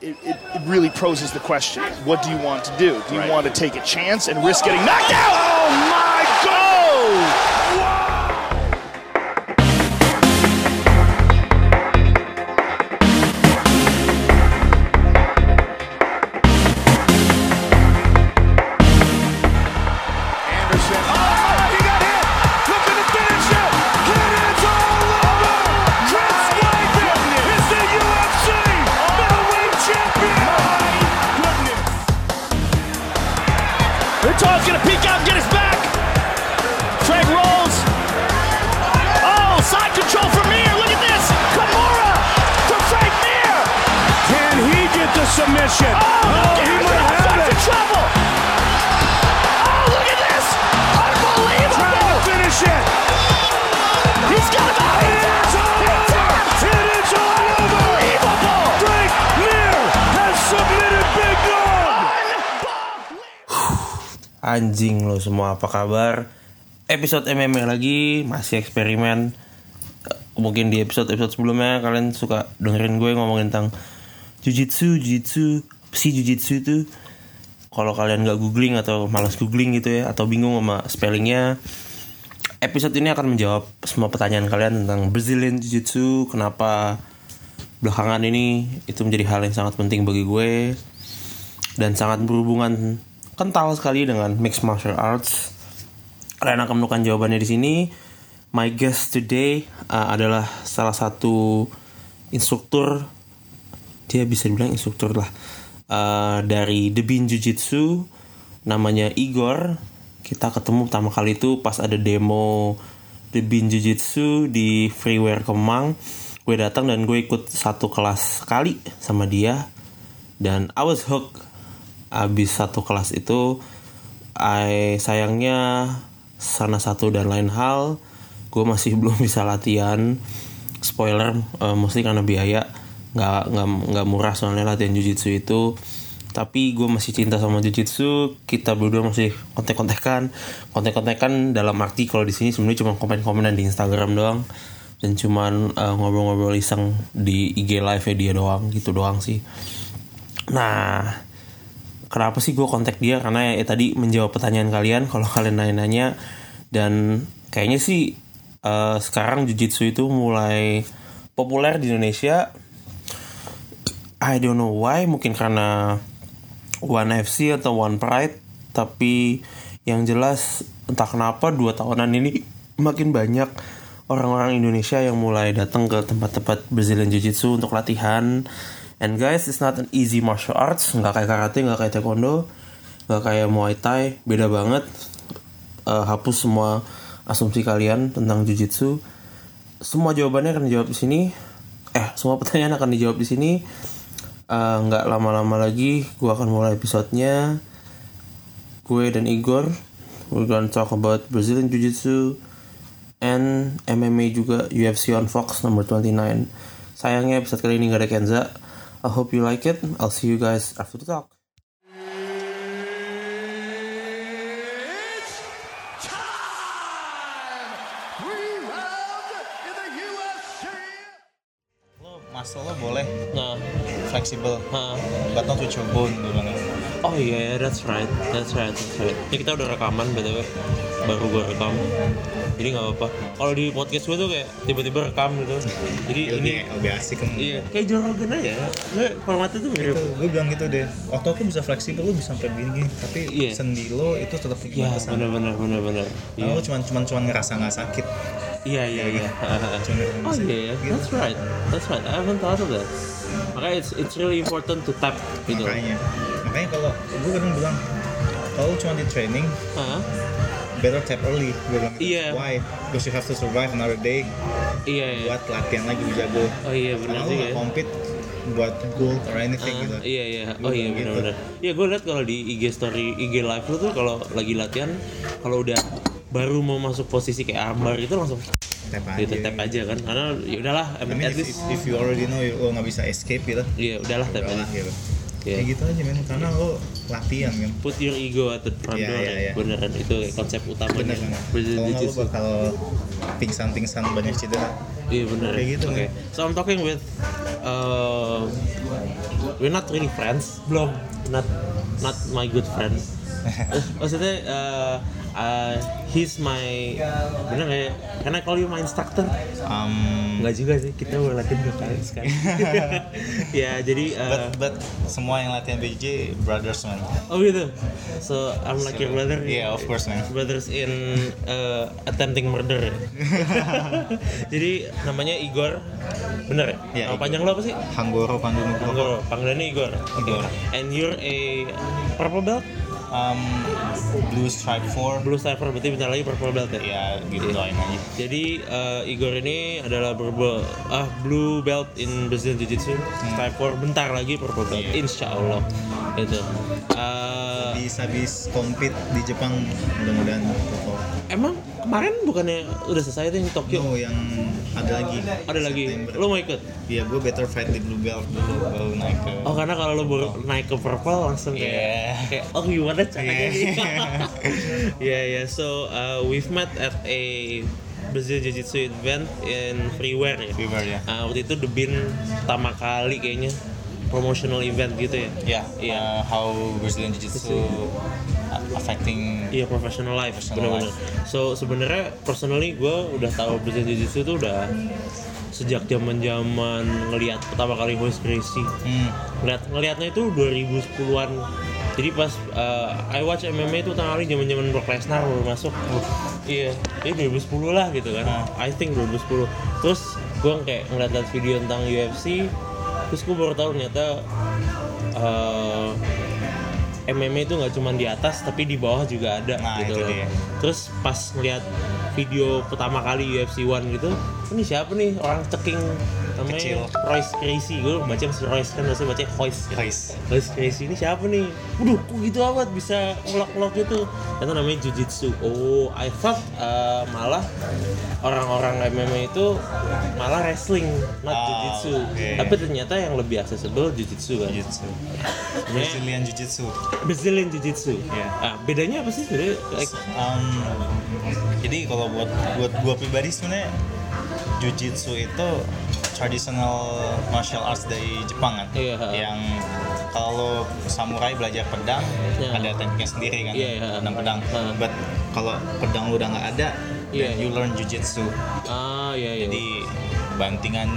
it, it, it really poses the question what do you want to do? Do you Right. want to take a chance and risk getting knocked out? Oh my God! Anderson. Oh, he got hit! Look at the finish it! And it's all over! Chris Weidman is the UFC middleweight champion! Hurtog's gonna peek out and get his back. Craig rolls. Oh, side control for Mir. Look at this. Kimura to Frank Mir. Can he get the submission? Oh, he Garrett might Hill's have up to it. trouble. Oh, look at this. Trying to Unbelievable. finish it. He's got about It is all over. It is all over. Unbelievable. Drake Mir has submitted Big Dog. Anjing lo semua apa kabar? Episode MMA lagi masih eksperimen. Eh, Mungkin di episode-episode sebelumnya kalian suka dengerin gue ngomongin tentang jujitsu, jujitsu, si jujitsu itu kalau kalian nggak googling atau malas googling gitu ya atau bingung sama spellingnya episode ini akan menjawab semua pertanyaan kalian tentang Brazilian Jiu-Jitsu kenapa belakangan ini itu menjadi hal yang sangat penting bagi gue dan sangat berhubungan kental sekali dengan mixed martial arts. Kalian akan menemukan jawabannya di sini. My guest today uh, adalah salah satu instruktur dia bisa dibilang instruktur lah uh, dari The Bean Jiu-Jitsu namanya Igor. Kita ketemu pertama kali itu pas ada demo The Bean Jiu-Jitsu di Freeware Kemang. Gue datang dan gue ikut satu kelas sekali sama dia dan I was hooked abis satu kelas itu I sayangnya sana satu dan lain hal gue masih belum bisa latihan spoiler eh, mostly karena biaya nggak nggak nggak murah soalnya latihan jujitsu itu tapi gue masih cinta sama jujitsu kita berdua masih kontek-kontekan kontek-kontekan dalam arti kalau di sini sebenarnya cuma komen-komenan di Instagram doang dan cuman eh, ngobrol-ngobrol iseng di IG live nya dia doang gitu doang sih Nah, kenapa sih gue kontak dia? Karena ya tadi menjawab pertanyaan kalian kalau kalian nanya-nanya dan kayaknya sih eh, sekarang jujitsu itu mulai populer di Indonesia. I don't know why, mungkin karena One FC atau One Pride, tapi yang jelas entah kenapa dua tahunan ini makin banyak orang-orang Indonesia yang mulai datang ke tempat-tempat Brazilian Jiu-Jitsu untuk latihan. And guys, it's not an easy martial arts, nggak kayak karate, nggak kayak taekwondo, nggak kayak muay thai, beda banget. Eh, hapus semua asumsi kalian tentang Jiu-Jitsu. Semua jawabannya akan dijawab di sini. Eh, semua pertanyaan akan dijawab di sini. Eh, Nggak lama-lama lagi, gua akan mulai episodenya gue dan Igor we're gonna talk about Brazilian Jiu-Jitsu and MMA juga UFC on Fox number 29 sayangnya episode kali ini gak ada Kenza I hope you like it I'll see you guys after the talk It's time! Rewound in the UFC! lo muscle lo boleh nah fleksibel ha. but not with your bone dia bilang. oh iya yeah, that's right that's right that's right ini kita udah rekaman btw baru gue rekam jadi nggak apa-apa kalau di podcast gue tuh kayak tiba-tiba rekam gitu jadi dia ini lebih lebih asik kan iya kayak Joe Rogan aja Nggak, formatnya tuh mirip gue bilang gitu deh waktu aku bisa fleksibel lo bisa sampai begini tapi Iya. sendi lo itu tetap punya ya batasan benar-benar benar-benar Karena lo cuman cuman cuman ngerasa nggak sakit Iya iya iya. Cuma dari Oh musik. iya, yeah, that's right, that's right. I haven't thought of that. Makanya it's it's really important to tap gitu. makanya makanya kalau gue kadang bilang kalau lo cuma di training Hah? better tap early gue bilang gitu. Iya. why because you have to survive another day Iya iya. buat latihan lagi bisa jago Oh iya karena benar lo sih ya. nggak compete buat gold or anything gitu Ah, iya iya. Gua Oh iya bilang gitu. benar-benar. Iya gue liat kalau di IG story, IG live lu tuh kalau lagi latihan, kalau udah baru mau masuk posisi kayak armbar itu langsung tap aja gitu tap aja kan. Karena ya udahlah, I em- mean, at if, least if, if you already know you- lo nggak bisa escape gitu iya udahlah tap aja. udahlah gitu Iya. kayak gitu aja men karena lo latihan kan Put your ego at the front Iya, door. iya, ya. iya. Beneran itu kayak konsep ya. utamanya. bener banget Brazilian kalau nggak lo Jiu-Jitsu. bakal pingsan-pingsan banyak cedera Iya benar. Kayak gitu, Oke. kan? So I'm talking with uh, we're not really friends belum not not my good friend Eh, maksudnya eh, eh, he's my bener nggak ya karena kalau you my instructor um, nggak juga sih kita mau latihan ke kalian sekali ya jadi eh, but but semua yang latihan BJJ brothers man oh gitu so I'm like your brother Yeah, of course, man. brothers in eh, attempting murder ya? jadi namanya Igor bener ya Ya, Nama Igor. panjang lo apa sih Hanggoro Pandu Nugroho Igor panggilannya Igor Igor and you're a purple belt um, Blue Stripe 4 blue striper berarti bentar lagi purple belt ya ya gitu doain aja Jadi eh, Igor ini adalah berbe ah blue belt in Brazilian Jiu Jitsu. Hmm. Type 4 bentar lagi purple belt. Iya. Insya Allah Gitu. itu. Eh, bisa habis compete di Jepang mudah-mudahan Toto emang kemarin bukannya udah selesai tuh yang di Tokyo? no Oh, yang ada lagi Ada lagi. September. Lo mau ikut? Iya, gue better fight di blue belt dulu baru naik ke. Oh karena kalau lo baru naik ke purple langsung kayak Yeah. kayak oh gimana caranya Yeah. nih? yeah yeah. So uh, we've met at a Brazilian Jiu Jitsu event in Freeware ya. Fever ya. Ah, waktu itu The Bean pertama kali kayaknya promotional event gitu ya. Ya, Iya. uh, how Brazilian Jiu-Jitsu affecting Iya professional life, ya. Professional benar-benar. So sebenarnya personally gue udah tahu Brazilian Jiu Jitsu itu udah sejak zaman zaman ngelihat pertama kali Hoist Gracie. Hmm, Ngeliat, ngeliatnya itu 2010-an. Jadi pas uh, I watch MMA itu pertama kali zaman zaman Brock Lesnar baru masuk. Iya, ini 2010 lah gitu kan. Nah. I think 2010. Terus gue kayak ngeliat video tentang UFC, terus gue baru tahu ternyata uh, MMA itu nggak cuma di atas tapi di bawah juga ada Nah, gitu itu loh. dia. Terus pas ngeliat video pertama kali UFC One gitu, ini siapa nih orang ceking namanya Kecil. Royce Crazy gue baca si Royce kan biasanya baca Royce gitu. Royce. Royce Crazy ini siapa nih? Waduh, kok gitu amat bisa ngulak-ngulak gitu? Itu namanya Jujitsu. Oh, I thought uh, malah orang-orang MMA itu malah wrestling, not Ah, Jujitsu. oke. Tapi ternyata yang lebih accessible Jujitsu kan. Jiu-Jitsu. Sebenarnya- Brazilian Jiu-Jitsu. Brazilian Jiu-Jitsu. Iya. Ah, bedanya apa sih sebenarnya? Like, Um, jadi kalau buat buat gua pribadi sebenarnya Jiu-Jitsu itu traditional martial arts dari Jepang kan. Iya. Yang kalau samurai belajar pedang Iya. ada tekniknya sendiri kan. Iya, iya. Pedang pedang. Iya. But kalau pedang lu udah nggak ada, Iya. then you learn Jiu-Jitsu. ah ya ya. Jadi bantingan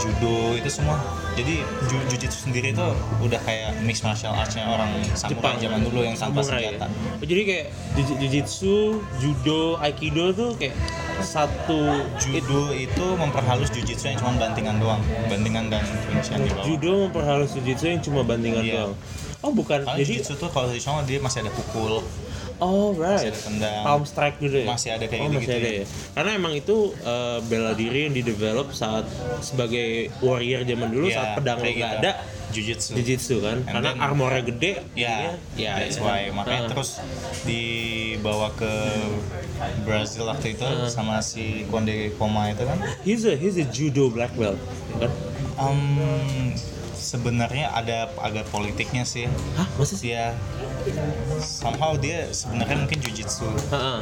judo itu semua. Jadi ju- jujitsu sendiri itu udah kayak mix martial arts-nya orang samurai zaman dulu yang tanpa Samurai, senjata. ya. Oh, Jadi kayak jiu- jujitsu, judo, aikido tuh kayak satu Judo itu memperhalus jujitsu yang cuma bantingan doang, bantingan dan finish yang di bawah. judo memperhalus jujitsu yang cuma bandingan Iya. doang. Oh bukan. Kalau Jadi jujitsu tuh kalau tradisional dia masih ada pukul, oh masih right. ada tendang. Palm strike gitu ya. Masih ada kayak oh, gitu-gitu masih ada ya. ya. Karena emang itu eh, bela diri yang didevelop saat sebagai warrior zaman dulu Iya, saat pedang kayak nggak gitu. ada jujitsu. jujitsu kan. And Karena then- armornya gede. Ya, jadinya- that's why makanya Ah. terus dibawa ke Brazil waktu itu Hmm. sama si Konde Koma itu kan. He's a he's a judo black belt. Kan? Um, sebenarnya ada agak politiknya sih. Hah, masa sih? Dia somehow dia sebenarnya mungkin jujitsu, Heeh.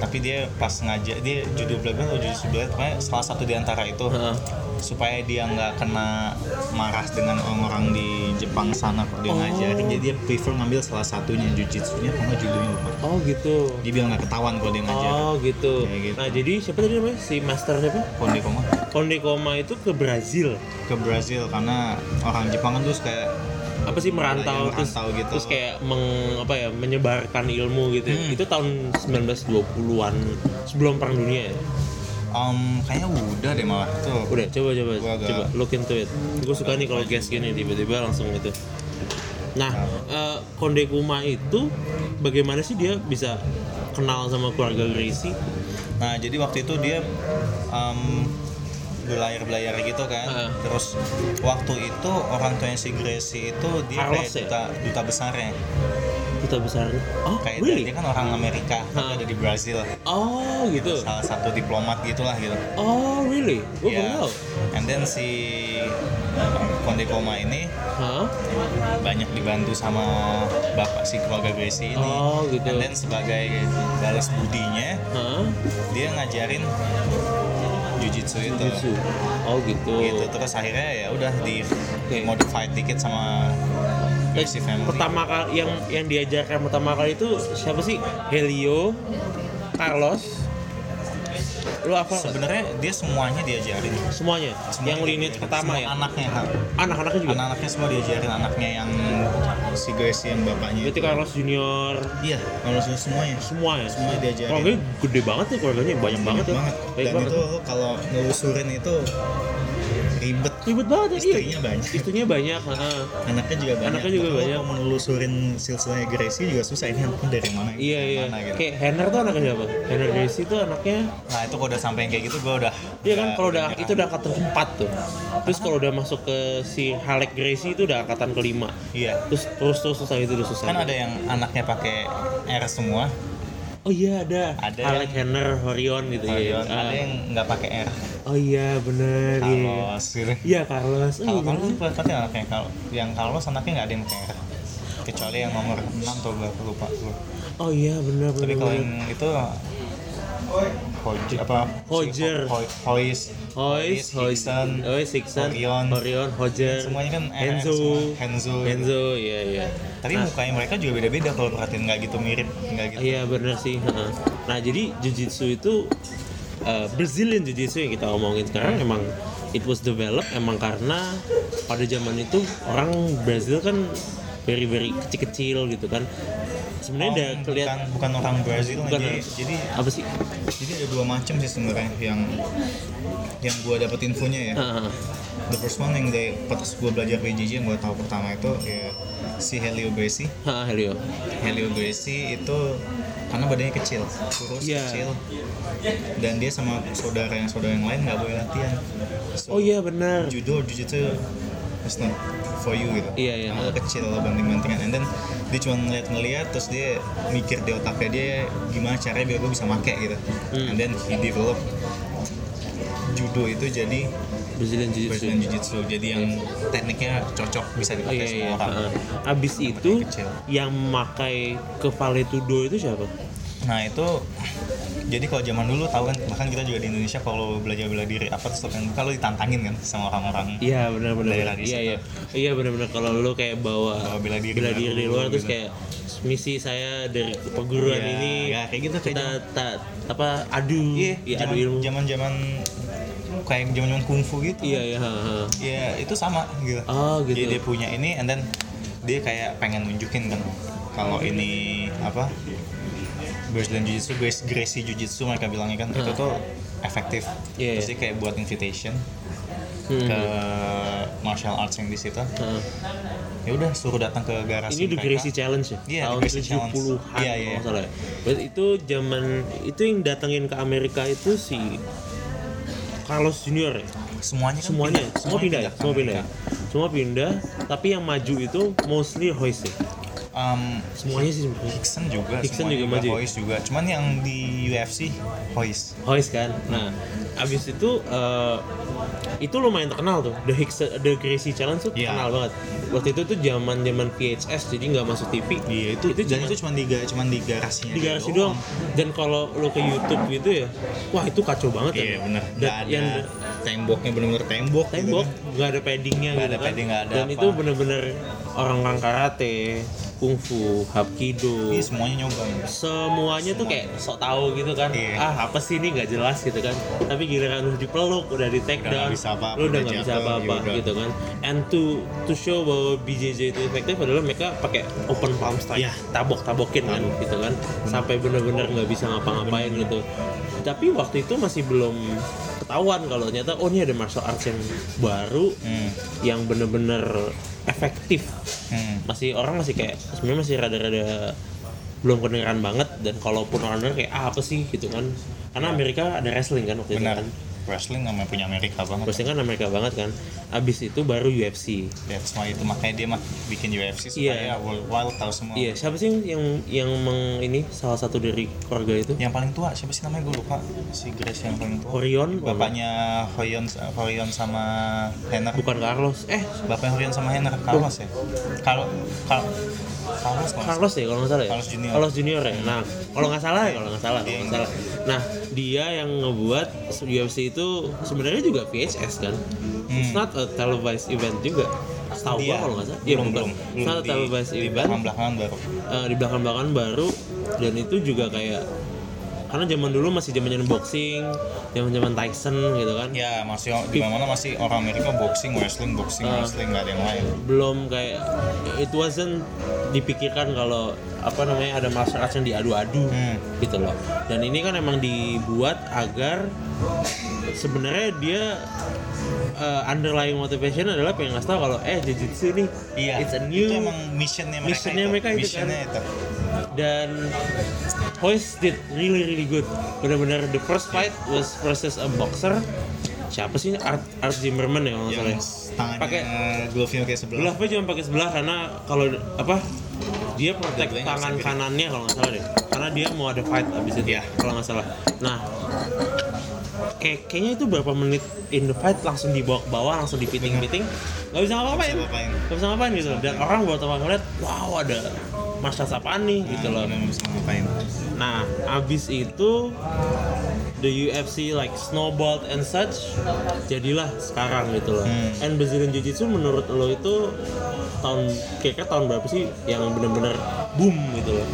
tapi dia pas ngajak dia judo black belt atau jujitsu black belt, pokoknya salah satu di antara itu Heeh. supaya dia nggak kena marah dengan orang-orang di Jepang sana kalau dia Oh. ngajarin. Jadi dia prefer ngambil salah satunya jujitsunya kalau nggak judonya lupa. Oh gitu. Dia bilang nggak ketahuan kalau dia ngajar. Oh gitu. Kayak gitu. Nah jadi siapa tadi namanya si master siapa? Konde Koma Konde Koma itu ke Brazil. ke Brazil karena orang Jepang kan terus kayak Apa sih merantau, Iya, terus merantau gitu. terus kayak meng, apa ya menyebarkan ilmu gitu. ya. Hmm. Itu tahun 1920-an sebelum perang dunia ya. um, kayaknya udah deh malah tuh Udah coba coba Gua agak- coba look into it. Gue suka nih kalau gas gini tiba-tiba langsung gitu. Nah, eh, Konde Koma itu bagaimana sih dia bisa kenal sama keluarga Gracie? Nah jadi waktu itu dia um, belayar-belayar gitu kan. Heeh. Terus waktu itu orang tuanya si Gracie itu dia Carlos kayak ya? duta duta besarnya. Duta besar. Oh, Kayak dia- really? dia kan orang Amerika, tapi Heeh. ada di Brazil. Oh, gitu. Salah satu diplomat gitulah gitu. Oh, really? Gue Ya. belum tahu. And then si Konde Koma ini Hah? banyak dibantu sama bapak si keluarga Gracie ini. Oh, gitu. And then sebagai balas budinya Hah? dia ngajarin jujitsu itu Jujitsu. Oh gitu. gitu terus akhirnya ya udah di modified dikit sama Eh, UFC family pertama kali yang yang diajarkan pertama kali itu siapa sih? Helio, Carlos. Lu apa? sebenarnya dia semuanya diajarin semuanya. Semuanya yang lineage diajarin. pertama Semua ya. anaknya ha. Anak-anaknya juga. anak-anaknya semua diajarin anaknya yang si Gracie yang bapaknya Berarti Carlos Junior iya kalau semua- semuanya semua ya. Semua diajarin. Keluarganya gede banget ya keluarganya banyak banget ya. Baik dan banget. itu lo kalau ngelusurin itu ribet Ribet banget ya. iya. Istrinya banyak. Istrinya banyak. heeh. anaknya juga banyak Anaknya juga Bahkan lo banyak. mau menelusurin silsilahnya Gracie juga susah ini anaknya dari mana Iya dari iya. mana, gitu. Kayak Henner tuh anaknya siapa? Henner Gracie tuh anaknya nah itu kalau udah sampai yang kayak gitu gue udah Iya kan udah- kalau udah itu udah angkatan keempat tuh. Terus kalau udah masuk ke si Halek Gracie itu udah angkatan kelima. iya Terus terus terus susah itu udah susah. kan ada yang anaknya pakai R semua Oh iya ada. Ada Halek yang- Henner Horion gitu kalau ya. yang- ada yang nggak pakai R Oh iya bener iya. Carlos gitu Iya Carlos. Oh, kalau iya, Carlos bener. berarti anaknya kalau yang Carlos anaknya nggak ada yang pakai R kecuali yang nomor 6 tuh gue lupa gue Oh iya bener tapi bener. kalau bener. yang itu Hojer apa Hojer. Hois Hois, Hois, Hickson Hois, Hickson, Orion Orion, Hodger, Semuanya kan RR Enzo, semua. Henzo. Enzo, iya iya. tapi Nah, mukanya mereka juga beda-beda kalau perhatiin nggak gitu mirip nggak gitu Iya bener sih. heeh. Nah jadi jujitsu itu eh, Brazilian jujitsu yang kita omongin sekarang emang it was developed emang karena pada zaman itu orang Brazil kan very very kecil-kecil gitu kan. Oh, Sebenarnya udah kelihatan bukan, bukan orang Brazil bukan- jadi, jadi apa sih? jadi ada dua macam sih sebenarnya yang yang gua dapet infonya ya Heeh. the first one yang dari pas gua belajar BJJ yang gua tahu pertama itu ya si Helio Gracie Heeh, Helio. Helio Gracie itu karena badannya kecil, kurus Iya. kecil, dan dia sama saudara yang saudara yang lain nggak boleh latihan. So, Oh iya bener. Judo jujitsu it's not for you gitu. Iya, iya. Karena lo kecil lo banting-bantingan. And then dia cuma ngeliat-ngeliat terus dia mikir di otaknya dia gimana caranya biar gue bisa make gitu. And Hmm. then he develop judo itu jadi Brazilian Brazilian jujitsu. Jiu-Jitsu jadi yang tekniknya cocok bisa Oh, dipakai iya semua iya. orang. heeh. Abis itu kecil. yang memakai ke Valetudo itu siapa? Nah itu jadi kalau zaman dulu tahu kan bahkan kita juga di Indonesia kalau belajar bela diri apa tuh stop yang kalau ditantangin kan sama orang-orang Iya benar-benar. Daerah di Iya situ. iya. Iya benar-benar kalau lu kayak bawa Bawa bela diri baru, dari luar terus gitu. kayak misi saya dari perguruan Iya, ini ya, kayak gitu, kayak kita tak apa adu ya, adu ilmu. Iya, zaman zaman kayak zaman zaman kungfu gitu. Iya iya. ha, ha. Ya itu sama gitu. Oh, gitu. Jadi dia punya ini and then dia kayak pengen nunjukin kan kalau ini apa Brazilian Jiu-Jitsu, Grace- Gracie Jiu-Jitsu mereka bilangnya kan itu tuh efektif. Terus Iya, iya. dia kayak buat invitation Hmm. ke martial arts yang di situ. Ha. ya udah suruh datang ke garasi Ini The mereka. Gracie Challenge ya? Iya, The tahun Gracie Challenge. 70-an Iya, iya. kalau nggak salah ya. Berarti itu zaman itu yang datengin ke Amerika itu si Carlos Junior ya? semuanya kan Semuanya, semua pindah, ya? ke semua pindah. ya? Amerika. Semua pindah, tapi yang maju itu mostly Hoist ya? Em, Semuanya sih sebenarnya. Hickson juga Hickson semuanya juga maju. Hoist juga cuman yang di UFC Hoist Hoist kan. Nah, abis itu eh, itu lumayan terkenal tuh. The Hicks, The Gracie Challenge tuh Iya. terkenal banget. Waktu itu tuh zaman zaman VHS jadi nggak masuk TV. iya itu, dan zaman- itu cuman di ga- cuman di garasinya di aja garasi doang. Dan kalau lo ke YouTube gitu ya, wah itu kacau banget ya. iya benar Dan nggak ada yang temboknya benar-benar tembok gitu tembok kan. nggak ada paddingnya Nggak gitu ada kan. padding, nggak ada Dan apa. itu bener-bener orang-orang karate, kungfu, hapkido, Iya, semuanya nyoba gitu. semuanya tuh kayak sok tahu gitu kan Iya. ah apa sih ini nggak jelas gitu kan tapi giliran lu dipeluk udah di take Udah nggak down bisa apa-apa, lu udah udah nggak bisa jatuh, apa-apa ya udah. gitu kan and to to show bahwa BJJ itu efektif adalah mereka pakai open palm Iya. strike Hmm. tabok tabokin kan gitu kan sampai bener-bener nggak bisa ngapa-ngapain gitu tapi waktu itu masih belum ketahuan kalau ternyata oh ini ada martial arts yang baru Hmm, yang bener-bener efektif hmm. masih orang masih kayak sebenarnya masih rada-rada belum kedengeran banget dan kalaupun orang denger kayak ah, apa sih gitu kan karena Amerika ada wrestling kan waktu benar itu kan wrestling namanya punya Amerika banget wrestling kan Amerika banget kan abis itu baru UFC That's why itu makanya dia mah bikin UFC supaya Iya. worldwide tahu semua iya siapa sih yang yang yang meng, ini salah satu dari keluarga itu yang paling tua siapa sih namanya gue lupa si Grace yang paling tua Orion bapaknya Hoyon Hoyon sama Henner bukan Carlos eh bapaknya Hoyon sama Henner Carlos ya Carlos Carlos Carlos kalau nggak Carlos ya kalau nggak salah ya Carlos Junior. Iya. Junior ya nah kalau nggak salah ya kalau nggak salah kalau nggak salah nah dia yang ngebuat UFC itu itu sebenarnya juga VHS kan Hmm. it's not a televised event juga setahu gua Dia- kalau nggak salah Iya, belum bukan. belum it's not a Di- televised di event belakang belakangan baru eh, di belakang belakang baru dan itu juga kayak karena zaman dulu masih zaman boxing zaman zaman Tyson gitu kan ya masih di mana masih orang Amerika boxing wrestling boxing Ah. wrestling nggak ada yang lain belum kayak it wasn't dipikirkan kalau apa namanya ada martial arts yang diadu-adu Hmm. gitu loh dan ini kan emang dibuat agar sebenarnya dia eh, underlying motivation adalah pengen ngasih tau kalau eh jujitsu nih iya it's a itu new emang missionnya mereka missionnya mereka itu kan. missionnya itu dan Hoist did really really good benar-benar the first fight was versus a boxer siapa sih Art, Art Zimmerman ya kalau nggak yang salah ya? tangannya pakai glove-nya kayak sebelah Belah apa cuma pakai sebelah karena kalau apa dia protect Double-nya nggak tangan bisa gerak. kanannya kalau nggak salah deh. Karena dia mau ada fight abis itu Iya. kalau nggak salah. Nah, kayak kayaknya itu berapa menit in the fight langsung dibawa ke bawah langsung dipiting-piting nggak bisa ngapa-ngapain Iya. Nggak bisa ngapain. nggak bisa ngapain gitu dan orang buat apa ngeliat wow ada masa apaan nih gitu loh Nah, bisa ngapain Nah, abis itu the UFC like snowballed and such jadilah sekarang gitu loh. Hmm. And Brazilian Jiu-Jitsu menurut lo itu tahun kayaknya tahun berapa sih yang benar-benar boom gitu loh.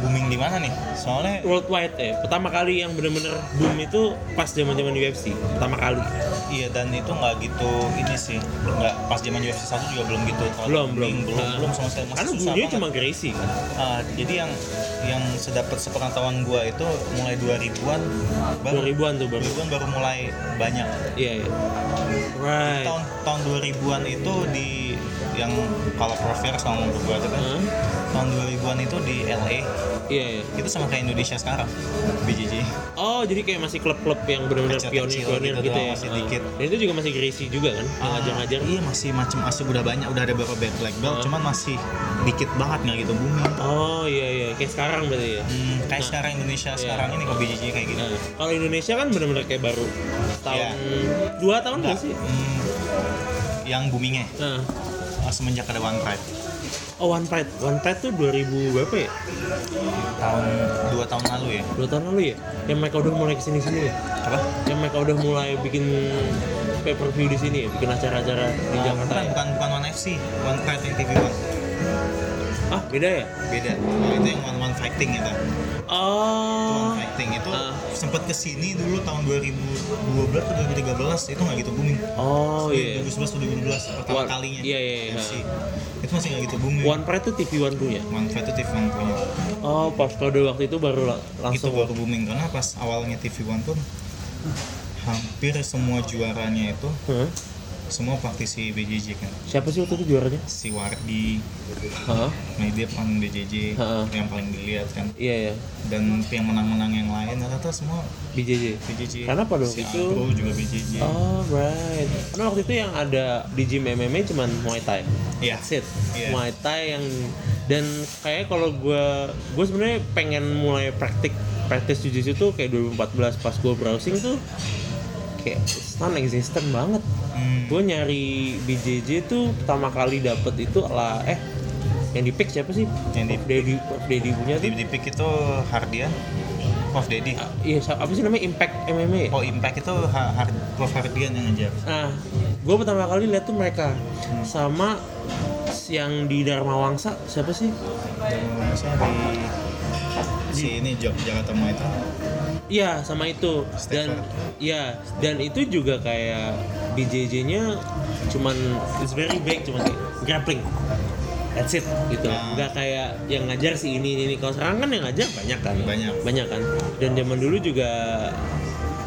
booming di mana nih soalnya Worldwide ya. Pertama kali yang benar-benar boom itu pas zaman-zaman UFC. Pertama kali. Iya dan itu nggak gitu ini sih nggak pas zaman UFC satu juga belum gitu Kalau Belum, belum. booming, belum Nah, belum sama sekali masih Karena susah bunyinya banget. cuma Gracie kan. Ah, jadi yang yang sedapat sepengetahuan gua itu mulai 2000-an baru 2000-an tuh baru. 2000-an baru mulai banyak Iya, iya. Right. tahun tahun 2000-an itu di yang kalau prover sama menurut gua itu kan Hah? tahun 2000-an itu di LA Iya, iya. itu sama kayak Indonesia sekarang BJJ Oh, jadi kayak masih klub-klub yang benar-benar Kecil-kecil pionir-pionir gitu gitu, doang, ya. masih Ah. dikit. Dan itu juga masih Gracie juga kan, yang ngajar-ngajar. Ah, iya masih macam masih udah banyak udah ada beberapa black black belt Ah. cuman masih dikit banget nggak gitu booming Oh iya iya kayak sekarang berarti ya. Hmm, kayak sekarang Indonesia sekarang ini kok BJJ kayak gitu. Iya. Nah, kalau Indonesia kan benar-benar kayak baru tahun Iya. dua tahun nggak Iya sih? Hmm, yang boomingnya Nah, uh, semenjak ada One Pride oh One Pride, One Pride tuh 2000 berapa ya? tahun dua tahun lalu ya. Dua tahun lalu ya? Yang mereka udah mulai kesini sini ya? Apa? Yang mereka udah mulai bikin pay per view di sini ya, bikin acara-acara di Ah, Jakarta. bukan, ya? bukan bukan One FC, One Pride yang TV One. Ah beda ya? Beda. Nah, itu yang One One Fighting itu. Oh, One Fighting itu Ah. sempet kesini dulu tahun 2012 atau 2013 itu nggak gitu booming. oh iya. 2011 atau 2012 pertama One- kalinya. iya, iya, iya. FC. Itu masih nggak gitu booming. One Pride tuh ya? TV One punya. One Pride itu TV One punya. Oh, pas kode waktu itu baru la- itu langsung. baru booming karena pas awalnya TV One pun hampir semua juaranya itu Hah? semua praktisi BJJ kan Siapa sih waktu itu juaranya? si Wardi Hah? nah dia paling BJJ Ha-ha. yang paling dilihat kan Iya ya, dan yang menang-menang yang lain rata-rata semua BJJ. BJJ Karena pada si waktu itu- Agro juga BJJ Oh, right. Karena waktu itu yang ada di gym MMA cuman Muay Thai. Iya. That's it. Iya. Muay Thai yang dan kayak kalau gua gue sebenarnya pengen mulai praktik praktis jujitsu tuh kayak 2014 pas gua browsing tuh kayak non existent banget. Hmm. Gue nyari BJJ tuh pertama kali dapet itu lah eh yang di pick siapa sih? Yang di- Dedi Dedi punya di tuh. di pick itu Hardian Prof Dedi Iya, siapa- apa sih namanya Impact MMA ya? oh Impact itu Ha- Hard, Prof Hardian yang ngejar Nah, gue pertama kali lihat tuh mereka sama yang di Dharma Wangsa siapa sih? dan saya di si ini Jog Jakarta Muay Thai Iya, sama itu. Dan iya, dan itu juga kayak BJJ-nya cuman it's very vague cuman kayak grappling. That's it gitu. Nah. Nggak kayak yang ngajar si ini ini ini. Kalau sekarang kan yang ngajar banyak kan. Banyak. Banyak kan. Dan zaman dulu juga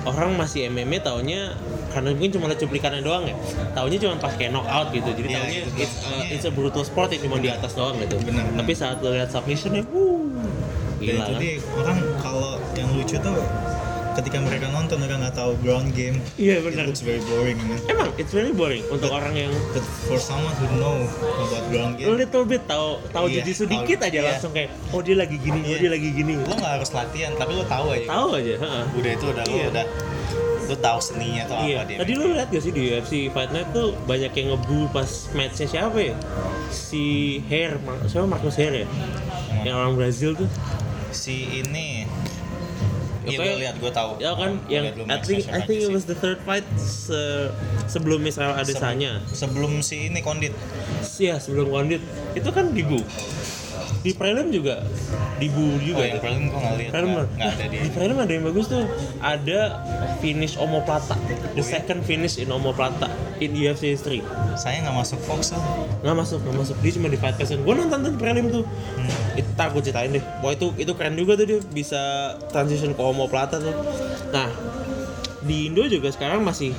orang masih MMA taunya karena mungkin cuma ada cuplikannya doang ya. Taunya cuma pas kayak knockout gitu. Jadi Iya, taunya itu tuh. it's, a, it's a brutal sport yang cuma di atas doang gitu. Benar, benar. Tapi saat lo lihat submissionnya, wuh, Dan gila itu kan. dia orang kalau yang lucu tuh ketika mereka nonton mereka nggak tahu ground game. Iya, benar. It looks very boring, man. Emang it's very boring untuk orang yang But for someone who know about ground game, little bit tahu tahu Iya, tahu- jujitsu dikit aja iya. langsung kayak oh dia lagi gini, oh Iya. dia lagi gini. lo nggak harus latihan, tapi lo tahu aja. Tahu aja, heeh. Udah itu udah Iya. lo udah lo tahu seninya atau Iya. apa dia. Tadi lu lihat gak sih di UFC Fight Night tuh banyak yang ngebu pas matchnya siapa ya? Si Hair, Ma- Iya. siapa Marcus Hair ya? Yang orang Brazil tuh. Si ini Iya gue Iya, lihat gue tahu. Ya kan Gua yang liat lu I match think Sasha I think it Banks was the third fight se- sebelum Israel sih. Adesanya. Sebelum si ini kondit. Iya sebelum Kondit itu kan dibu. Di prelim juga Oh dibu juga. yang prelim gue nggak lihat. Prelim nggak- mana? Nggak ada Nah, di. di prelim ada yang bagus tuh. Ada finish omoplata. The Oh, iya. second finish in omoplata in UFC history. Saya nggak masuk Fox ah. tuh. Nggak masuk, nggak masuk. Dia cuma di fight person. Gue nonton tuh di prelim tuh. Hmm. Itu Ntar gue ceritain deh. Wah itu itu keren juga tuh dia bisa transition ke omoplata tuh. Nah di Indo juga sekarang masih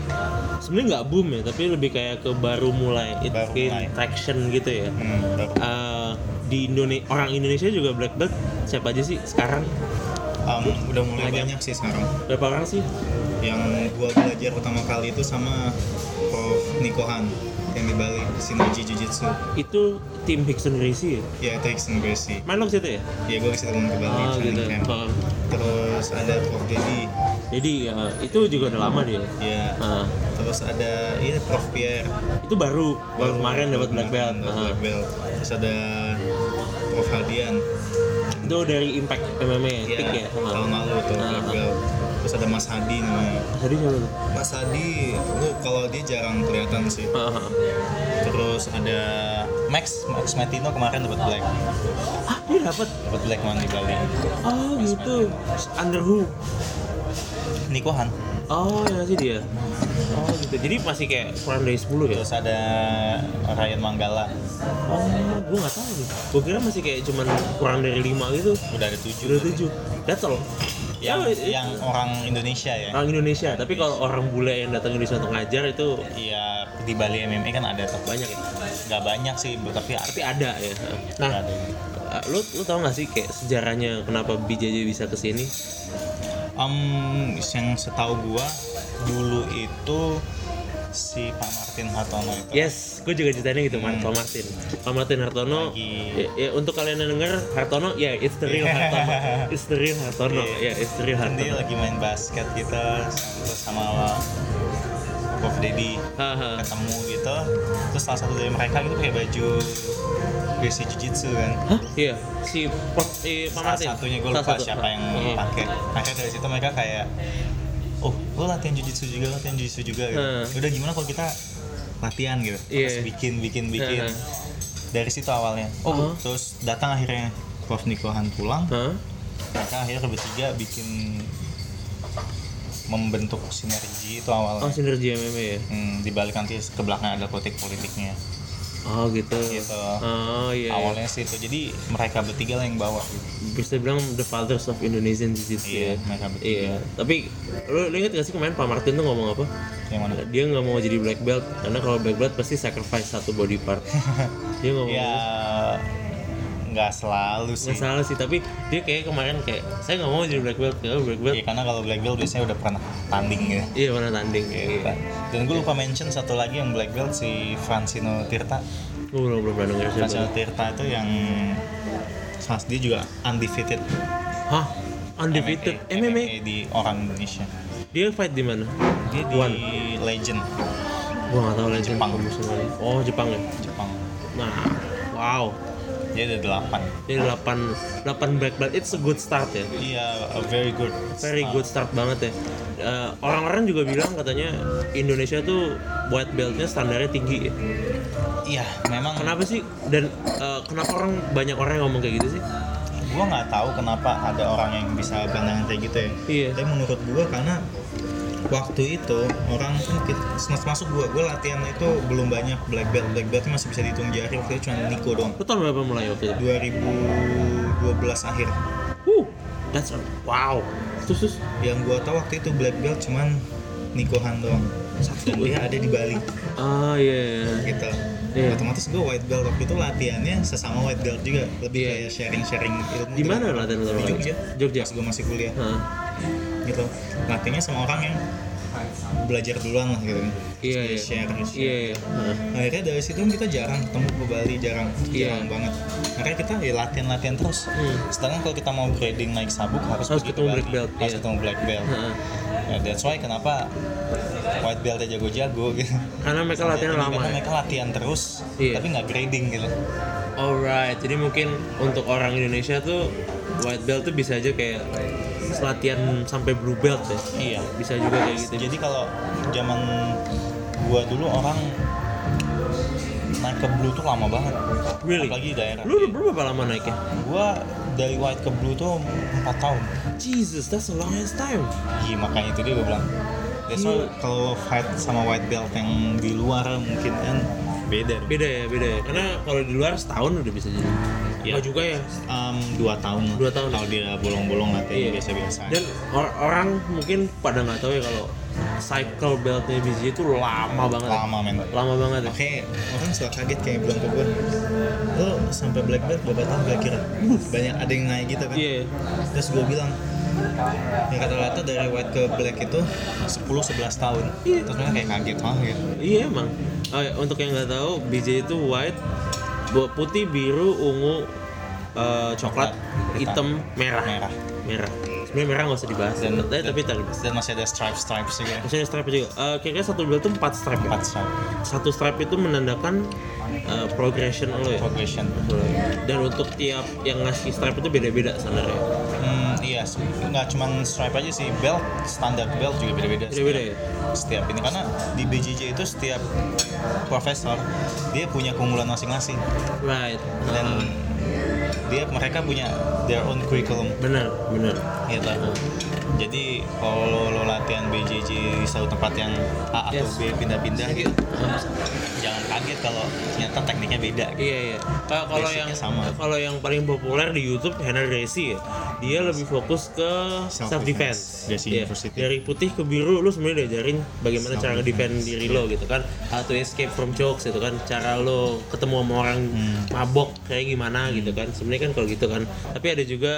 sebenarnya nggak boom ya, tapi lebih kayak ke baru mulai, it's Baru gain mulai. traction gitu ya. Hmm, baru. Eh, di Indonesia orang Indonesia juga black belt siapa aja sih sekarang Um, udah mulai Banyak. banyak sih sekarang. berapa orang sih yang gua belajar pertama kali itu sama Prof Nikohan yang di Bali Sinergi Jujitsu itu tim Hickson Gracie ya? ya Trixon Gracie main lo ke situ ya ya gua kasih temen ke Bali Ah, training gitu. camp. Ah. terus ada Prof Dedi jadi ya, itu juga udah lama dia ya Ah, terus ada ya Prof Pierre itu baru baru Baru- kemarin dapat black belt kemarin dapat Ah, black belt terus ada Prof Hadian itu dari Impact MMA ya, ya Tik ya tahun Ah. lalu tuh black Ah. belt terus ada Mas Hadi namanya tadi siapa tuh Mas Hadi lu kalau dia jarang kelihatan sih Ah, ah. Iya. terus ada Max Max Matino kemarin dapat black ah dia dapat dapat black man di Bali oh gitu underhook Nikohan oh ya sih dia oh gitu jadi masih kayak kurang dari 10 ya terus ada Ryan Manggala oh gue nggak tahu nih gue kira masih kayak cuman kurang dari 5 gitu udah ada tujuh Udah tujuh. That's all. yang Ya, it- yang orang Indonesia ya orang Indonesia. Tapi kalau orang bule yang datang Indonesia untuk ngajar itu Iya di Bali MMA kan ada tuh Banyak ya? nggak banyak sih bu, tapi tapi ada ya. Nah, ada. eh, lu lu tau gak sih kayak sejarahnya kenapa BJJ bisa ke sini? Em, yang setahu gua dulu itu si Pak Martin Hartono itu Yes, gue juga ceritanya gitu, Mar- Pak Martin. Pak Martin Hartono. Hmm. Lagi. Ya, ya, untuk kalian yang denger Hartono, ya it's the real Hartono. It's the real Hartono. Iya. Ya, it's the real kan dia Hartono. lagi main basket gitu terus sama Prof Dedi Haha. ketemu gitu terus salah satu dari mereka gitu pakai baju Gracie Jiu-Jitsu kan Hah? Iya, si Prof- eh, Pak salah Martin. satunya gue Salah lupa satu. siapa yang Iya. pakai akhirnya dari situ mereka kayak oh lo latihan jujitsu juga lo latihan jujitsu juga gitu Hmm. udah gimana kalau kita latihan gitu Iya. terus bikin bikin bikin Hmm. dari situ awalnya Oh. Hmm. terus datang akhirnya Prof Nikohan pulang Hah? mereka akhirnya bertiga bikin membentuk sinergi itu awalnya Oh, sinergi MMA ya. Hmm, dibalik nanti ke belakang ada politik politiknya Oh, gitu. Gitu. Oh, iya. iya. awalnya sih itu jadi mereka bertiga lah yang bawa gitu. bisa bilang the fathers of Indonesian Jiu-Jitsu Iya, ya. mereka bertiga. Iya. Tapi lu, lu inget gak sih kemarin Pak Martin tuh ngomong apa? yang mana Dia nggak mau jadi black belt karena kalau black belt pasti sacrifice satu body part. dia ngomong ya gitu. nggak selalu sih nggak salah sih tapi dia kayak kemarin kayak saya nggak mau jadi black belt kalau black belt ya karena kalau black belt biasanya udah pernah tanding ya iya mana tanding Kayak iya. gitu. dan gue lupa mention satu lagi yang black belt si Francino Tirta Iya, gue belum belum pernah denger siapa Francino Tirta itu yang salah dia juga undefeated hah undefeated MMA, di orang Indonesia dia fight di mana dia di One. legend gue nggak tahu legend Jepang. bagus sekali. oh Jepang ya Jepang nah wow dia ada delapan ini 8 8 black belt it's a good start ya iya a very good Very good start banget ya. Eh, Orang-orang juga bilang katanya Indonesia tuh white beltnya standarnya tinggi. ya. iya memang Kenapa sih? Dan eh, kenapa orang banyak orang yang ngomong kayak gitu sih? gua nggak tahu kenapa ada orang yang bisa pandangan kayak gitu ya Iya. tapi menurut gua karena waktu itu orang kan kita- termasuk gua gua latihan itu belum banyak black belt black belt masih bisa dihitung jari waktu itu cuma Niko doang Lu tahun berapa mulai waktu itu? 2012 akhir Huh, that's a- wow. Terus, terus yang gua tahu waktu itu black belt cuman Niko Han doang dan dia ada di Bali ah iya. iya. gitu Iya. otomatis gua white belt waktu itu latihannya sesama white belt juga lebih Iya. kayak sharing sharing ilmu Di gitu. mana latihan lu? di Jogja Jogja. pas gua masih kuliah Hah. gitu latihnya sama orang yang belajar duluan lah gitu Iya Terus ya. iya. dia share, share. Iya iya. Hah. akhirnya dari situ kan kita jarang ketemu ke Bali jarang Iya. jarang banget akhirnya kita ya latihan latihan terus Hmm. sedangkan kalau kita mau grading naik sabuk harus, Harus pergi ke ketemu Bali, black belt, harus iya. ketemu black belt Hah. ya that's why kenapa white belt jago-jago gitu Karena mereka Jadi latihan lama. karena ya? mereka latihan terus Iya. tapi nggak grading gitu Alright, jadi mungkin untuk orang Indonesia tuh white belt tuh bisa aja kayak proses latihan sampai blue belt ya Iya. bisa juga kayak gitu Jadi kalau zaman gua dulu orang naik ke blue tuh lama banget. really Apalagi di daerah. lu, lu berapa lama naiknya Gua dari white ke blue tuh 4 tahun. Jesus that's the longest time Iya makanya itu dia gue bilang. That's why Iya. kalau fight sama white belt yang di luar mungkin kan beda. dong. beda ya beda ya karena kalau di luar setahun udah bisa jadi Iya. Nggak juga ya Um, dua tahun. lah. Dua tahun. Iya. Kalau dia bolong-bolong latihan Iya, biasa-biasa. aja. dan or- orang mungkin pada nggak tahu ya kalau cycle beltnya BJ itu lama banget ya. lama men. lama banget ya. Makanya orang suka kaget kayak bilang ke gue, lo sampai black belt berapa tahun gak kira? Banyak ada yang naik gitu kan? Iya. Terus gue bilang, yang kata-kata dari white ke black itu 10-11 tahun. Iya. Terus mereka kayak kaget, wah gitu. Iya emang. Oh, ya, untuk yang nggak tahu, BJ itu white, bu- putih, biru, ungu, eh, coklat, Coklat, hitam, merah. Merah. Merah. Sebenarnya merah nggak usah dibahas. Dan- eh, tapi ntar dibahas. Dan masih ada stripes-stripes juga. Maksudnya stripe juga. Eh, kira-kira satu bulan itu empat stripe. ya? Empat stripe, Satu stripe itu menandakan eh, progression lo ya. progression. Dan untuk tiap yang ngasih stripe itu beda-beda sebenarnya. Hmm, iya, sih. nggak cuman stripe aja sih, belt, standar belt juga beda-beda. Beda-beda ya. Setiap ini, karena di BJJ itu setiap profesor, dia punya keunggulan masing-masing. Right. dan dia mereka punya their own curriculum Benar, benar. gitu jadi kalau lo, lo latihan BJJ di satu tempat yang A atau Yes. B pindah-pindah gitu jangan kaget kalau ternyata tekniknya beda gitu Iya iya. Ka- Kalau Basicnya yang sama. kalau yang paling populer di YouTube Henry Gracie ya. Dia lebih fokus ke Self self defense. defense. Gracie University. Dari putih ke biru lu sebenarnya diajarin bagaimana cara Self defend diri lo Iya. gitu kan. How to escape from jokes gitu kan. Cara lo ketemu sama orang Hmm. mabok kayak gimana gitu kan. Sebenarnya kan kalau gitu kan. Tapi ada juga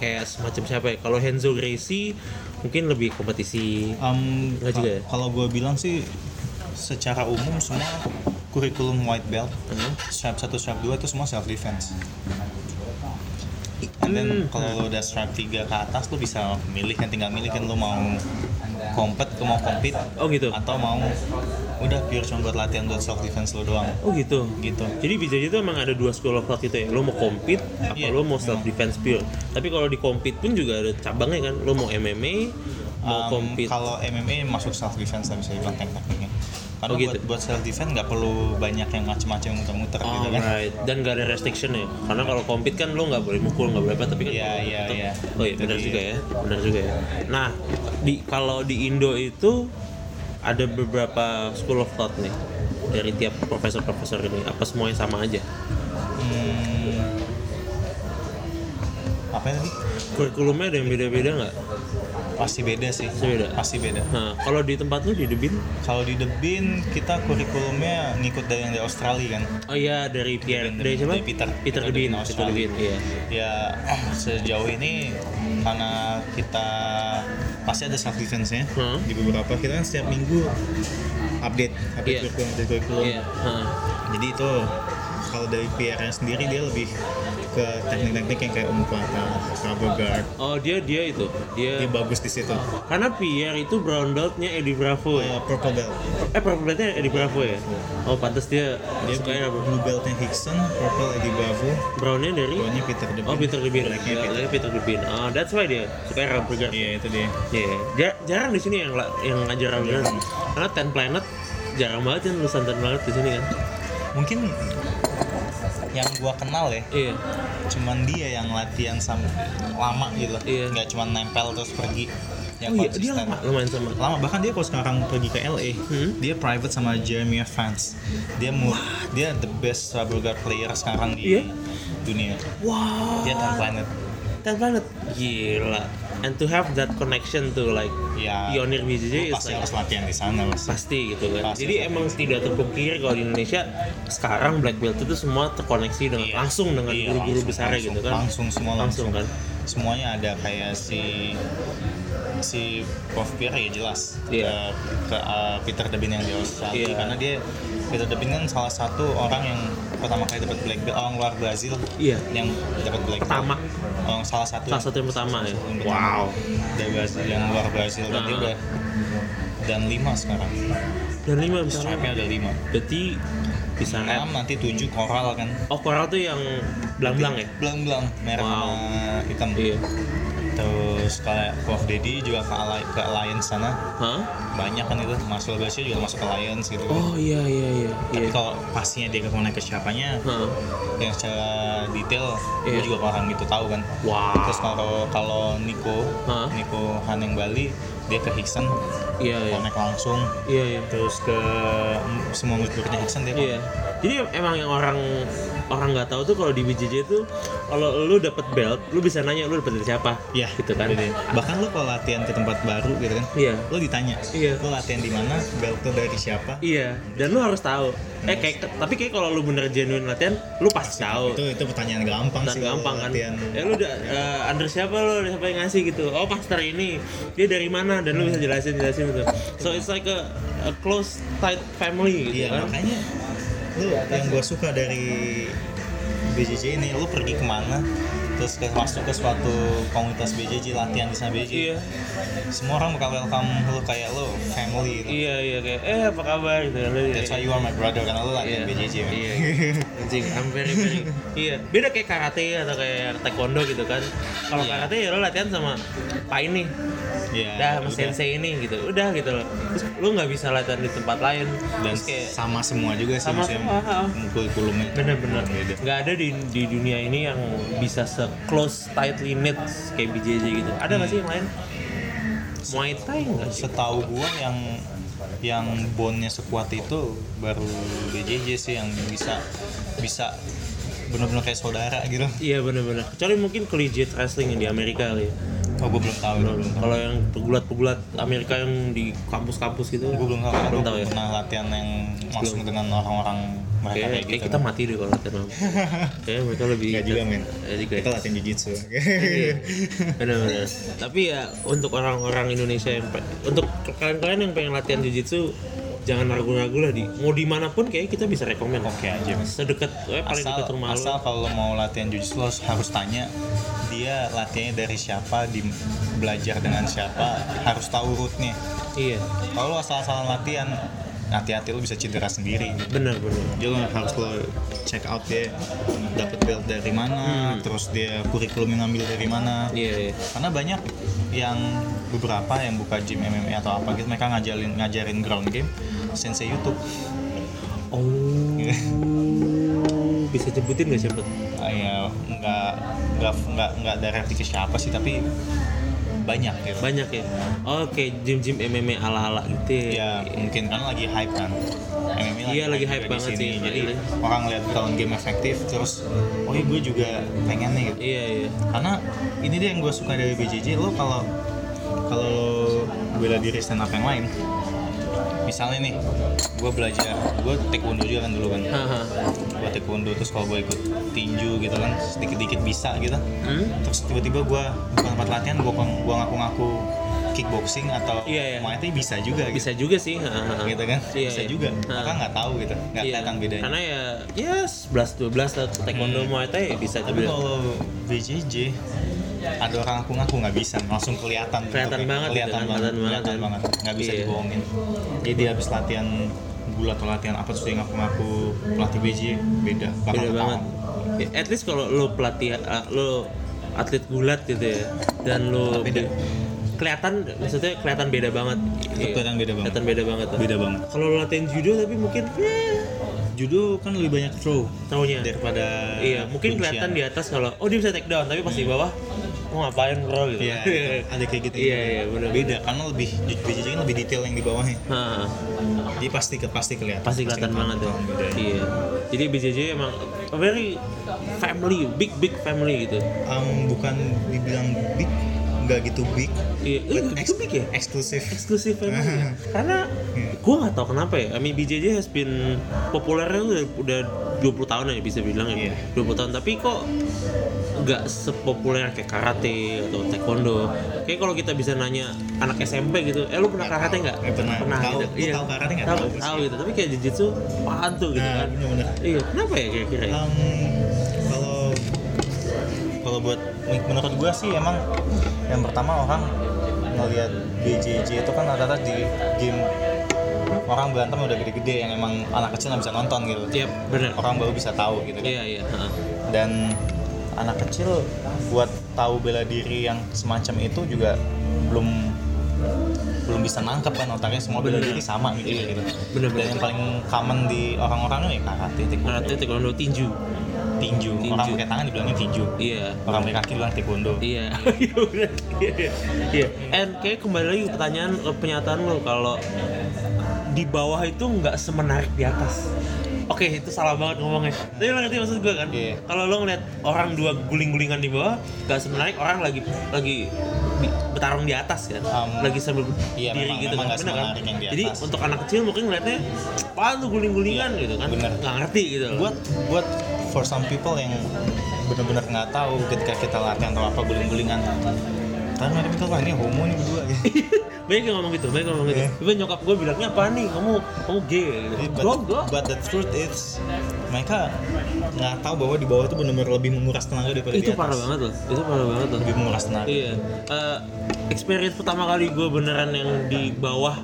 kayak semacam siapa ya? Kalau Henzo Gracie mungkin lebih kompetisi. Um, Nggak ka- juga ya? kalau gue bilang sih secara umum semua kurikulum white belt Hmm. strap 1 strap 2 itu semua self defense And then kalau lo udah strap 3 ke atas lo bisa milih kan tinggal milih kan lo mau kompet lo mau compete Oh gitu. atau mau udah pure cuma buat latihan buat self defense lo doang Oh gitu. gitu Jadi BJJ itu emang ada dua school of thought gitu ya. Lo mau compete apa Iya, lo mau self defense pure. Tapi kalau di compete pun juga ada cabangnya kan. Lo mau MMA, mau Um, compete. kalau MMA masuk self defense lah bisa dibilang tekniknya karena Oh, gitu. Oh, buat, buat self defense nggak perlu banyak yang macem-macem muter-muter gitu kan Alright, dan gak ada restriction ya. Karena kalau compete kan lo nggak boleh mukul, nggak boleh apa, tapi kan Iya, kalau iya, tetep- iya. Oh iya, benar Jadi- juga ya, benar juga ya. Nah, di kalau di Indo itu ada beberapa school of thought nih dari tiap profesor-profesor ini. Apa semuanya sama aja? apa tadi Kurikulumnya ada yang beda-beda nggak? pasti beda sih Pasti beda. pasti beda Nah, kalau di tempat lo di Debin, kalau di The Bin kita kurikulumnya ngikut dari yang dari Australia kan Oh iya dari Pierre Debin, dari siapa? dari Peter. Peter Peter Debin, Debin, Peter Australia. Debin, iya. ya sejauh ini karena kita pasti ada self defense nya Hmm. di beberapa kita kan setiap minggu update update Iya. kurikulum update kurikulum Iya, heeh. jadi itu kalau dari PR nya sendiri dia lebih ke teknik-teknik yang kayak umpan rubber guard Oh dia dia itu dia dia bagus di situ karena Pierre itu brown beltnya Eddie Bravo ya. Eh, purple belt Eh brown beltnya Eddie Bravo ya. Oh pantas dia Iya. dia suka ya blue beltnya Hickson purple Eddie Bravo brownnya dari brownnya Peter Debin Oh Peter Debin, blacknya Black- Peter blacknya Peter Debin. Oh that's why dia suka rubber guard. iya itu dia Iya, jar- jarang di sini yang la- yang ngajar rubber guard. Karena Ten Planet jarang banget yang lulusan Ten Planet di sini kan. mungkin yang gua kenal ya Iya. cuman dia yang latihan sama lama gitu Iya. nggak cuman nempel terus pergi yang Oh iya, dia konsisten lama lumayan sama. lama bahkan dia kalau sekarang pergi ke LA Hmm. dia private sama Jeremy Fans dia mu dia the best rubber guard player sekarang di Iya. dunia Wow. dia Ten Planet Kan Ten Planet. Gila. And to have that connection to like ya pionir lu BJJ is pasti like harus latihan di sana pasti. pasti gitu kan. Pasti Jadi harus emang tidak terpungkiri kalau di Indonesia sekarang black belt itu semua terkoneksi dengan Iya. langsung dengan Iya, guru-guru langsung, besarnya langsung, gitu kan. langsung semua langsung, Langsung kan. semuanya ada kayak si si Prof Pierre ya jelas Iya. ke, ke, uh, Peter Debin yang di Australia Iya. karena dia Peter Debin kan salah satu orang yang pertama kali dapat black belt orang luar Brazil Iya. yang dapat black belt Pertama. orang salah Iya. satu Salah satu yang pertama ya. yang pertama dari Brazil yang luar Brazil dan dia Nah. udah dan lima sekarang Dan lima besarnya. stripe-nya udah lima Berarti bisa enam red. nanti tujuh koral kan Oh koral tuh yang belang-belang ya. belang-belang merah Wow. sama hitam Iya. terus kayak Prof Dedi juga ke, Alli- ke Alliance sana Hah? banyak kan itu Marcel Garcia juga masuk ke Alliance gitu kan. Oh iya iya iya. tapi iya. kalau pastinya dia kemana ke siapanya Hah? yang secara detail Iya. gue juga kurang gitu tahu kan Wah. terus kalau kalau Nico Hah? Nico Haneng Bali dia ke Hickson Iya iya. connect langsung Iya iya. terus ke m- semua murid-muridnya Hickson dia Iya. Jadi em- emang yang orang orang nggak tahu tuh kalau di BJJ tuh kalau lu dapet belt, lu bisa nanya lu dapet dari siapa. Iya, Gitu kan. Jadi, bahkan lu kalau latihan ke tempat baru gitu kan Iya. lu ditanya Iya. lu latihan di mana belt lu dari siapa Iya, dan lu harus tahu. Eh kayak tapi kayak kalau lu bener genuine latihan, lu pasti tahu. itu itu pertanyaan gampang Nah, sih kalau gampang kan. latihan Eh lu udah eh, under siapa lu, Under siapa yang ngasih gitu. Oh, pastor ini. Dia dari mana dan lu bisa jelasin jelasin gitu. So it's like a, a close tight family gitu iya kan. Iya, makanya lu yang gue suka dari BJJ ini lu pergi kemana terus ke, masuk ke suatu komunitas BJJ latihan di sana BJJ Iya, semua orang bakal welcome lu kayak lu family gitu. iya, iya kayak eh apa kabar gitu. Lu- That's why you are my brother karena lu latihan Iya. BJJ man. Iya. Anjing, I'm very very. iya, beda kayak karate atau kayak taekwondo gitu kan. Kalau karate ya lo latihan sama Pak ini, Iya. dah sama udah. sensei ini gitu. Udah gitu loh. Terus lu nggak bisa latihan di tempat lain. dan Terus kayak sama semua juga sih Sama maksudnya kan semua. kurikulumnya. bener-bener Beda. nggak ada di di dunia ini yang bisa se close tightly knit kayak BJJ gitu. Ada nggak sih Hmm. yang lain? Muay Thai nggak sih? Setahu gua yang yang bondnya sekuat itu baru BJJ sih yang bisa bisa bener-bener kayak saudara gitu. Iya benar-benar. Kecuali mungkin collegiate wrestling yang di Amerika kali ya. Oh gua belum tahu. Gua belum tahu. Kalau yang pegulat-pegulat Amerika yang di kampus-kampus gitu. Gua belum tahu karena Belum gua tahu ya. belum pernah latihan yang langsung dengan orang-orang mereka Kayaknya kayak kayak gitu. kita mati deh kalau latihan sama. Kayaknya mereka lebih Nggak juga Iya. men. Nggak juga ya. Kita latihan jiu-jitsu. Benar-benar. Iya. Tapi ya untuk orang-orang Indonesia yang pe- untuk kalian-kalian yang pengen latihan jujitsu jangan ragu-ragu lah di mau dimanapun kayak kita bisa rekomen. Oke aja, Mas. Sedekat, eh, paling asal dekat rumah lu. asal kalau mau latihan jujitsu lo harus tanya dia latihannya dari siapa di belajar dengan siapa harus tahu rootnya Iya, kalau lo asal-asalan latihan hati-hati lo bisa cedera sendiri benar-benar. jadi lo harus lo check out dia dapat belt dari mana terus dia kurikulumnya ngambil dari mana Hmm. Iya, iya. karena banyak yang beberapa yang buka gym MMA atau apa gitu mereka ngajarin ngajarin ground game sensei YouTube Oh, bisa sebutin nggak siapa? Ah, ya nggak nggak nggak nggak direct ke siapa sih tapi banyak gitu Banyak ya. Oke, gym-gym MMA ala-ala gitu ya ya. mungkin kan lagi hype kan MMA Iya, lagi hype juga di banget sini. sih, jadi iya. orang lihat ground game efektif terus oh iya gue juga pengen nih gitu Iya, iya. karena ini dia yang gue suka dari BJJ lo kalau kalau lo bela diri stand up yang lain misalnya nih gue belajar gue taekwondo juga kan dulu kan Haha. gue taekwondo terus kalau gue ikut tinju gitu kan sedikit sedikit bisa gitu Hmm? terus tiba-tiba gue bukan tempat latihan gue gua ngaku-ngaku kickboxing atau Iya, iya. muay thai bisa juga gitu. Bisa juga sih. haha. gitu kan Iya, bisa iya. juga Ha. maka nggak tahu gitu nggak Iya, kelihatan bedanya Karena ya, ya 11 12 lah taekwondo Hmm. Muay Thai ya bisa tapi juga. kalau BJJ ada orang aku ngaku nggak bisa langsung kelihatan Kelihatan bentuknya. banget gitu kelihatan kan, banget kelihatan kelihatan banget banget nggak bisa Iya. dibohongin jadi dia habis latihan bulat atau latihan apa terus dia ngaku-ngaku pelatih BJJ beda bakal beda ketahuan. banget. Ya, at least kalau lo pelatih uh, lo atlet gulat gitu ya dan lo Beda. kelihatan maksudnya kelihatan beda banget. Iya. kelihatan beda banget. Kelihatan beda banget. tuh. beda banget Kalau lo latihan judo tapi mungkin eh, judo kan lebih banyak throw taunya. daripada Iya, mungkin kuncian. kelihatan di atas kalau oh dia bisa take down tapi pas di bawah mau ngapain bro gitu. Iya, itu ada kayak gitu. Iya, iya, benar. Beda karena lebih BJJ kan lebih detail yang di bawahnya. Hah. Jadi pasti ke pasti kelihatan. pasti kelihatan banget ya. bedanya. Iya. Jadi BJJ emang a very family, big big family gitu. Em, bukan dibilang big, nggak gitu big. Iya, eh, but itu big ya? Eksklusif. Eksklusif family ya. Karena Iya. gue nggak tahu kenapa ya. I mean BJJ has been populernya tuh udah, udah 20 tahun ya bisa bilang ya. Iya. 20 tahun tapi kok nggak sepopuler kayak karate atau taekwondo. Kayak kalau kita bisa nanya anak SMP gitu, eh lu pernah Nggak karate tahu. nggak? Eh, pernah. Tahu. gitu. Lu tahu karate nggak? Tahu, Tahu tahu, sih. gitu. Tapi kayak jujitsu apaan tuh gitu Nah, kan. bener-bener. Iya, kenapa ya kira-kira? ya? Em, kalau kalau buat menurut gua sih emang yang pertama orang ngelihat BJJ itu kan rata-rata di game orang berantem udah gede-gede yang emang anak kecil nggak bisa nonton gitu. Iya, benar. Orang baru bisa tahu gitu kan. Iya, iya. heeh. dan anak kecil buat tahu bela diri yang semacam itu juga belum belum bisa nangkep kan otaknya semua bela Bener. Iya. diri sama gitu, gitu. Bener, dan bener. yang paling common di orang-orang ya karate taekwondo karate taekwondo tinju tinju orang Tinju. pakai tangan dibilangnya tinju iya orang pakai kaki bilang taekwondo Iya. Iya. bener. Iya, Iya. Iya. And kayak kembali lagi ke pertanyaan ke pernyataan lo kalau di bawah itu nggak semenarik di atas. Oke, itu salah banget ngomongnya. Tapi lo ngerti maksud gue kan? Iya. Kalau lo ngeliat orang dua guling-gulingan di bawah, nggak semenarik orang lagi lagi di- bertarung di atas kan, Um, lagi sambil iya, diri memang- gitu memang nggak kan, Bener kan? semenarik yang di Jadi atas. untuk anak kecil mungkin ngeliatnya, apaan tuh guling-gulingan Iya, gitu kan? bener. Nggak ngerti gitu. loh. buat buat for some people yang benar-benar nggak tahu ketika kita latihan atau apa guling-gulingan kan mereka mikir wah ini homo nih berdua gitu Iya. banyak yang ngomong gitu, banyak yang ngomong gitu. Iya. Tapi nyokap gue bilangnya apa nih, kamu kamu gay gitu. Jadi, Gue but, but the truth is mereka nggak tahu bahwa di bawah itu benar-benar lebih menguras tenaga daripada di itu atas. parah banget loh, itu parah banget loh. lebih menguras tenaga Iya, Eh, experience pertama kali gue beneran yang di bawah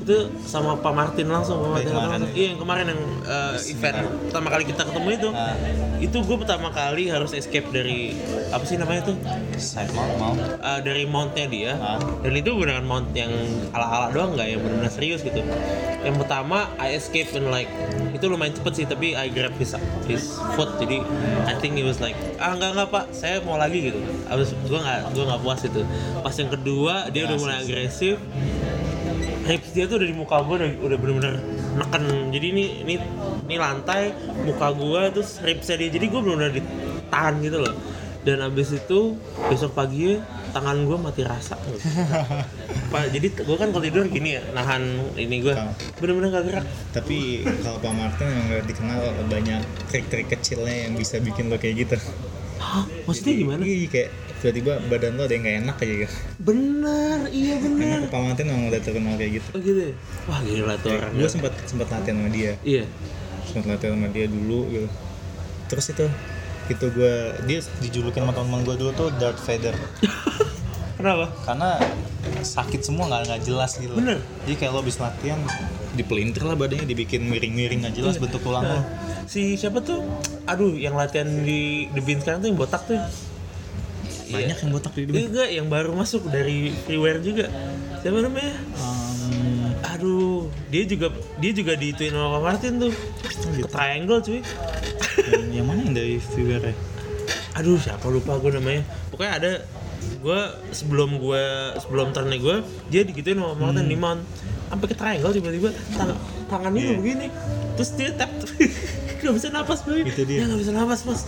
itu sama Pak Martin langsung Pak Martin Yang kemarin. ya. kan. langsung. Iya yang kemarin yang eh, event pertama kali kita ketemu itu, Ah. itu gue pertama kali harus escape dari apa sih namanya tuh saya mau mau Eh, dari mountnya dia Ah. dan itu beneran mount yang ala-ala doang nggak yang bener-bener serius gitu yang pertama I escape in like itu lumayan cepet sih tapi I grab his, his foot jadi I think it was like ah nggak nggak pak saya mau lagi gitu abis gua nggak gua nggak puas itu pas yang kedua dia udah mulai agresif hips dia tuh udah di muka gue udah, udah bener-bener neken jadi ini ini ini lantai muka gue terus hipsnya dia jadi gue bener-bener ditahan gitu loh dan abis itu besok pagi tangan gue mati rasa Pak, jadi gue kan kalau tidur gini ya nahan ini gue Tahu. bener-bener gak gerak tapi kalau Pak Martin emang udah dikenal banyak trik-trik kecilnya yang bisa bikin lo kayak gitu Hah, maksudnya gimana Iya, kayak tiba-tiba badan lo ada yang gak enak aja gitu bener iya karena bener Pak Martin emang udah terkenal kayak gitu oh gitu ya? wah gila tuh orang ya. gue sempat sempat latihan sama dia iya sempat latihan sama dia dulu gitu terus itu itu gue dia dijulukin sama teman gue dulu tuh Darth Vader kenapa karena sakit semua nggak nggak jelas gitu loh. Bener. jadi kayak lo habis latihan dipelintir lah badannya dibikin miring-miring nggak jelas bentuk tulang lo Eh, si siapa tuh aduh yang latihan di The Bean sekarang tuh yang botak tuh banyak yang botak di Ini hidung juga yang baru masuk dari freeware juga. Siapa namanya? Aduh, dia juga dia juga diituin sama Pak Martin tuh. Ke triangle cuy. yang, yang mana yang dari viewer ya Aduh, siapa lupa gue namanya. Pokoknya ada gue sebelum gue sebelum turnnya gue dia digituin sama Pak Martin di mount sampai ke triangle tiba-tiba tang tangannya Hmm. Iya. begini terus dia tap gak bisa napas boy Itu dia. gak bisa napas mas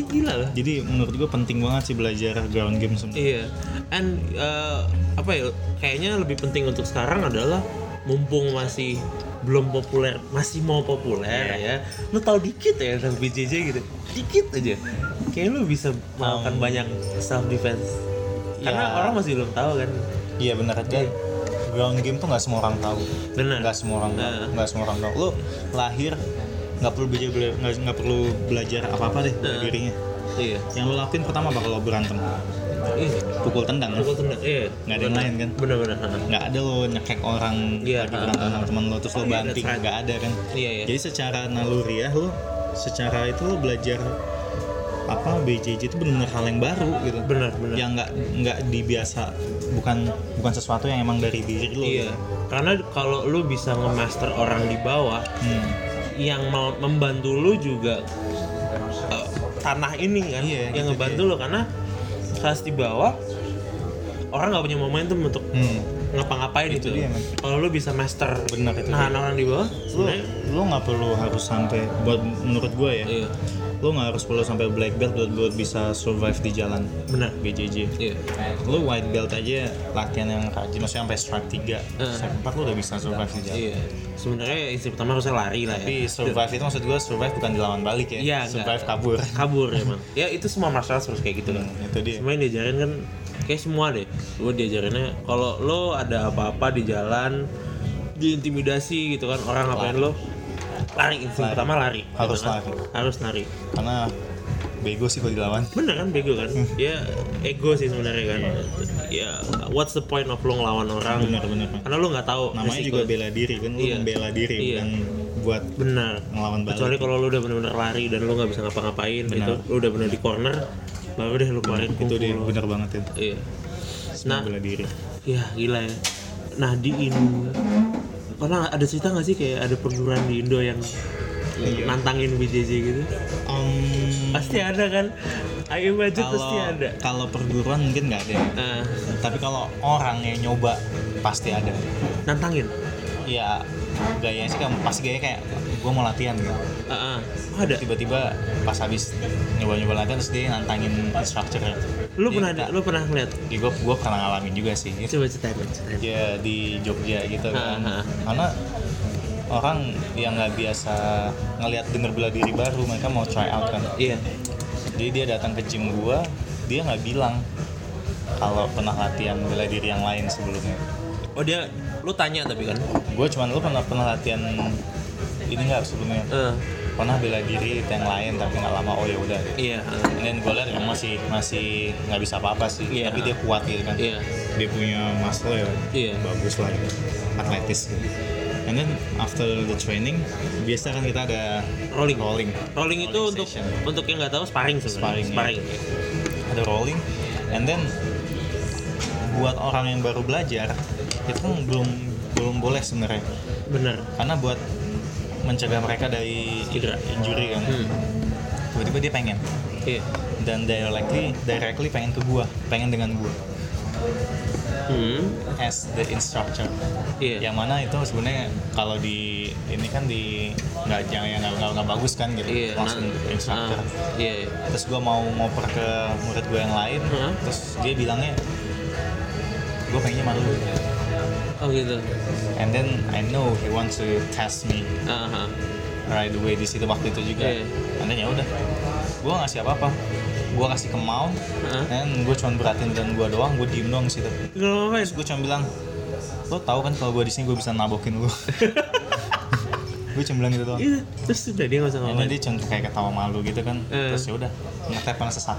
Ih, gila lah jadi menurut gue penting banget sih belajar ground game semua Iya. And uh, apa ya? Kayaknya lebih penting untuk sekarang adalah mumpung masih belum populer, masih mau populer Iya. ya. Lu tahu dikit ya tentang BJJ gitu. Dikit aja. Kayak lu bisa melakukan banyak self defense. Karena Ya. orang masih belum tahu kan. Iya benar dan ground game tuh nggak semua orang tahu. Benar. Nggak semua orang tahu. Nah. Nggak semua orang tahu. Lo lahir nggak perlu belajar bela- nggak nggak perlu belajar apa apa deh dari Nah. dirinya. Iya. Yang lo lakuin pertama bakal lo berantem, Iya. pukul tendang, Pukul tendang. Iya. nggak ada yang lain kan. Benar-benar. Nggak ada lo nyekek orang Iya. lagi berantem sama teman lo terus lo Iya, that's banting right. nggak ada kan. Iya, iya. Jadi secara naluriah lo secara itu lo belajar apa BJJ itu benar-benar hal yang baru gitu. Benar, benar. Yang nggak nggak dibiasa bukan bukan sesuatu yang emang dari diri lo. Iya. gitu. Karena kalau lu bisa ngemaster orang di bawah, Hmm. yang mel- membantu lu juga eh, tanah ini kan Iya, yang gitu ngebantu lu karena kelas di bawah orang nggak punya momentum untuk Hmm. ngapa-ngapain itu, dia, man. kalau lu bisa master Benar, itu nahan orang di bawah lo sebenarnya lo nggak perlu harus sampai buat menurut gue ya iya lo nggak harus perlu sampai black belt buat buat bisa survive di jalan benar BJJ iya lo white belt aja latihan yang rajin maksudnya sampai strike 3 Eh. strike 4 lo udah bisa survive di jalan iya sebenarnya istri pertama harusnya lari lah tapi ya survive itu maksud gue survive bukan dilawan balik ya Iya, survive nggak. kabur kabur emang ya itu semua martial arts harus kayak gitu kan Hmm, itu dia Semua yang diajarin kan kayak semua deh. Gue diajarinnya kalau lo ada apa-apa di jalan diintimidasi gitu kan orang ngapain lo lari insting Lari. pertama lari gitu Harus kan. lari. harus lari karena bego sih kalau dilawan bener kan bego kan Hmm. ya ego sih sebenarnya kan ya what's the point of lo ngelawan orang Iya. Bener, bener. karena lo nggak tahu namanya resiko. juga bela diri kan lo Iya. membela diri Iya. bukan buat bener ngelawan balik kecuali kalau lo udah bener-bener lari dan lo nggak bisa ngapa-ngapain Benar. itu lo udah bener di corner baru deh lu keluarin itu kungfu dia lu. bener banget ya iya Semua Nah. bela diri ya gila ya nah di Indo pernah ada cerita nggak sih kayak ada perguruan di Indo yang nantangin BJJ gitu Em, pasti ada kan I imagine pasti kalau ada kalau perguruan mungkin nggak ada ya. nah, tapi kalau orang yang nyoba pasti ada nantangin ya gayanya sih kamu pas gaya kayak gue mau latihan gitu Ah, ah. Oh, ada tiba-tiba pas habis nyoba-nyoba latihan terus dia nantangin instructor lu pernah lu pernah ngeliat ya gue gue pernah ngalamin juga sih itu coba ceritain coba ceritain. ya di Jogja gitu kan Ha, ha. karena orang yang nggak biasa ngelihat denger bela diri baru mereka mau try out kan iya jadi dia datang ke gym gua dia nggak bilang kalau pernah latihan bela diri yang lain sebelumnya oh dia lu tanya tapi kan gue cuman lu pernah pernah latihan ini nggak sebelumnya Eh, pernah bela diri yang lain tapi nggak lama oh ya udah iya ah. dan gue lihat emang masih masih nggak bisa apa-apa sih Iya. tapi dia kuat gitu kan Iya. dia punya muscle ya Iya. bagus lah gitu atletis gitu and then after the training biasa kan kita ada rolling rolling rolling itu Rolling untuk session. untuk yang nggak tahu sparring sebenarnya Sparring, ya. ada rolling and then buat orang yang baru belajar itu kan belum belum boleh sebenarnya bener karena buat mencegah mereka dari Cedera. injury kan Hmm. tiba-tiba dia pengen iya dan directly directly pengen ke gua pengen dengan gua hmm. as the instructor iya yang mana itu sebenarnya kalau di ini kan di nggak jangan yang nggak- nggak nggak bagus kan gitu iya langsung nah, ke instructor ah, iya iya. terus gua mau ngoper ke murid gua yang lain Hah? terus dia bilangnya gua pengennya malu oh gitu and then I know he wants to test me ah ah. right away di situ waktu itu juga Iya. and then ya udah gue nggak ngasih apa apa gue kasih ke Mount Heeh. dan gue cuma beratin dan gue doang gue diem doang di situ Nggak ya. ngapain terus gue cuma bilang lo tau kan kalau gue di sini gue bisa nabokin lo gue cuma bilang gitu doang Iya, terus udah dia nggak usah and then ngapain dia cuma kayak ketawa malu gitu kan Eh. terus ya udah ngetep panas sesak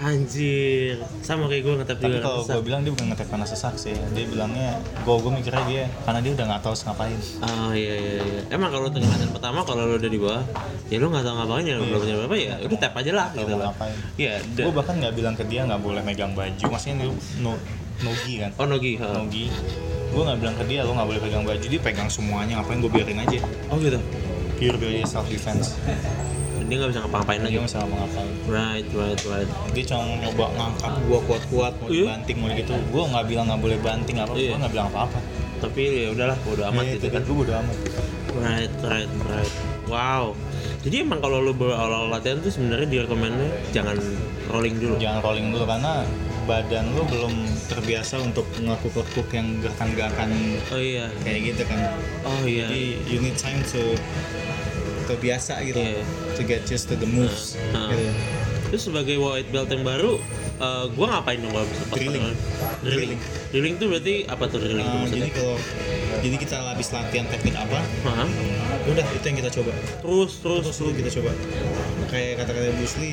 Iya, Anjir, sama kayak gue ngetap tapi juga kalau ngeresap. gue bilang dia bukan ngetep panas sesak sih dia bilangnya gue gue mikirnya dia karena dia udah nggak tahu harus ngapain Oh iya iya iya. Emang kalau tengah latihan pertama kalau lu udah di bawah, ya lu nggak tahu ngapain ya lu belum punya apa ya, udah tap aja lah Nggak Iya. tahu gitu mau lah. ngapain Iya, da- gue bahkan nggak bilang ke dia nggak boleh megang baju maksudnya dia no nogi kan Oh Nogi. ha. Nogi gue nggak bilang ke dia lo nggak boleh pegang baju dia pegang semuanya ngapain gue biarin aja Oh gitu. pure biar dia self defense Dia nggak bisa ngapa-ngapain lagi. dia nggak salah mau ngapain Right, right, right. dia cuma nyoba ngangkat gue kuat-kuat mau Iya. dibanting mau gitu gue nggak bilang nggak boleh banting apa Iya. gue nggak bilang apa-apa Tapi ya udahlah, bodo amat Ya, itu gitu kan. gue udah amat Right, right, right. Wow. Jadi emang kalau lu baru awal latihan tuh sebenarnya direkomendnya jangan rolling dulu. jangan rolling dulu karena badan lo belum terbiasa untuk ngekuk-kekuk yang gerakan-gerakan Oh iya. kayak gitu kan Oh iya. jadi you need time to terbiasa gitu Iya. to get used to the moves Nah. gitu. Terus sebagai white belt yang baru, eh, gua ngapain dong kalau bisa pas Drilling. perkenalan? Drilling. Drilling. Drilling tuh berarti apa tuh drilling tuh Uh, maksudnya? jadi kalau jadi kita habis latihan teknik apa Hah? udah itu yang kita coba Terus terus terus gitu. dulu kita coba kayak kata-kata Bruce Lee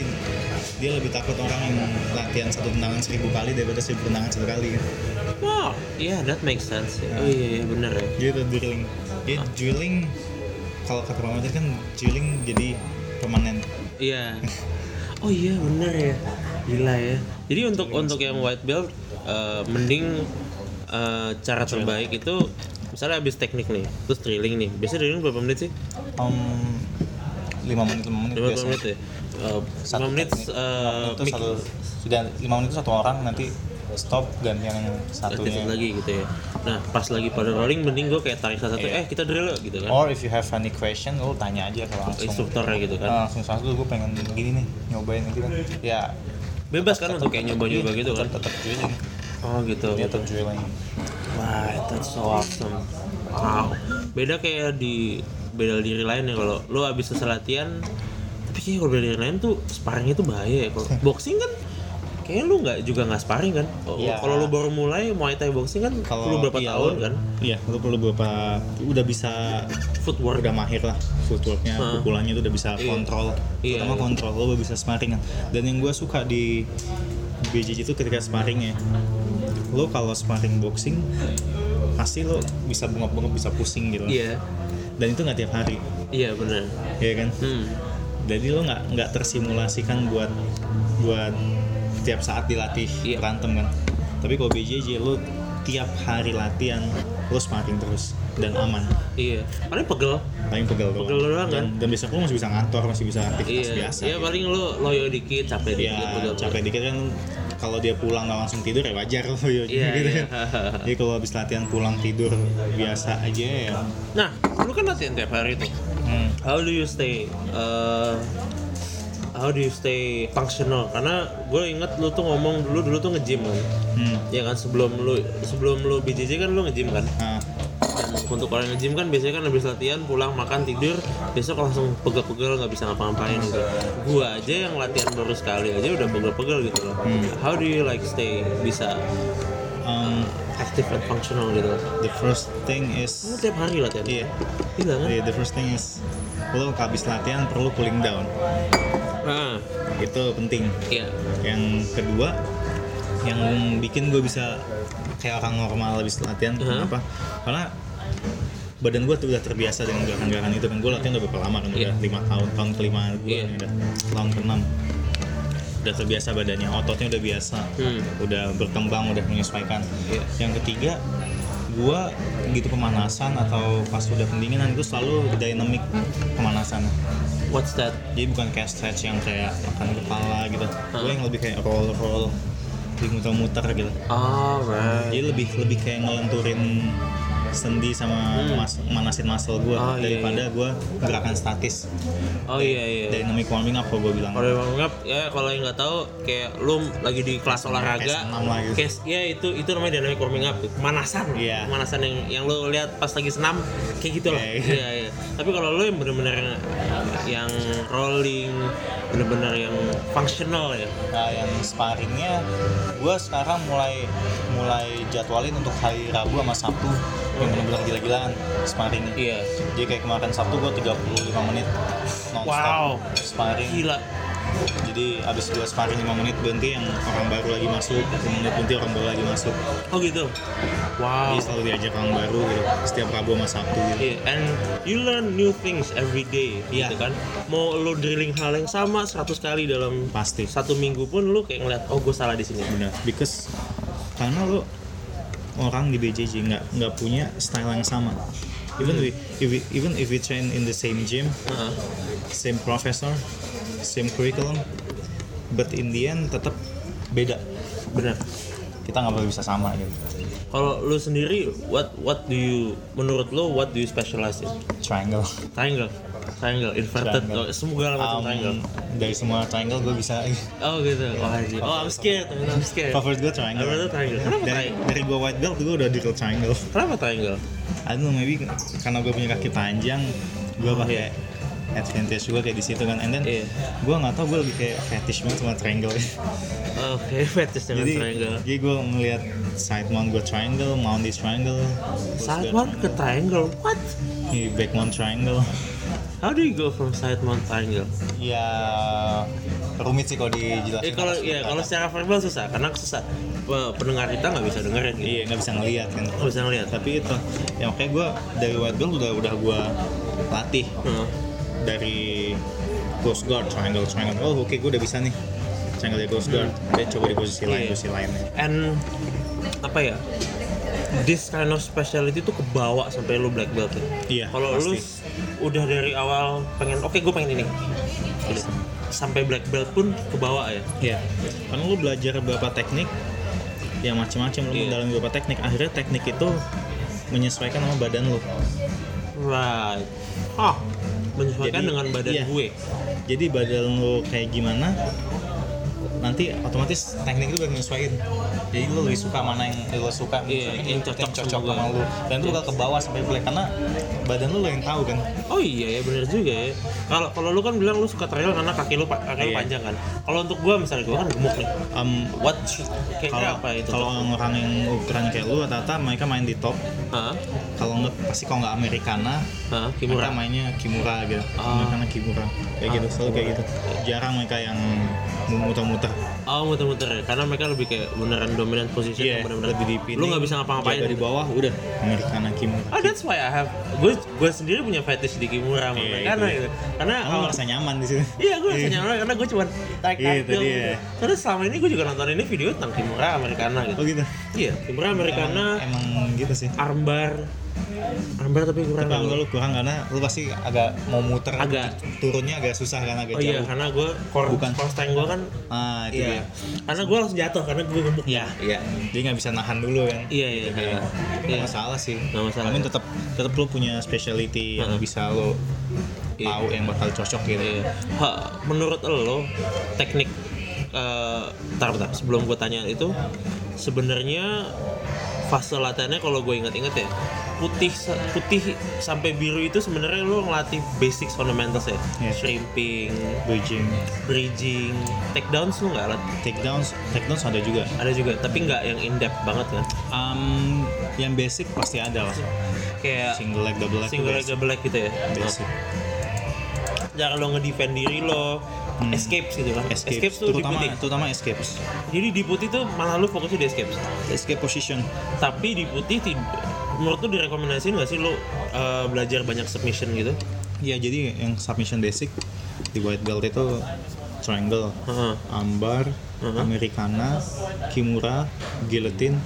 dia lebih takut orang yang latihan satu tendangan seribu kali daripada seribu tendangan satu kali Wow, iya that makes sense. ya. Oh iya, iya bener ya. jadi itu drilling jadi drilling kalau kata Pak Martin kan drilling jadi permanen Iya. Oh iya bener ya. Gila ya. Jadi untuk untuk yang white belt, eh, mending eh, cara terbaik itu misalnya habis teknik nih, terus drilling nih. Biasanya drilling berapa menit sih? Om lima menit lima menit Lima biasa menit ya. Eh, Satu lima menit. teknik. eh, Lima menit itu mic. satu sudah lima menit itu satu orang nanti stop gantian yang Aktifin satunya lagi gitu ya. Nah, pas lagi pada rolling mending gue kayak tarik satu-satu, Iya. eh kita drill yuk," gitu kan. Or if you have any question, lo tanya aja kalau langsung. Instrukturnya gitu kan. Iya. Ah, langsung satu gue pengen gini nih, nyobain gitu kan. Ya, Bebas kan Iya, untuk kayak nyoba-nyoba gitu kan. tetap jualan. Oh gitu. Dia tetap jualan. Wah, that's so awesome. Wow. Beda kayak di beda diri lain ya kalau lo abis selesai latihan tapi kayak kalau beda diri lain tuh sparringnya tuh bahaya ya kalau boxing kan kayaknya lu nggak juga nggak sparring kan Oh, Iya. kalau lu baru mulai muay thai boxing kan Kalau lu berapa iya, tahun lo- kan Iya, lo perlu beberapa udah bisa footwork udah mahir lah footworknya, Ah. pukulannya itu udah bisa Iya. kontrol. Iya, Terutama iya. kontrol lo bisa sparring kan. Dan yang gue suka di BJJ itu ketika sparringnya lo kalau sparring boxing pasti lo bisa bengap-bengap bisa pusing gitu iya dan itu nggak tiap hari iya benar ya kan hmm. jadi lo nggak nggak tersimulasikan buat buat tiap saat dilatih Iya. berantem kan tapi kalau BJJ lo tiap hari latihan lo sparring terus dan aman iya paling pegel paling pegel doang, Pegel doang, dan, kan? dan besok lo masih bisa ngantor masih bisa aktivitas iya biasa iya gitu. paling lo loyo dikit capek ya dikit pegel capek dikit kan kalau dia pulang nggak langsung tidur ya wajar lo ya Iya, gitu iya. kan jadi kalau habis latihan pulang tidur biasa aja ya nah lu kan latihan tiap hari tuh hmm. how do you stay uh, how do you stay functional karena gue inget lu tuh ngomong dulu dulu tuh nge-gym kan Hmm. ya kan sebelum lu sebelum lu BJJ kan lu nge-gym kan Nah, Dan untuk orang nge-gym kan biasanya kan habis latihan pulang makan tidur besok langsung pegel-pegel nggak bisa ngapa-ngapain gitu gua aja yang latihan baru sekali aja udah pegel-pegel gitu loh Hmm. how do you like stay bisa um, active and functional gitu loh the first thing lu is tiap hari latihan Iya. gila kan the first thing is lo habis latihan perlu cooling down nah itu penting iya yang kedua yang bikin gue bisa kayak orang normal habis latihan Uh-huh. kenapa karena badan gue tuh udah terbiasa dengan gerakan-gerakan itu kan gue latihan udah berapa lama kan Iya. udah lima tahun tahun kelima gue Iya. udah tahun keenam udah terbiasa badannya ototnya udah biasa Hmm. udah berkembang udah menyesuaikan Iya. yang ketiga gue gitu pemanasan atau pas udah pendinginan itu selalu dynamic pemanasan what's that jadi bukan kayak stretch yang kayak makan kepala gitu gue Hmm. yang lebih kayak roll roll di muter-muter gitu alright jadi lebih lebih kayak ngelenturin sendi sama mas, manasin muscle gue Oh, Hmm. iya, daripada gue gerakan statis oh iya iya dynamic warming up kalau gue bilang Kalau yang warming up, ya kalau yang nggak tahu kayak lu lagi di kelas olahraga, S6 Iya, lah gitu. case ya itu itu namanya dynamic warming up, pemanasan, Iya. pemanasan yang yang lu lihat pas lagi senam kayak gitu lah. Iya, iya. Iya iya. Tapi kalau lu yang bener-bener yang rolling, bener-bener yang functional ya. nah yang sparringnya gue sekarang mulai mulai jadwalin untuk hari Rabu sama Sabtu yang benar-benar gila-gilaan sparring Hmm. Iya. jadi kayak kemarin Sabtu gue 35 menit nonstop Wow. sparring Gila. jadi abis dua sparring 5 menit berhenti yang orang baru lagi masuk 5 menit berhenti orang baru lagi masuk Oh gitu. Wow. jadi selalu diajak orang baru gitu setiap Rabu sama Sabtu gitu Oh. Iya, and you learn new things every day, Iya. gitu kan. Mau lo drilling hal yang sama 100 kali dalam Pasti. satu minggu pun lo kayak ngeliat, oh gue salah di sini. benar because karena lo orang di BJJ nggak nggak punya style yang sama even we, if we even if we train in the same gym Heeh. same professor same curriculum but in the end tetap beda benar. kita nggak bakal bisa sama gitu Kalau lo sendiri, what what do you menurut lo what do you specialize in? triangle Triangle, triangle, inverted, Triangle. oh, semua Um, macam ya. triangle. dari semua triangle gue bisa Oh gitu. Oh, anjir. oh I'm scared, man, I'm scared. Favorit gue triangle. Favorit triangle. Kenapa dari, triangle? dari gue white belt gue udah di triangle. Kenapa triangle? I don't know maybe karena gue punya kaki panjang, gue iya. pakai advantage gue kayak di situ kan. And then Iya. gue nggak tau gue lebih kayak fetish banget sama triangle. Oke, fetish dengan jadi triangle. jadi gue ngeliat side mount gue triangle, mount is triangle, terus Side gua mount ke triangle, what? triangle, iya, back mount triangle. How do you go from side mount triangle? ya rumit sih kalau dijelasin. Eh kalau ya kalau secara verbal susah karena susah Wah, pendengar kita nggak bisa dengerin gitu. Iya nggak bisa ngelihat kan. Nggak bisa ngeliat. Tapi itu ya makanya gue dari white belt udah udah gue latih Heeh. dari Coast Guard, triangle, triangle. Oh oke, gue udah bisa nih. Triangle dari Coast Guard. Dia coba di posisi lain, Iya. posisi lain. And apa ya? This kind of specialty tuh kebawa sampai lu black belt. ya. Iya, Kalau lu pasti. s- udah dari awal pengen oke gue pengen ini. Gitu. Sampai black belt pun kebawa ya. Iya. Karena lu belajar beberapa teknik, ya macam-macam lu Iya. mendalami beberapa teknik. Akhirnya teknik itu menyesuaikan sama badan lu. Right. Oh, menyesuaikan dengan badan iya. gue. Jadi badan lu kayak gimana? Nanti otomatis teknik itu bakal menyesuaikan. Jadi lu lebih suka mana yang lu suka, Iya, misalnya yang cocok sama sama lu. Iya. lu. Dan itu bakal ke bawah sampai black karena badan lu lah yang tahu kan. Oh iya ya bener juga ya. Kalau kalau lu kan bilang lu suka trail karena kaki lu pa- kaki lu Iya. panjang kan. Kalau untuk gua misalnya gua kan gemuk nih. Um, What should kayaknya kalau apa itu? kalau orang yang ukuran kayak lu rata-rata mereka main di top Hah? kalau nggak pasti kalau nggak Americana Hah? mereka Kimura. mainnya Kimura gitu Ah. Americana Kimura kayak gitu selalu kayak gitu jarang mereka yang muter-muter Oh muter-muter ya, karena mereka lebih kayak beneran dominant position Iya, yang bener-bener lebih di Iya, pinning, Lu nggak bisa ngapa-ngapain jaga di bawah, udah American Hakim Oh that's why I have Gue gue sendiri punya fetish di Kimura sama Iya, Americano itu. gitu Karena kamu awal- ngerasa nyaman di sini Iya gue rasa nyaman karena gue cuman tarik Iya, tarik itu dia. Karena selama ini gue juga nonton ini video tentang Kimura Americana gitu oh gitu Iya, Kimura Americana emang, emang gitu sih Armbar Armbar tapi kurang tapi nggak enggak lu kurang karena lu pasti agak mau muter Agak. turunnya agak susah karena agak Oh iya, jauh karena gue core, Bukan. core tank gue kan ah itu Iya dia Karena gue langsung jatuh, karena gue gemuk Iya, iya. Jadi nggak bisa nahan dulu kan? Iya, iya, Jadi, itu iya. Iya. nggak masalah sih. Nggak masalah. iya. Namun tetap tetap lu punya specialty yang Heeh. bisa lo Iya. tahu yang bakal cocok gitu. Iya. Ha, menurut lo teknik eh bentar, bentar, sebelum gue tanya itu sebenarnya fase latihannya kalau gue ingat-ingat ya putih sa- putih sampai biru itu sebenarnya lo ngelatih basic fundamentals ya Iya. shrimping Bridging, bridging takedowns lo nggak lat- takedowns, takedowns ada juga. ada juga tapi nggak yang in depth banget kan Um, yang basic pasti ada lah. kayak Iya. Single leg, double leg, single leg basic. double leg gitu ya basic. cara lo ngedefend diri lo escapes gitu kan Escape, tuh di Hmm. terutama putih terutama escapes. jadi di putih tuh malah lo fokusnya di escapes Escape position. tapi di putih tid- menurut lu direkomendasiin nggak sih lu uh, belajar banyak submission gitu Ya jadi yang submission basic di white belt itu triangle, Heeh. ambar, Heeh. americana, kimura, guillotine.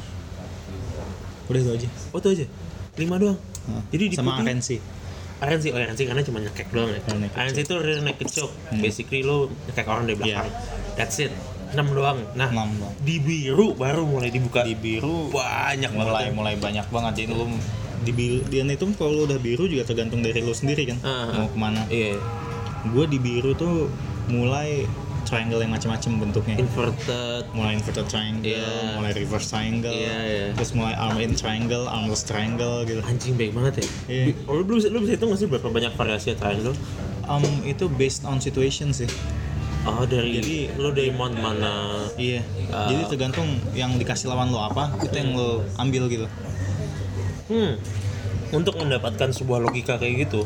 Udah itu aja. oh itu aja lima doang Heeh. jadi di sama putih arensi. RNC oh RNC karena cuma nyekek doang ya Rear naked RNC itu rear naked choke Hmm. Iya. basically lu nyekek orang dari belakang that's it 6 doang nah Enam doang. di biru baru mulai dibuka Di biru banyak mulai banget ya. mulai banyak banget jadi lu di biru dan itu kalau lu udah biru juga tergantung dari lu sendiri kan Heeh. mau kemana. iya Gue di biru tuh mulai triangle yang macam-macam bentuknya. inverted mulai inverted triangle, Iya. mulai reverse triangle, Iya, iya. terus mulai arm in triangle, armless triangle gitu. anjing baik banget ya Iya. Bi- oh, lu, bisa- lu bisa hitung nggak sih berapa banyak variasi terakhir lu Um, itu based on situation sih. oh dari Jadi- lu dari mount mana Iya. Ah. Jadi tergantung yang dikasih lawan lo apa, itu yang lo ambil gitu. Hmm. Untuk mendapatkan sebuah logika kayak gitu,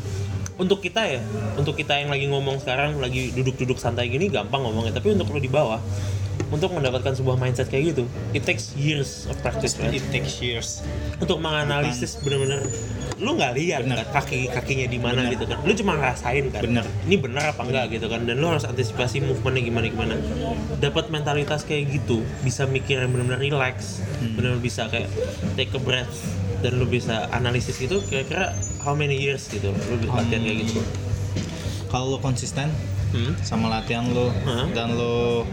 untuk kita ya, untuk kita yang lagi ngomong sekarang, lagi duduk-duduk santai gini gampang ngomongnya, tapi untuk lo di bawah, untuk mendapatkan sebuah mindset kayak gitu, it takes years of practice. man. It takes years. Untuk menganalisis bener-bener lu nggak lihat Bener. kan kaki kakinya di mana Bener. gitu kan, lu cuma ngerasain kan, Bener. ini bener apa enggak gitu kan, dan lu harus antisipasi movementnya gimana gimana. Dapat mentalitas kayak gitu, bisa mikir yang bener-bener relax, Hmm. bener-bener bisa kayak take a breath dan lu bisa analisis gitu kira-kira how many years gitu lu latihan Hmm. kayak gitu. Kalau lo konsisten Hmm. sama latihan lo Hah? dan lo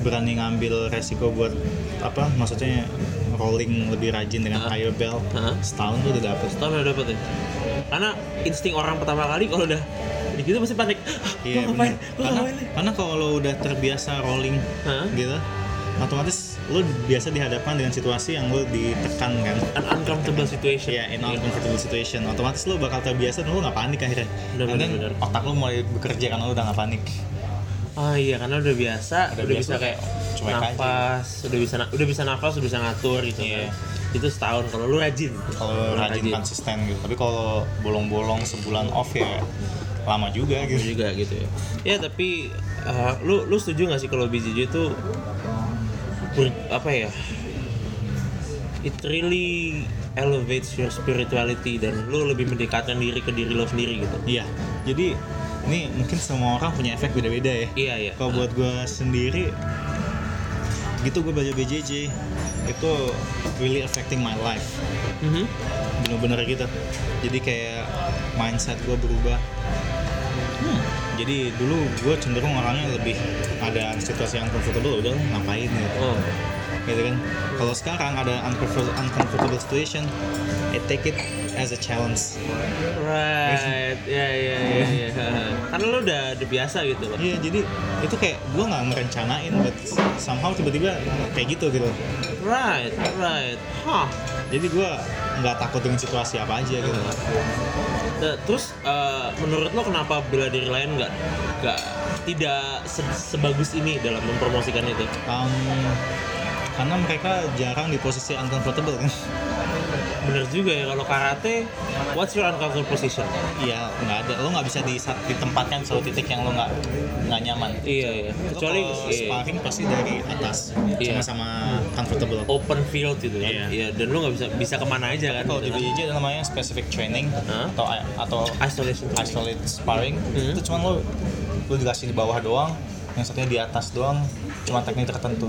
berani ngambil resiko buat apa? Maksudnya rolling lebih rajin dengan Hah? higher belt Hah? setahun lo udah dapet. Tahun udah dapet ya. Karena insting orang pertama kali kalau udah gitu pasti panik. Iya benar. Gua ngapain? Gua Karena, ngapain nih? karena kalau lo udah terbiasa rolling Hah? gitu, otomatis lo biasa dihadapkan dengan situasi yang lo ditekan kan. An uncomfortable situation. Iya, in uncomfortable situation. Otomatis lo bakal terbiasa dan lo nggak panik akhirnya. Benar, And then benar, benar. otak lo mulai bekerja karena lo udah nggak panik. Ah iya karena udah biasa, Udah udah, biasa, bisa kayak cuek aja. nafas, udah bisa na- udah bisa nafas, udah bisa ngatur gitu Iya. kan. Itu setahun kalau lu rajin. Kalau Lu rajin, konsisten gitu. Tapi kalau bolong-bolong sebulan off ya lama juga Lu gitu. juga gitu ya. Ya tapi eh, lu lu setuju gak sih kalau BJJ itu ber- apa ya? It really elevates your spirituality dan lu lebih mendekatkan diri ke diri lo sendiri gitu. Iya. Jadi ini mungkin semua orang punya efek beda-beda ya. Iya iya. Kalau buat gue sendiri gitu gue belajar BJJ itu really affecting my life Mm-hmm. Mhm. bener-bener gitu jadi kayak mindset gue berubah Hmm. jadi dulu gue cenderung orangnya lebih ada situasi yang comfortable udah ngapain gitu Oh. gitu kan kalau sekarang ada uncomfortable, uncomfortable situation I take it as a challenge Right. Ya ya ya ya. Karena lu udah udah biasa gitu loh. iya jadi itu kayak gue nggak merencanain but somehow tiba-tiba kayak gitu gitu Right, right. Hah. jadi gue nggak takut dengan situasi apa aja gitu Nah, terus eh, menurut lo kenapa bela diri lain nggak nggak tidak se- sebagus ini dalam mempromosikan itu? Um, karena mereka jarang di posisi uncomfortable kan bener juga ya kalau karate what's your uncomfortable position iya nggak ada lo nggak bisa di ditempatkan di suatu titik yang lo nggak nggak nyaman iya iya Lo kecuali kalau iya, sparring pasti dari atas Iya. sama-sama comfortable open field gitu kan Iya. iya dan lu nggak bisa bisa kemana aja kan kalau di gitu kan. BJJ ada namanya specific training Hah? atau atau isolation training. isolate sparring Hmm. itu cuman lo lo dikasih di bawah doang yang satunya di atas doang cuma teknik tertentu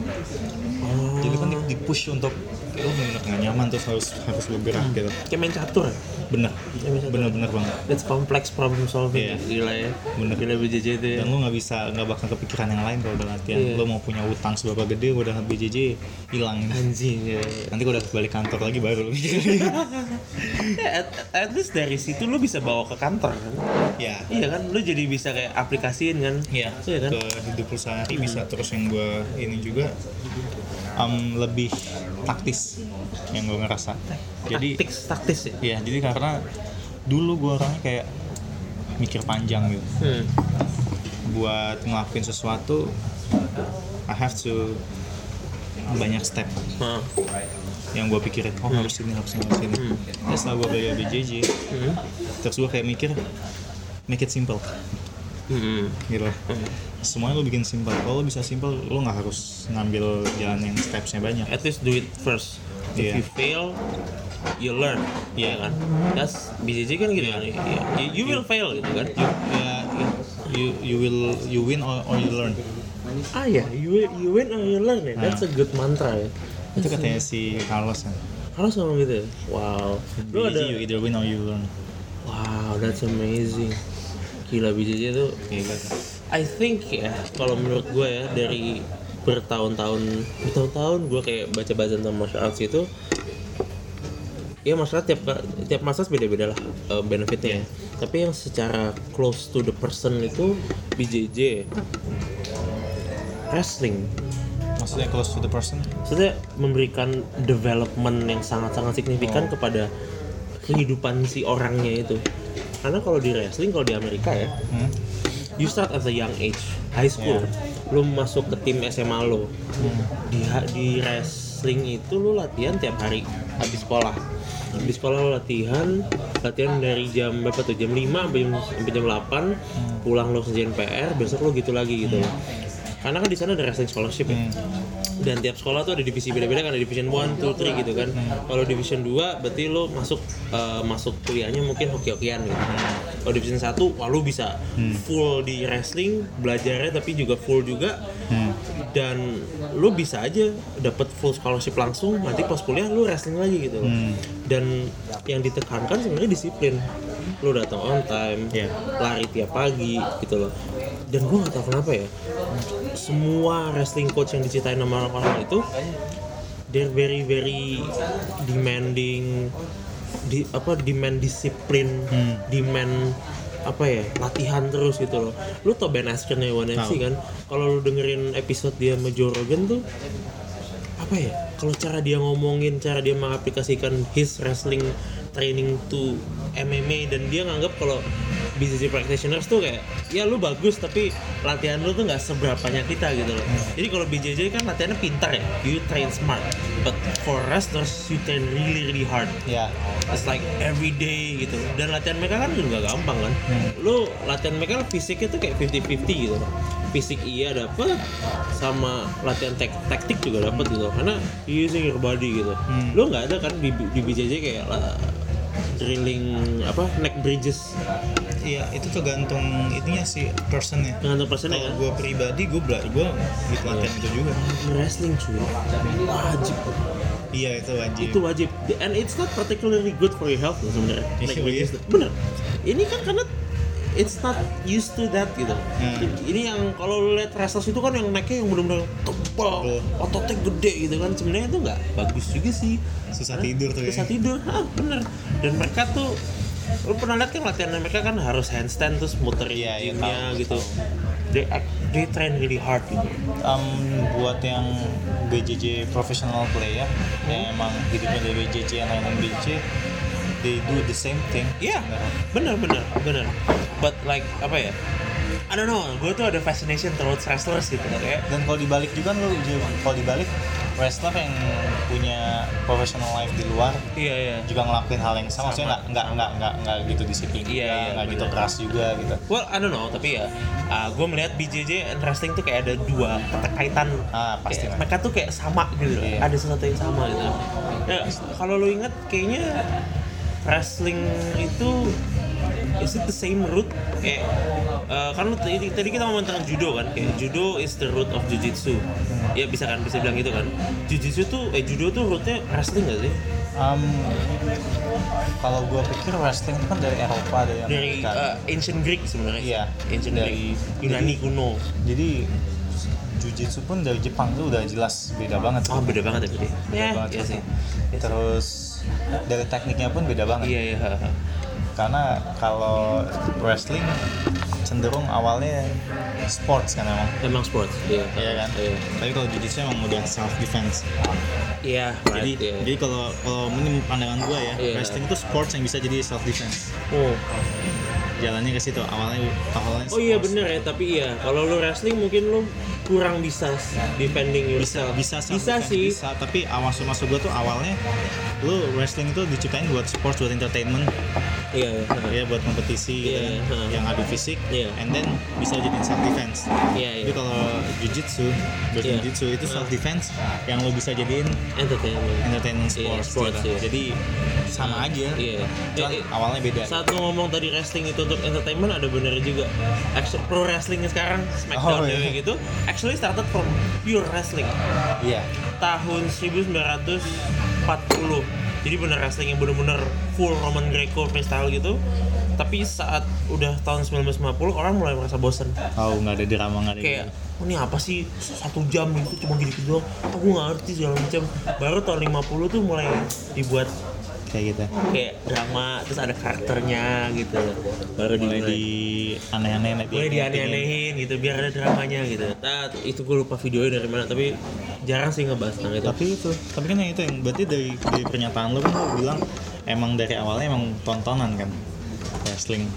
jadi Hmm. kan di, di push untuk kayak lo bener-bener nggak nyaman terus harus harus bergerak Hmm. gitu kayak main catur ya bener bener bener banget that's complex problem solving Iya. gila ya Bener. gila BJJ itu ya dan lo nggak bisa nggak bakal kepikiran yang lain kalau udah latihan Iya. lo mau punya utang seberapa gede udah BJJ hilang anjing ya nanti gue udah balik kantor lagi baru lo mikir. Ya, at, at least dari situ lu bisa bawa ke kantor kan ya iya kan lu jadi bisa kayak aplikasiin kan Iya, iya kan Hmm. ke hidup lu sehari bisa terus yang gue ini juga um, lebih taktis yang gue ngerasa. Jadi taktis taktis ya ya jadi karena dulu gue orangnya kayak mikir panjang gitu hmm. buat ngelakuin sesuatu I have to banyak step Nah, yang gue pikirin oh Hmm. harus ini harus ini harus ini ya setelah gue belajar BJJ terus gue kayak mikir make it simple Hmm. gitu semuanya lo bikin simpel kalau lo bisa simpel lo nggak harus ngambil jalan yang stepsnya banyak Ya, at least do it first if Iya. you fail you learn Iya. iya kan that's BJJ kan gitu kan Iya. You- you will fail gitu kan ya you you will you win or, or you learn ah ya you you win or you learn ya that's a good mantra ya itu katanya si Carlos kan harus ngomong gitu ya? wow BJJ, lu ada you either win or you learn wow that's amazing gila BJJ tuh Kayak gitu. I think ya kalau menurut gue ya dari bertahun-tahun bertahun-tahun gue kayak baca-baca tentang martial arts itu ya masalah tiap tiap masa beda-beda lah eh, benefitnya ya. tapi yang secara close to the person itu BJJ wrestling maksudnya close to the person maksudnya memberikan development yang sangat-sangat signifikan kepada kehidupan si orangnya itu karena kalau di wrestling kalau di Amerika ya Hmm. you start at a young age high school lu masuk ke tim SMA lo di di wrestling itu lu latihan tiap hari habis sekolah habis sekolah lu latihan latihan dari jam berapa tuh jam 5 sampai jam, sampai jam 8 pulang lo kerjain PR besok lo gitu lagi gitu loh karena kan di sana ada wrestling scholarship ya dan tiap sekolah tuh ada divisi beda-beda kan ada division 1, 2, 3 gitu kan kalau division 2 berarti lo masuk eh, masuk kuliahnya mungkin hoki-hokian gitu kalau division 1 wah lo bisa full di wrestling belajarnya tapi juga full juga dan lo bisa aja dapat full scholarship langsung nanti pas kuliah lo wrestling lagi gitu loh dan yang ditekankan sebenarnya disiplin lo datang on time Iya. lari tiap pagi gitu loh dan gue gak tau kenapa ya semua wrestling coach yang diceritain sama orang-orang itu they're very very demanding di apa demand disiplin demand apa ya latihan terus gitu loh lu tau Ben Askren ya One Tahu. FC kan kalau lu dengerin episode dia sama Joe Rogan tuh apa ya kalau cara dia ngomongin cara dia mengaplikasikan his wrestling training to MMA dan dia nganggap kalau BJJ practitioners tuh kayak ya lu bagus tapi latihan lu tuh nggak seberapanya kita gitu loh jadi kalau BJJ kan latihannya pintar ya you train smart but for wrestlers you train really really hard ya it's like every day gitu dan latihan mereka kan juga gampang kan lu latihan mereka fisiknya tuh kayak 50-50 gitu loh. fisik iya dapet sama latihan tek taktik juga dapet gitu loh. karena you using your body gitu lu nggak ada kan di, di BJJ kayak lah, drilling apa neck bridges iya itu tergantung itunya si personnya dengan persennya kalau kan gue pribadi gue belajar gue gitu latihan Iya. itu juga wrestling cuy wajib iya itu wajib itu wajib and it's not particularly good for your health loh sebenarnya Iya, Like, iya. bridges tuh. bener ini kan karena it's not used to that gitu Hmm. ini yang kalau lu lihat wrestlers itu kan yang naiknya yang benar-benar tebal Tebal. ototnya gede gitu kan sebenarnya itu nggak bagus juga sih susah Karena tidur tuh susah ya tidur ah bener dan mereka tuh lu pernah lihat kan latihan mereka kan harus handstand terus muter Iya, iya, gymnya tahu, gitu tahu. they, act- they train really hard gitu Um, buat yang BJJ professional player yang emang hidupnya dari BJJ yang lain BJJ they do the same thing Iya, sebenarnya. benar benar benar. But like apa ya? I don't know, gue tuh ada fascination towards wrestlers gitu kayak dan kalau dibalik juga kan lu juga- kalau dibalik wrestler yang punya professional life di luar iya iya juga ngelakuin hal yang sama, maksudnya nggak nggak nggak nggak nggak gitu disiplin Iya, juga iya, nggak gitu bener. keras juga gitu Well, I don't know, tapi ya gue melihat BJJ and wrestling tuh kayak ada dua keterkaitan. Ah, pasti Kayak lah. mereka tuh kayak sama gitu, loh. Iya. ada sesuatu yang sama gitu. Ya, kalau lo ingat kayaknya wrestling itu is it the same root kayak eh, kan lo tadi, tadi kita ngomong tentang judo kan kayak Hmm. judo is the root of jujitsu ya bisa kan bisa bilang gitu kan jujitsu tuh eh judo tuh rootnya wrestling gak sih Em, Um, kalau gue pikir wrestling itu kan dari Eropa dari dari Amerika eh, ancient Greek sebenarnya Iya. ancient Dari- Greek Yunani kuno jadi jujitsu pun dari Jepang tuh udah jelas beda banget Oh beda banget ya gede. beda banget iya sih. terus dari tekniknya pun beda banget Iya iya. ha, ha. karena kalau wrestling cenderung awalnya sports kan emang Emang sports. Iya. Iya kan? Iya. Tapi kalau jujitsu emang udah self defense. Iya. Jadi right, iya. jadi kalau kalau ini pandangan gua ya, Iya. wrestling itu sports yang bisa jadi self defense. Oh. Jalannya ke situ awalnya awalnya Oh iya sports. bener ya, tapi iya kalau lu wrestling mungkin lu kurang bisa s- defending bisa yourself. bisa self bisa defense, sih. bisa tapi awal masuk gua tuh awalnya lu wrestling itu diciptain buat sports buat entertainment Iya iya. ha. ya buat kompetisi gitu Iya, kan iya. yang adu fisik Iya. and then bisa jadi self defense Iya iya. tapi kalau jujitsu Iya. berjujitsu itu self defense yang lu bisa jadiin Entertainment. entertainment Iya, sports, sports, gitu. iya. jadi sama aja Iya. cuman Eh, eh, awalnya beda gitu. Saat lu ngomong tadi wrestling itu untuk entertainment ada bener juga. Actually, pro wrestling sekarang Smackdown Oh, iya. WWE gitu actually started from pure wrestling. iya tahun 1940 jadi bener wrestling yang bener-bener full Roman Greco freestyle gitu tapi saat udah tahun 1950 orang mulai merasa bosen oh nggak ada drama nggak ada kayak "Oh, ini apa sih satu jam itu cuma gitu doang aku nggak ngerti segala macam baru tahun 50 tuh mulai dibuat gitu. kayak gitu kayak drama terus ada karakternya gitu baru mulai dimulai di aneh-aneh lagi boleh dianeh-anehin gitu biar ada dramanya gitu nah itu gue lupa videonya dari mana tapi jarang sih ngebahas tentang itu tapi itu tapi kan yang itu yang berarti dari, dari pernyataan lo kan lo bilang emang dari awalnya emang tontonan kan wrestling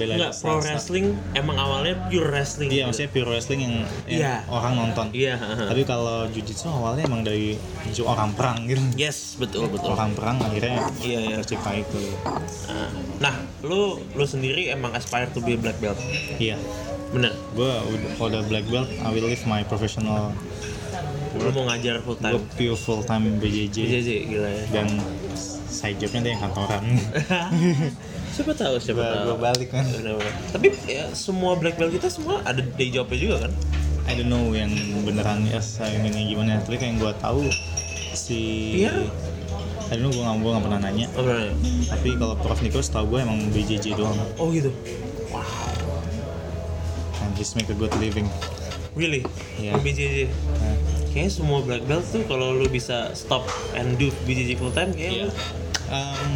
bela Enggak, pro wrestling emang awalnya pure wrestling. iya gitu. maksudnya pure wrestling yang, yang Iya. orang nonton Iya, heeh. tapi kalau jujitsu awalnya emang dari ju- orang perang gitu Yes, betul betul. orang perang akhirnya Iya, iya. tercipta itu Nah, lu lu sendiri emang aspire to be a black belt. iya Bener. gue udah kalau udah black belt I will leave my professional Lu mau ngajar full gue time. pure full time BJJ BJJ gila ya. dan side jobnya dia yang kantoran siapa tahu siapa Gua- tahu. gua balik kan. Bener-bener. Tapi ya, semua black belt kita semua ada day jobnya juga kan. I don't know yang beneran ya saingannya gimana tapi kayak yang gue tahu si Iya. I don't know gue nggak gua nggak pernah nanya Oh, bener. tapi kalau Prof Niko setahu gue emang BJJ doang oh gitu. and he's make a good living Really? Iya. Lu BJJ. Nah, Kayaknya semua black belt tuh kalau lu bisa stop and do BJJ full time Iya. kayaknya. um,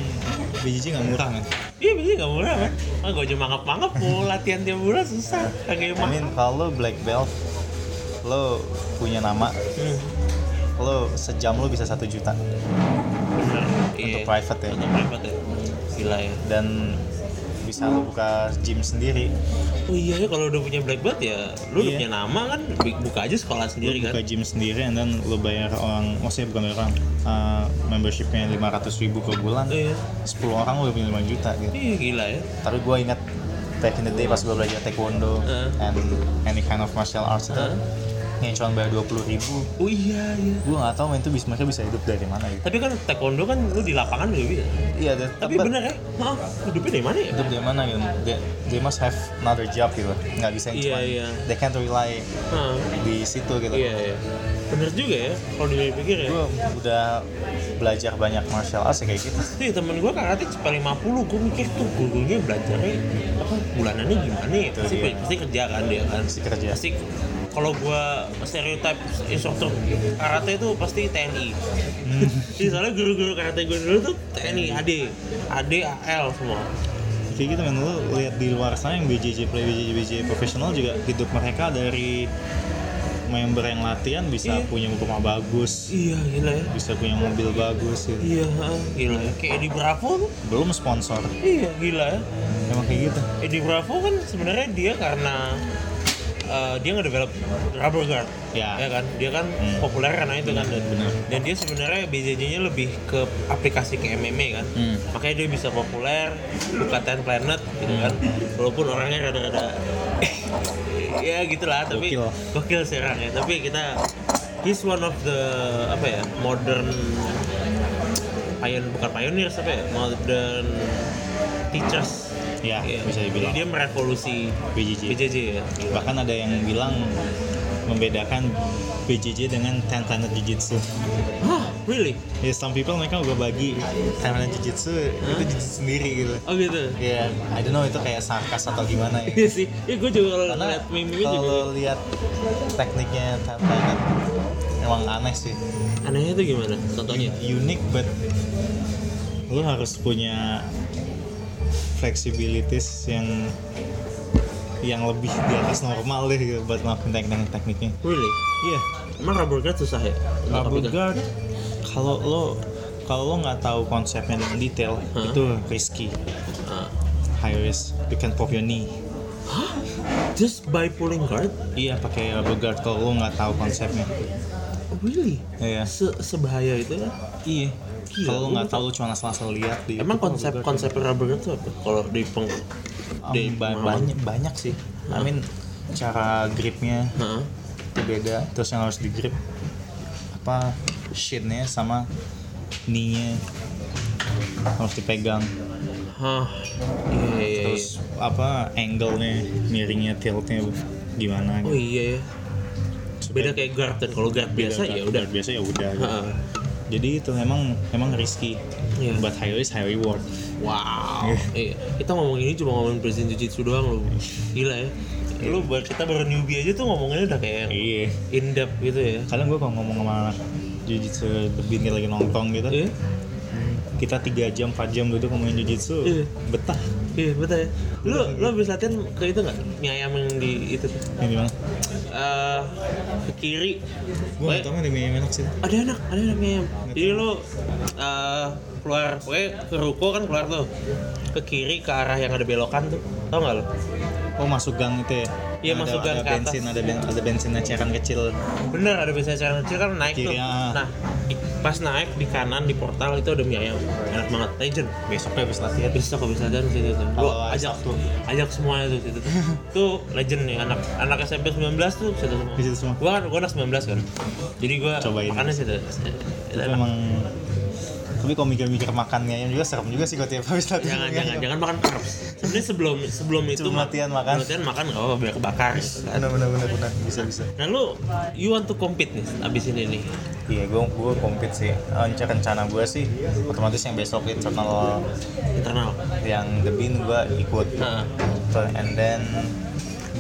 BJJ nggak murah kan Iya BJJ nggak murah kan? Ah gue aja mangap-mangap mau latihan tiap bulan susah. I Kagak emang. mean kalau lo black belt lo punya nama Hmm, lo sejam lo bisa satu juta bener. untuk Iya. private ya Untuk private ya. Gila ya. dan bisa lo buka gym sendiri Oh iya ya kalau udah punya black belt ya, lu Iya. udah punya nama kan, bi- buka aja sekolah lo sendiri kan. buka gym sendiri and then lo bayar orang maksudnya bukan bayar orang uh, membershipnya 500 ribu per bulan Iya. 10 orang udah punya 5 juta gitu Iya gila ya. tapi gue ingat back in the day pas gue belajar taekwondo Heeh. and any kind of martial arts itu Heeh. yang cuma bayar 20 ribu Oh iya iya. gue gak tau main tuh bisa mereka bisa hidup dari mana gitu Tapi kan taekwondo kan lu di lapangan udah bisa. iya dan- Tapi but- bener ya, maaf hidupnya dari mana ya? hidup dari mana gitu they, they must have another job gitu nggak bisa yang Iya, cuma iya. they can't rely Hah, di situ gitu Ah, iya iya. Bener juga ya, kalau dipikir ya. gue udah belajar banyak martial arts ya kayak gitu Nih temen gue karate cepat 50, gue mikir tuh gurunya belajarnya apa bulanannya gimana ya? Pasti, dia. pasti kerja kan dia kan? Pasti kerja. Pasti kalau gue stereotip instruktur karate itu pasti TNI. Jadi Iya, soalnya guru-guru karate gue dulu tuh TNI, AD, AD, AL semua. kayak gitu men lu lihat di luar sana yang BJJ play BJJ BJJ profesional juga hidup mereka dari member yang latihan bisa Iya. punya rumah bagus, iya gila ya bisa punya mobil bagus gitu. iya ha, gila ya kayak Edi Bravo tuh Belum sponsor. iya gila ya Emang kayak gitu. Edi Bravo kan sebenarnya dia karena eh, dia ngedevelop rubber guard Ya. kan dia kan Hmm. populer karena itu kan dan, benar. dan dia sebenarnya BJJ-nya lebih ke aplikasi ke MMA kan Hmm. makanya dia bisa populer buka Ten Planet gitu kan Hmm. walaupun orangnya rada-rada ya gitulah tapi Gokil. gokil sih orangnya tapi kita he's one of the apa ya modern pion bukan pioneers apa ya modern teachers Ya, Iya. bisa dibilang. Dia merevolusi BJJ. BJJ ya. Bahkan ada yang bilang membedakan BJJ dengan Ten Planet Jiu-Jitsu. Hah, really? Ya, some people mereka gue bagi Ten Planet Jiu-Jitsu itu jiu-jitsu sendiri gitu. Oh gitu. Ya, I don't know itu kayak sarkas atau gimana ya. Iya sih. Ya gue juga kalau Karena lihat meme-meme juga. gitu. ya. kalau lihat tekniknya Ten Planet emang aneh sih. Anehnya tuh gimana? Contohnya? Unique but lu harus punya flexibilities yang yang lebih di atas normal deh gitu, buat ngelakuin teknik-tekniknya. Really? Iya. Emang rubber guard susah ya? Untuk Rubber aplikasi? guard kalau lo kalau lo nggak tahu konsepnya dengan detail Hah? itu risky Ah. high risk you can pop your knee just by pulling guard? iya pakai rubber guard kalau lo nggak tahu konsepnya Oh, Really? Iya. Se Sebahaya itu ya? iya Gila, kalau lo gua nggak tahu lo cuma asal-asal lihat di Emang konsep konsep rubber guard itu apa? Kalau di peng Um, di ba- banyak banyak sih I mean cara gripnya Hah? itu beda terus yang harus di grip apa shinnya sama knee-nya harus dipegang Hah? Iya, iya, iya. terus apa angle-nya miringnya tiltnya gimana gitu. Oh iya ya. Beda kayak guard dan kalau guard biasa ya udah. biasa ya udah gitu. Heeh. jadi itu emang emang risky Iya. buat high risk high reward Wow. eh, kita ngomong ini cuma ngomongin presiden jiu-jitsu doang loh. Gila ya. Lu buat kita baru newbie aja tuh ngomonginnya udah kayak yang iya in depth gitu ya. kadang gue kalau ngomong sama anak jujitsu lebih lagi nongkrong gitu Iya. kita 3 jam 4 jam duduk ngomongin jujitsu Iya. betah Iya, betul ya. Lu lu habis latihan ke itu enggak? Mie ayam yang di itu tuh. ini gimana Eh, ke kiri. gue nggak tahu ada mie enak sih ada enak, ada enak mie ayam. Jadi lu eh, keluar, pokoknya ke ruko kan keluar tuh ke kiri ke arah yang ada belokan tuh tau nggak lo? oh masuk gang itu ya Iya, Ada- masuk gang ada ke atas. Iya. bensin ada ben- ada bensin eceran kecil bener ada biasa acara kecil kan naik tuh Kiri, ah. nah di- pas naik di kanan di portal itu ada mie ayam enak banget Nah, legend besoknya habis ya latihan bisa kok bisa dan situ tuh lu Kalau ajak Sabtu. ajak semuanya tuh situ tuh tuh legend nih anak anak SMP 19 tuh situ semua Di situ semua. gua kan gua anak 19 kan jadi gua Cobain. makannya situ Tapi emang tapi kalau mikir-mikir makannya ayam juga serem juga sih kalau tiap habis latihan jangan makan jangan ayam. jangan makan carbs sebenarnya sebelum sebelum itu Sebelum ma- latihan makan. latihan makan nggak apa-apa biar kebakar benar benar benar benar bisa bisa nah lu you want to compete nih abis ini nih iya gue gue kompet sih Renca- rencana gue sih otomatis yang besok internal internal yang the bean gue ikut Nah. Ter- and then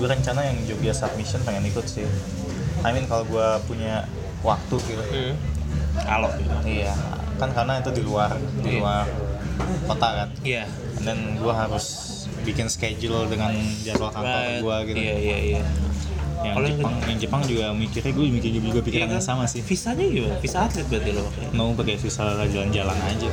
gue rencana yang Jogja submission pengen ikut sih I mean kalau gue punya waktu gitu hmm. kalau iya kan karena itu di luar di Iya. luar kota kan iya and then gue harus bikin schedule dengan jadwal kantor Right. gue gitu Iya iya iya. yang Kalau yang Jepang yang Jepang juga mikirnya gue mikir juga pikiran Iya kan? yang sama sih Visanya gimana? Visa atlet berarti lo pakai. mau pakai visa jalan-jalan aja Iya,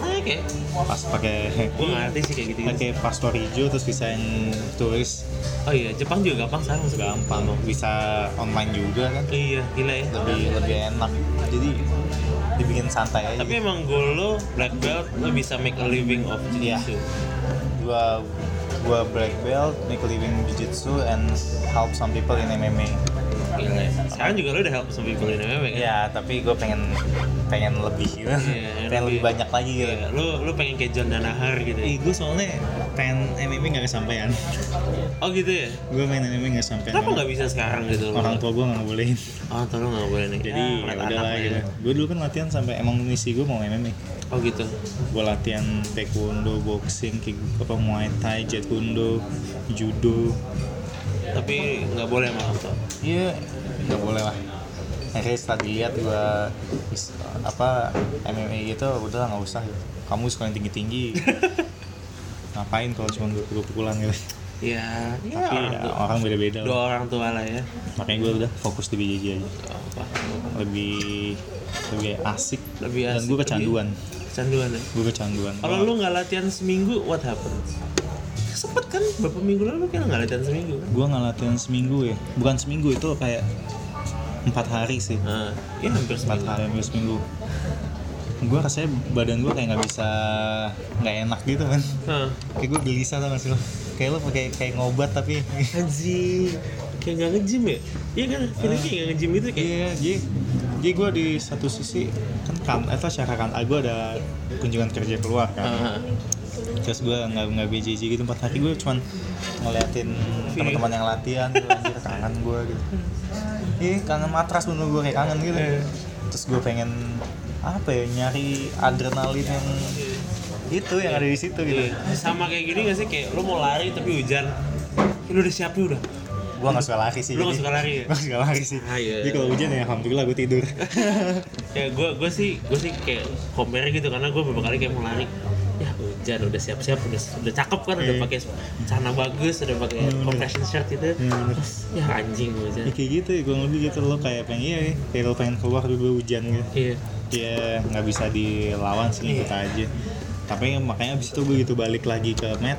Ah, Oke. pas pakai Gue nggak ngerti sih kayak gitu. pakai paspor hijau terus visa yang turis Oh iya, Jepang juga gampang sekarang maksudnya. gampang bisa online juga kan Iya, gila ya. lebih lebih enak jadi dibikin santai aja Tapi emang goal lo black belt Hmm. lo bisa make a living of jiu jitsu. Iya. gua gua black belt make a living jujitsu and help some people in MMA Gila ya. Sekarang juga lo udah help some people in MMA kan? ya tapi gue pengen pengen lebih gitu Iya, pengen lebih lebih- banyak lagi gitu Iya, Lo lo pengen kayak John Danahar gitu. ya? Ih, gue soalnya pengen MMA gak kesampaian Oh gitu ya. Gue main MMA gak kesampaian Kenapa nggak bisa sekarang gitu? Orang tua gue gak bolehin Oh, tolong nggak boleh nih. Jadi Ya, ya anak-anak udahlah aja. gitu Gue dulu kan latihan sampai emang misi gue mau MMA Oh gitu. Gue latihan taekwondo, boxing, kick, apa, muay thai, jet kundo, judo Tapi nggak boleh sama orang tua. Iya, nggak boleh lah Akhirnya setelah dilihat gue apa MMA gitu udah nggak usah gitu. Kamu sekolah yang tinggi-tinggi Ngapain kalau cuma gue pukul-pukulan gitu ya, Tapi ya orang, ya, tua, orang beda-beda dua lah. orang tua lah ya makanya gue udah fokus di BJJ aja Gak apa-apa. lebih lebih asik Lebih dan asik, gue kecanduan canduan ya gue kecanduan kalau lu nggak latihan seminggu what happens sempet kan beberapa minggu lalu kan nggak latihan seminggu kan gue nggak latihan seminggu ya bukan seminggu itu kayak empat hari sih nah, ya hampir empat seminggu hari hampir seminggu gue rasanya badan gue kayak nggak bisa nggak enak gitu kan Hah. kayak gue gelisah tau gak sih lo kayak lo pakai kayak ngobat tapi Anjing, kayak nggak nge-gym ya? Iya kan, feeling kayak nggak nge-gym itu Ah. kayak iya jadi jadi gue di satu sisi kan kan itu acara kan gue ada kunjungan kerja keluar kan Ah, terus gue nggak nggak BJJ gitu empat hari gue cuman ngeliatin teman-teman yang latihan gue anjir kangen gue gitu ih kangen matras bener gue kayak kangen gitu Iya. terus gue pengen apa ya nyari adrenalin yang itu yang ada di situ gitu iya. sama kayak gini nggak sih kayak lo mau lari tapi hujan, Ih, lo udah siapin udah. gue nggak suka lari sih Lu nggak suka lari ya? gue suka lari sih Ah, iya. jadi kalau hujan ya alhamdulillah gue tidur ya gue gue sih gue sih kayak compare gitu karena gue beberapa kali kayak mau lari ya hujan udah siap-siap udah udah cakep kan udah Iya. pakai celana bagus udah pakai Iya, bener. compression shirt gitu Iya, bener. terus ya anjing hujan ya, kayak gitu ya gue lebih gitu lo kayak pengen iya ya, kayak lo pengen keluar dulu hujan gitu iya ya nggak bisa dilawan sih ikut aja tapi makanya abis itu gue gitu balik lagi ke Met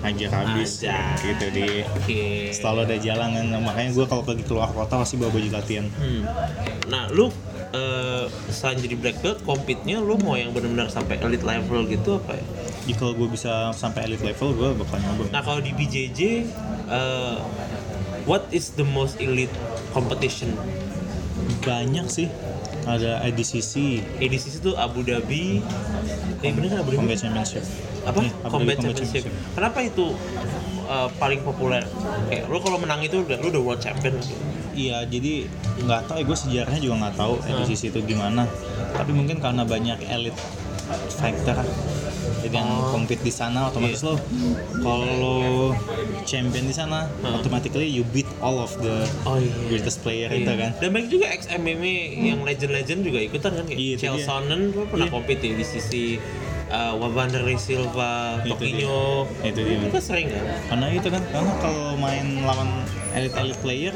aja habis Aja. gitu di oke selalu ada jalan kan makanya gue kalau pergi keluar kota pasti bawa baju latihan Hmm. Nah, lu eh selain jadi black belt, compete-nya lu mau yang benar-benar sampai elite level gitu apa ya? jadi kalau gue bisa sampai elite level gue bakal nyoba Nah, kalau di BJJ eh what is the most elite competition? banyak sih ada IDCC ADCC itu Abu Dhabi. Eh bener kan Abu Combat Dhabi? Championship Apa? Iya, Abu Dhabi Combat Championship. Kenapa itu eh, paling populer? Kayak lu kalau menang itu udah lu udah world champion gitu. Iya, jadi nggak tahu ya gue sejarahnya juga nggak tahu Hmm. edisi itu gimana. Tapi mungkin karena banyak elit fighter yang Oh. compete di sana otomatis Iya. lo kalau champion di sana automatically you beat all of the Hmm. Oh, iya. greatest player Iya. itu kan. Dan banyak juga ex MMA yang legend-legend juga ikutan kan kayak Iya, itu Chael dia. Sonnen tuh pernah Iya. compete ya di sisi uh, Wanderlei Silva, Itu Tokinho. dia. Itu dia. kan sering kan? Karena itu kan karena kalau main lawan elit-elit player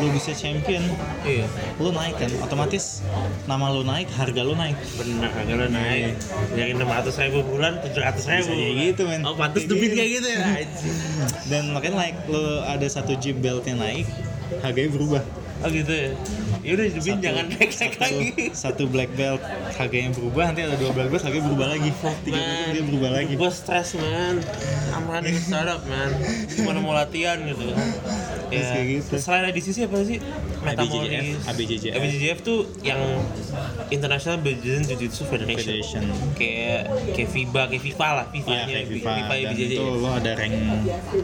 lu bisa champion Iya. lu naik kan otomatis nama lu naik harga lu naik Bener harga lo naik dari 600 ribu bulan 700 ribu. Bisa jadi gitu, men. Oh pantas Kayak debit gitu. kayak gitu ya. anjing. dan makanya naik lu ada satu gym beltnya naik harganya berubah oh gitu ya. Ya udah debit Satu- jangan naik naik satu- lagi. Satu black belt harganya berubah, nanti ada dua black belt harganya berubah lagi. Iya, Nah, Tiga black belt dia berubah lagi. Gue stres man, I'm running a startup man. Gimana mau latihan gitu. Iya. Terus kayak gitu. Selain di sisi apa sih? Metamoris. ABJJF. ABJJF tuh yang International Brazilian Jiu-Jitsu Federation. Federation. Kayak kayak FIBA, kayak FIFA lah, FIFA-nya. Iya, kayak FIFA. Dan ABJJF. itu lo ada rank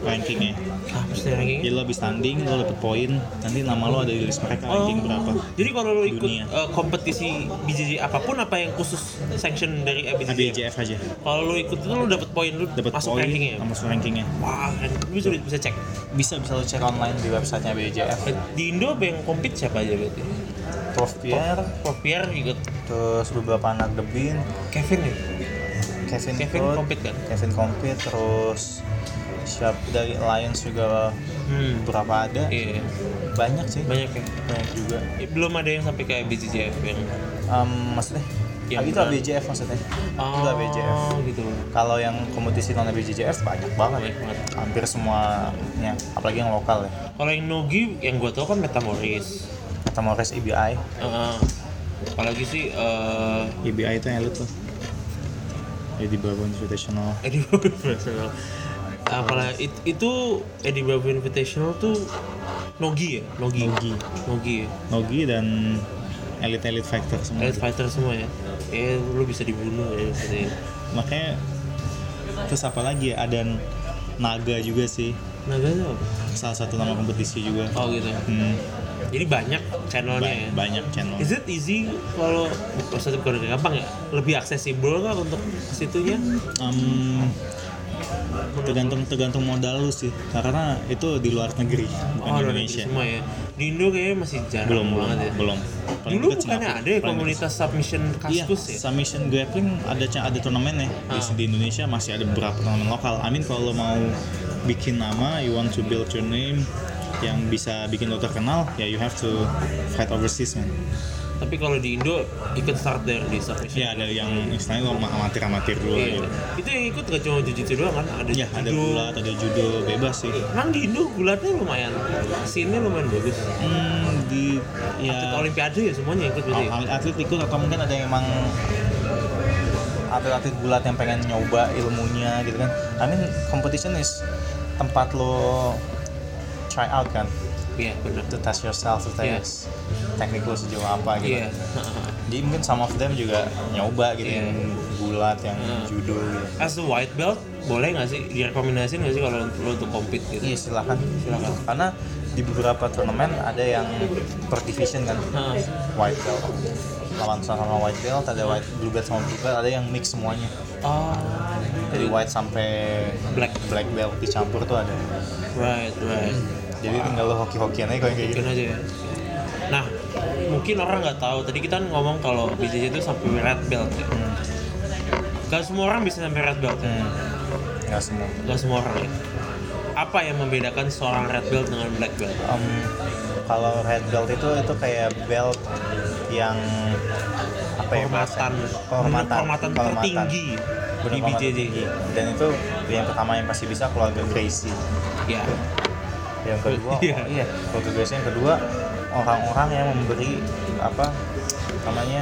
rankingnya. Ah, pasti ranking. Jadi lo habis tanding, lo dapet poin, nanti nama lo ada di list mereka ranking berapa. Oh, Jadi kalau lo ikut Dunia. eh, kompetisi BJJ apapun apa yang khusus sanction dari ABJJF? ABJF E aja. Kalau lo ikut itu kan lo dapet poin, lo Dapat masuk poin, rankingnya. sama masuk rankingnya. Wah, keren. Lu sudah bisa cek. Bisa bisa lo cek online di websitenya E ABJF. Di Indo apa yang compete siapa aja berarti? Prof Pierre, Prof Pierre juga terus beberapa anak debin, Kevin ya? Kevin, Kevin Code, compete kan? Kevin compete, terus siap dari Lions juga Hmm. berapa ada? Iya, banyak sih banyak ya. banyak juga Eh, Belum ada yang sampai kayak BJJF yang Em, maksudnya Yang Ah, itu beneran. ABJF maksudnya itu Oh, ABJF gitu. Iya. kalau yang kompetisi non ABJF banyak banget Banyak banget. hampir semuanya apalagi yang lokal ya Kalau yang Nogi yang gua tau kan Metamoris. kata E Mores EBI Heeh. apalagi sih eh EBI E itu yang elit tuh jadi Babon Invitational Eddie Bravo Invitational. Apalah it- itu Eddie Bravo Invitational tuh Nogi ya, Nogi. Nogi. Nogi ya. Nogi dan elit-elit fighter semua Elite fighter semua ya. Eh lu bisa dibunuh ya di sini. makanya terus apa lagi ya ada Naga juga sih Naga tuh apa? salah satu nama kompetisi juga Nah, Oh gitu. Hmm, Jadi banyak ba- channelnya ya. banyak channel Is it easy kalau maksudnya bukan gampang ya? Lebih aksesibel nggak untuk situnya? Em, tergantung tergantung modal lu sih Nah, karena itu di luar negeri bukan Oh, di luar negeri Indonesia semua ya. Di Indo kayaknya masih jarang belum belum banget ya. belum Paling Dulu dekat bukannya Singapura. ada ya Paling komunitas submission dekat- iya kaskus ya? Ah. submission grappling ada ca- ada turnamen ya di, di Indonesia masih ada beberapa turnamen lokal amin kalau lo mau bikin nama, you want to build your name yang bisa bikin lo terkenal, ya you have to fight overseas kan. Tapi kalau di Indo ikut start dari di submission. Ya ada yang istilahnya lo amatir-amatir dulu Iya. gitu. Itu yang ikut gak cuma jujitsu doang kan, ada Ya ada judo. gulat, ada judo, bebas sih. Emang di Indo gulatnya lumayan, scene-nya lumayan bagus. Hmm, di ya Atlet Olimpiade ya semuanya ikut berarti. Al- atlet ikut atau mungkin ada yang emang atlet-atlet gulat yang pengen nyoba ilmunya gitu kan I mean competition is tempat lo try out kan Iya, benar. to test yourself to test teknik lo sejauh apa gitu Iya. jadi mungkin some of them juga nyoba gitu Iya. yang gulat yang Hmm. judo gitu As a white belt, boleh nggak sih direkomendasiin nggak sih kalau lo untuk compete gitu? Iya silakan silakan karena di beberapa turnamen ada yang per division kan Nah, white belt lawan sama white belt ada white blue belt sama blue belt ada yang mix semuanya oh, dari white sampai Black. black belt dicampur tuh ada right, right. jadi tinggal lo hoki-hokian aja kalau yang kayak gitu Mungkin aja ya. Nah, mungkin orang nggak tahu. Tadi kita ngomong kalau BJJ itu sampai red belt ya. Hmm. Gak semua orang bisa sampai red belt ya. hmm. nggak semua Gak semua orang ya. Apa yang membedakan seorang red belt dengan black belt? Em, kalau red belt itu itu kayak belt yang apa ya Kehormatan. bahasa- kehormatan Kehormatan tertinggi Bener, di kehormatan BJJ. tertinggi. dan itu yang pertama yang pasti bisa keluarga Gracie Ya. yang kedua Iya. oh, iya keluarga Gracie yang kedua orang-orang yang memberi apa namanya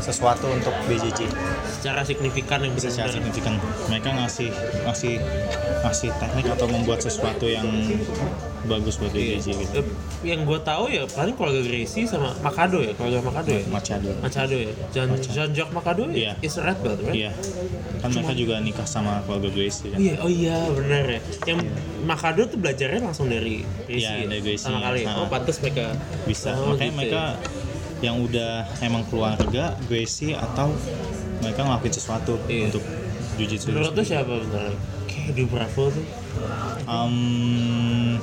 sesuatu untuk BJJ Secara signifikan yang bisa secara benar-benar signifikan mereka ngasih ngasih ngasih teknik atau membuat sesuatu yang bagus buat BJJ gitu Eh, yang gue tahu ya paling keluarga Gracie sama Makado ya keluarga Makado ya Machado Machado ya John John Jock Makado Iya. ya is a red belt right? Iya. Kan mereka juga nikah sama keluarga Gracie kan. Iya, oh iya benar ya. Yang Makado tuh belajarnya langsung dari Gracie Iya, dari Gracie. Sama kali. ya? Oh, Nah. pantas mereka Bisa. Oh, Makanya gitu mereka ya. yang udah emang keluarga Gracie atau mereka ngelakuin sesuatu Iya. untuk jujitsu. Menurut tuh siapa benar? Kayak di Bravo tuh. Um,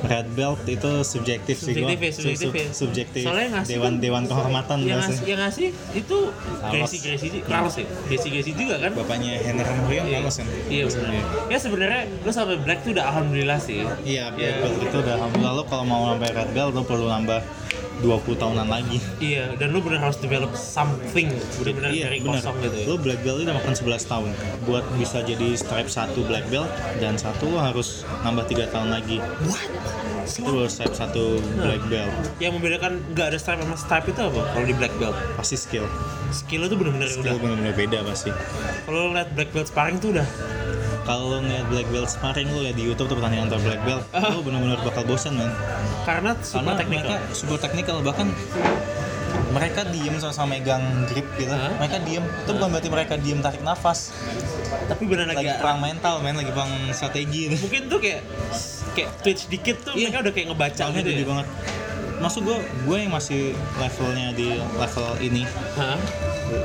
red belt itu subjektif sih gua. Subjektif ya, Sub- subjektif sub- ya. subjektif. Soalnya yang ngasih dewan kan- dewan kehormatan yang bahasa. ngasih, yang ngasih itu Gracie Gracie Carlos ya. Gracie Gracie juga kan? Bapaknya Henry Rio Iya, Carlos kan. iya benar. Ya sebenarnya lu sampai black tuh udah alhamdulillah sih. Iya, Iya. red belt itu udah alhamdulillah lo kalau mau nambah red belt lo perlu nambah 20 tahunan lagi. Iya, dan lu benar harus develop something benar-benar dari Iya, bener. kosong gitu. ya. Lo black belt itu makan 11 tahun. Buat bisa jadi stripe 1 black belt dan satu lo harus nambah 3 tahun lagi. Itu baru stripe 1 black belt. Yang membedakan nggak ada stripe sama stripe itu apa? Kalau di black belt, Pasti skill. skill lu tuh benar-benar Skill udah bener-bener beda pasti. kalau lo liat black belt sparring tuh udah Kalau lo ngeliat black belt sparring lo liat di YouTube tuh pertandingan antar black belt, Ah. lo bener-bener bakal bosan man. karena super Karena teknikal mereka super teknikal bahkan mereka diem sama-sama megang grip gitu. Hah? Mereka diem. Itu bukan berarti mereka diem tarik nafas. tapi benar lagi Lagi perang mental, men. Lagi perang strategi. Gitu. mungkin tuh kayak kayak twitch dikit tuh Iya. mereka udah kayak ngebaca Soalnya gitu gede ya. banget. Maksud gue, gue yang masih levelnya di level ini Hah? gue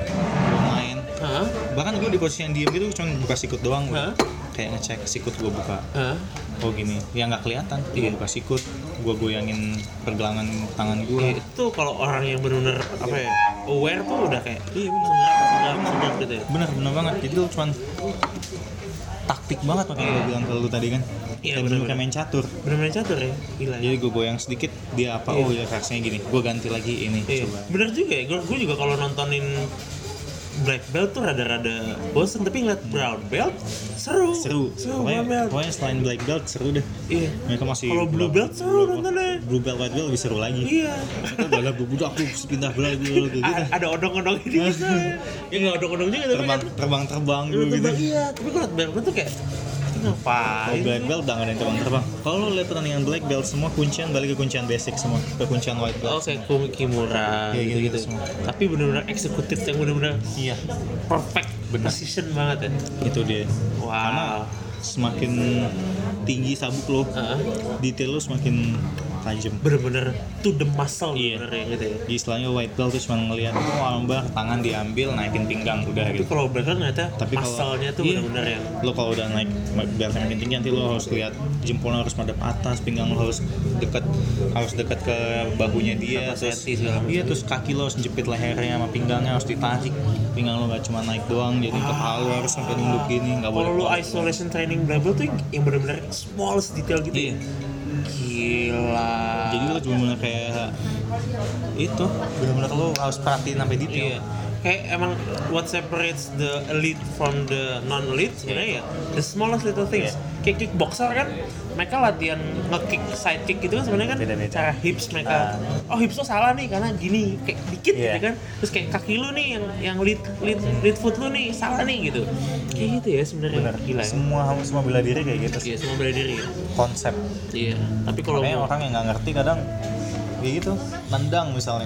main. Hah? Bahkan gue di posisi yang diem gitu, cuma buka sikut doang. gua. Hah? Kayak ngecek sikut gue buka. Hah? Oh gini, ya nggak kelihatan. Gue Iya. buka sikut, gue goyangin pergelangan tangan Ya, gue. itu kalau orang yang benar-benar apa ya aware tuh udah kayak iya benar sengaja sengaja gitu ya Bener, bener banget. Jadi lu cuman taktik banget makanya gue bilang ke lu tadi kan. Iya, Kayak bener-bener. bener kayak main catur. benar-benar catur ya gila ya Jadi gue goyang sedikit, dia apa? Iya. Oh ya reaksinya gini. Gue ganti lagi ini. Iya. Coba. bener juga ya gue gue juga kalau nontonin black belt tuh rada-rada bosen tapi ngeliat brown belt seru Seru. pokoknya, seru brown belt pokoknya selain black belt seru deh. iya Mereka masih kalau blue belt seru nontonnya Blue belt white belt lebih seru lagi. iya Mereka bala budak aku pindah bala gitu gitu. A- ada odong-odong ini bisa ya nggak odong-odong juga tapi Terbang kan terbang terbang lu dulu gitu. tebak, iya tapi kalau black belt tuh kayak ini Kalau ngapain black belt udah nggak ada yang terbang terbang. Kalau lo lihat pertandingan black belt semua kuncian balik ke kuncian basic semua ke kuncian white belt. Oh kayak Kumi Kimura Iya, gitu, gitu-gitu gitu, semua. Tapi bener-bener eksekutif yang bener-bener Iya. perfect precision banget ya Itu dia. Wow. Karena semakin tinggi sabuk lo, Heeh. detail lo semakin tajam bener-bener to the muscle Iya. bener ya gitu ya di istilahnya white belt tuh cuma ngelihat oh armbar tangan diambil naikin pinggang udah tapi gitu kalau blacker ternyata Tapi kalau- muscle-nya tuh iya. bener-bener yang lo kalau udah naik biar makin tinggi nanti lo harus lihat jempolnya harus madep atas pinggang lo harus dekat harus dekat ke bahunya dia Sama safety segala macam. iya terus kaki lo harus jepit lehernya sama pinggangnya harus ditarik pinggang lo gak cuma naik doang jadi kepala lo harus sampai nunduk gini nggak boleh Ah. kalau lu keluar. isolation training black belt tuh yang bener-bener smallest detail gitu iya ya gila jadi lo cuma bener kayak itu benar-benar lo harus perhatiin sampai detail Iya. Kayak emang what separates the elite from the non elite sebenarnya ya the smallest little things. Iya. Kayak kickboxer kan, mereka latihan ngekick side kick gitu kan sebenarnya kan Beda-beda. Ah. cara hips mereka. Oh hips lo salah nih karena gini kayak dikit Iya. gitu kan. Terus kayak kaki lu nih yang yang lead lead, lead foot lu nih salah nih gitu. Kayak gitu ya sebenarnya. Bener. Gila. Ya. semua semua bela diri kayak gitu sih Iya semua bela diri. ya. konsep Iya. Tapi kalau makanya mau- orang yang nggak ngerti kadang kayak gitu nendang misalnya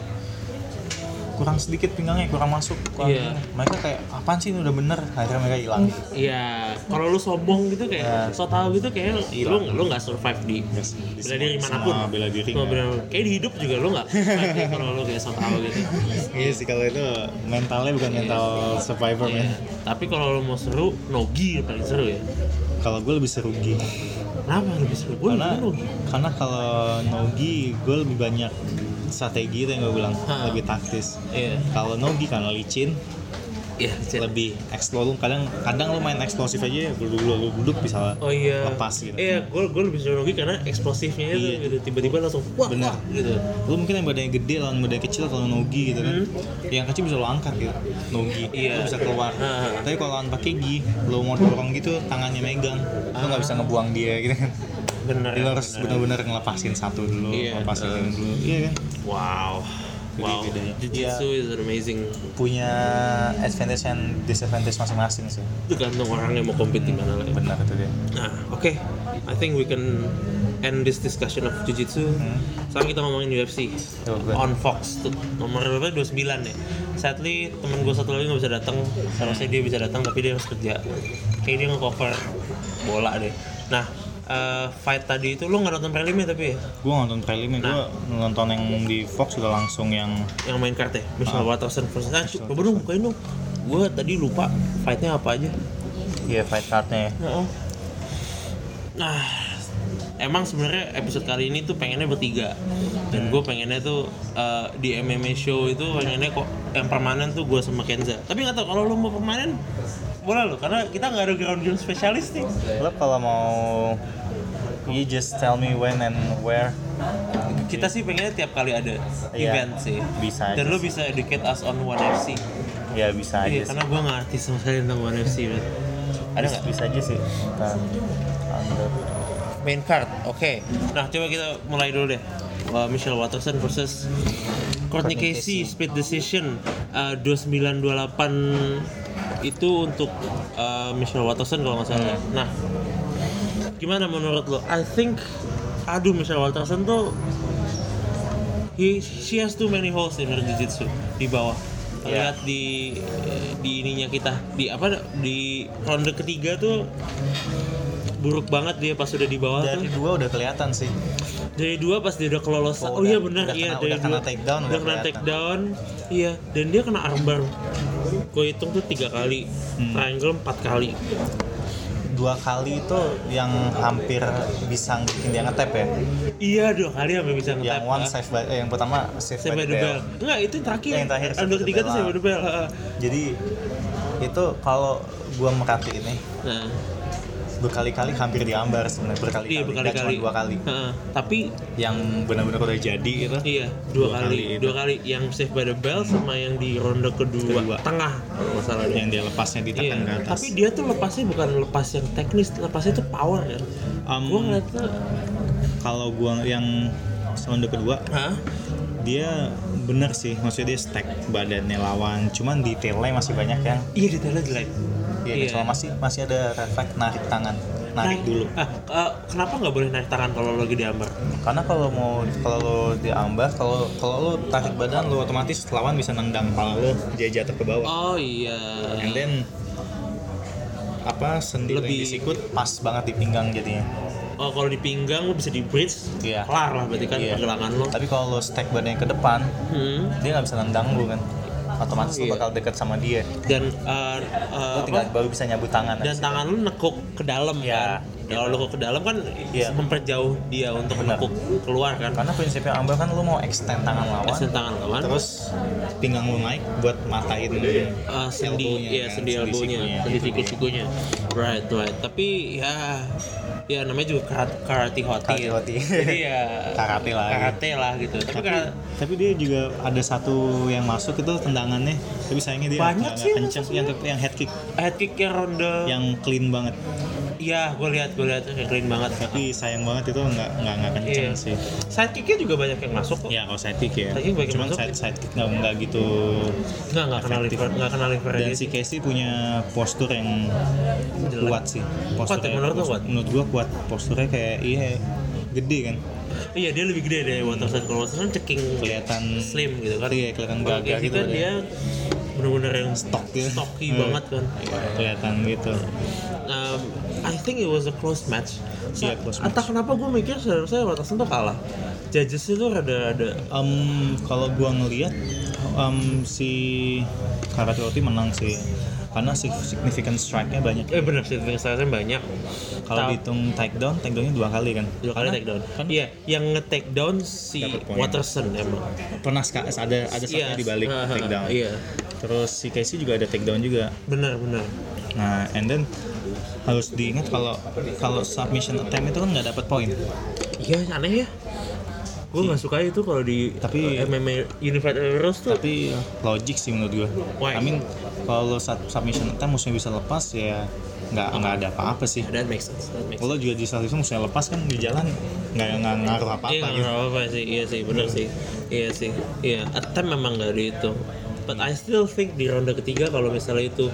kurang sedikit pinggangnya kurang masuk kurang Iya. ini. mereka kayak apaan sih ini udah bener akhirnya mereka hilang Iya, kalau lu sombong gitu Iya. kayak so tau gitu kayak Iya. lu lu nggak survive di Yes, di bela diri semua- manapun. semua bela diri Semua nggak. bela- kayak di hidup juga lu nggak survive deh kalau lu kayak so tau gitu. iya sih kalau itu Iya. mentalnya bukan mental survivor Iya. Tapi kalau lu mau seru, nogi yang paling seru ya. kalau gue lebih seru gi Kenapa lebih seru? Gue karena lebih nogi. karena kalau nogi gue lebih banyak strategi itu yang gue bilang Ha. lebih taktis Iya. kalau nogi karena licin Iya, Cil. lebih eksplor kadang kadang lu main eksplosif aja duduk duduk duduk bisa Oh iya. lepas gitu Iya, gue gue lebih seru nogi karena eksplosifnya itu Iya. gitu tiba-tiba langsung wah Bener. wah gitu. lu mungkin yang badannya gede lawan badannya kecil kalau nogi gitu kan yang kecil bisa lo angkat gitu nogi Hmm. Iya. lo bisa keluar Ah. tapi kalau lawan pakai gi lo mau dorong gitu tangannya megang lo nggak bisa ngebuang dia gitu kan Ah. Bener. Jadi lo harus benar-benar ngelepasin satu dulu Iya. ngelepasin yang dulu iya kan Wow. Jadi Wow, bedanya. Jujitsu Iya. is an amazing punya advantage and disadvantage masing-masing sih tergantung orang yang mau compete di mana lah ya. benar itu dia Nah, oke. I think we can end this discussion of jujitsu. Sekarang kita ngomongin UFC Yo, good. on Fox tuh nomor berapa? 29 ya. Sadly temen gue satu lagi nggak bisa datang. Seharusnya dia bisa datang tapi dia harus kerja. Kayak dia nge-cover bola deh. Nah, eh, fight tadi itu lu nggak nonton prelimnya tapi ya gue nonton prelimnya gue nonton yang di Fox udah langsung yang yang main kartu ya Michelle Watterson versus Nah, coba dong bukain dong gue tadi lupa fightnya apa aja iya fight cardnya ya Nah, emang sebenarnya episode kali ini tuh pengennya bertiga. Dan gue pengennya tuh eh, di MMA show itu pengennya kok yang permanen tuh gue sama Kenza. Tapi nggak tahu kalau lo mau permanen boleh lo karena kita nggak ada ground game spesialis nih. lo kalau mau you just tell me when and where Kita sih pengennya tiap kali ada Iya, event sih. bisa Dan aja lo bisa educate us on One FC. ya bisa aja Iya, sih karena gue nggak ngerti sama sekali tentang One FC. Bet. Ada Bis- nggak? bisa aja sih Bentar. Ambil. Main card, oke. Nah, coba kita mulai dulu deh. Uh, Michelle Watterson versus Courtney Casey split decision uh, 2928 itu untuk uh, Michelle Watterson kalau nggak salah. Nah, gimana menurut lo? I think aduh Michelle Watterson tuh he, she has too many holes in her jiu-jitsu di bawah. Iya. Lihat di di ininya kita di apa di ronde ketiga tuh buruk banget dia pas udah di bawah dari tuh. dua udah kelihatan sih Dari dua pas dia udah kelolosan. Oh, Oh, udah- iya benar udah iya kena- dari udah kena dua. takedown, Udah udah kena kelihatan. takedown. Iya, dan dia kena armbar. Gue hitung tuh tiga kali. Hmm. Triangle empat kali. dua kali itu yang hampir bisa bikin dia ngetap ya Iya, dua kali sampai bisa yang ngetap. one ah. save by, eh, yang pertama save, Save by the bell. Enggak, itu yang terakhir. Yang terakhir, Ada save by the ketiga tuh bell. save by the bell. ah. jadi itu kalau gua merhati ini Nah, berkali-kali hampir diambar sebenarnya berkali-kali iya nggak berkali-kali. cuma dua kali Heeh. Ah, Tapi yang benar-benar udah jadi gitu iya, dua, Dua kali, kali itu. dua kali yang save by the bell sama yang di ronde kedua, Kedua. tengah kalau nggak salah deh. yang dia lepasnya di Iya, tekan ke atas tapi dia tuh lepasnya bukan lepas yang teknis, lepasnya tuh power kan. Um, gua ngeliatnya, kalau gua yang ronde kedua hah? dia bener sih maksudnya dia stack badannya lawan cuman detailnya masih banyak yang Iya detailnya jelek. Iya. ya cuma masih masih ada refleks narik tangan narik dulu Ah, eh, kenapa nggak boleh narik tangan kalau lagi diambar? karena kalau mau kalau lo diambar kalau kalau lo tarik badan lo otomatis lawan bisa nendang kepala lo dia jatuh ke bawah Oh iya. and then apa sendi Lebih- lebih disikut pas banget di pinggang jadinya oh, kalau di pinggang lu bisa di bridge Iya. kelar lah berarti kan Iya. pergelangan lo Tapi kalau lo stack badannya ke depan, hmm. dia nggak bisa nendang lu kan. Otomatis Iya. lo bakal deket sama dia. dan eh, eh, Lo tinggal apa? baru bisa nyabut tangan. dan abis itu. tangan lu nekuk ke dalam Iya. kan kalau lu nekuk ke dalam kan Iya. memperjauh dia untuk Benar. nekuk keluar kan Karena prinsipnya ambil kan lo mau extend tangan lawan, Extend tangan lawan. terus pinggang lo naik buat matain Eh, sendi elbow-nya ya kan, sendi elbownya sikunya. sendi Itu siku dia. sikunya right right tapi ya ya namanya juga karat- karate hoti Karate ya. hoti. jadi ya Karate lah. karate lah gitu tapi, tapi, kara- tapi dia juga ada satu yang masuk itu tendangannya tapi sayangnya dia Banyak nggak sih yang kenceng yang yang head kick head kick yang ronde yang clean banget iya gue lihat gue lihat kayak keren banget tapi sayang banget itu nggak nggak nggak kenceng iya sih side kicknya juga banyak yang masuk kok ya kalau side kick ya Side kick bagi cuman masuk. side side kick nggak nggak gitu nggak nggak kenal Efektif. liver nggak kenal liver dan dia si Casey punya postur yang ya? Jelek. kuat sih Kuat ya, menurut lo kuat? menurut gua kuat posturnya kayak iya gede kan iya dia lebih gede dari Watterson kalau Watterson Kan ceking kelihatan slim gitu kan iya kelihatan Kalau gagah kayak gitu gitu kan badannya. dia benar-benar yang Stock gitu. stocky Hmm. banget kan kelihatan gitu um, I think it was a close match. So, Iya, close entah match. kenapa gue mikir seharusnya Watson tuh kalah. Judges itu rada ada Em, kalau gua ngelihat em, si Karate Oti menang sih karena si- significant strike-nya banyak. eh benar sih saya banyak. Kalau Tau- dihitung takedown, takedownnya dua kali kan? dua kali Karena- take down. Kan Iya, yang nge-take down si Dapat poin. Watterson emang. pernah ska- ada ada satunya Iya, di balik hahaha, takedown. Iya. Terus si Casey juga ada takedown juga. Benar, benar. Nah, and then harus diingat kalau kalau submission attempt itu kan nggak dapat poin. Iya, aneh ya. Gue nggak suka itu kalau di Tapi- eh, MMA Unified MMA Rules tuh Tapi logik sih menurut gua. Why? I mean, kalau sub- submission attempt musuhnya bisa lepas ya nggak nggak ada apa-apa sih. Ya, that makes sense. That makes lo sense. juga di saat itu musuhnya lepas kan di jalan nggak nggak ngaruh apa apa Iya nggak gitu ngaruh apa sih, iya sih, benar sih, iya sih, iya. Attempt memang nggak dihitung. But I still think di ronde ketiga kalau misalnya itu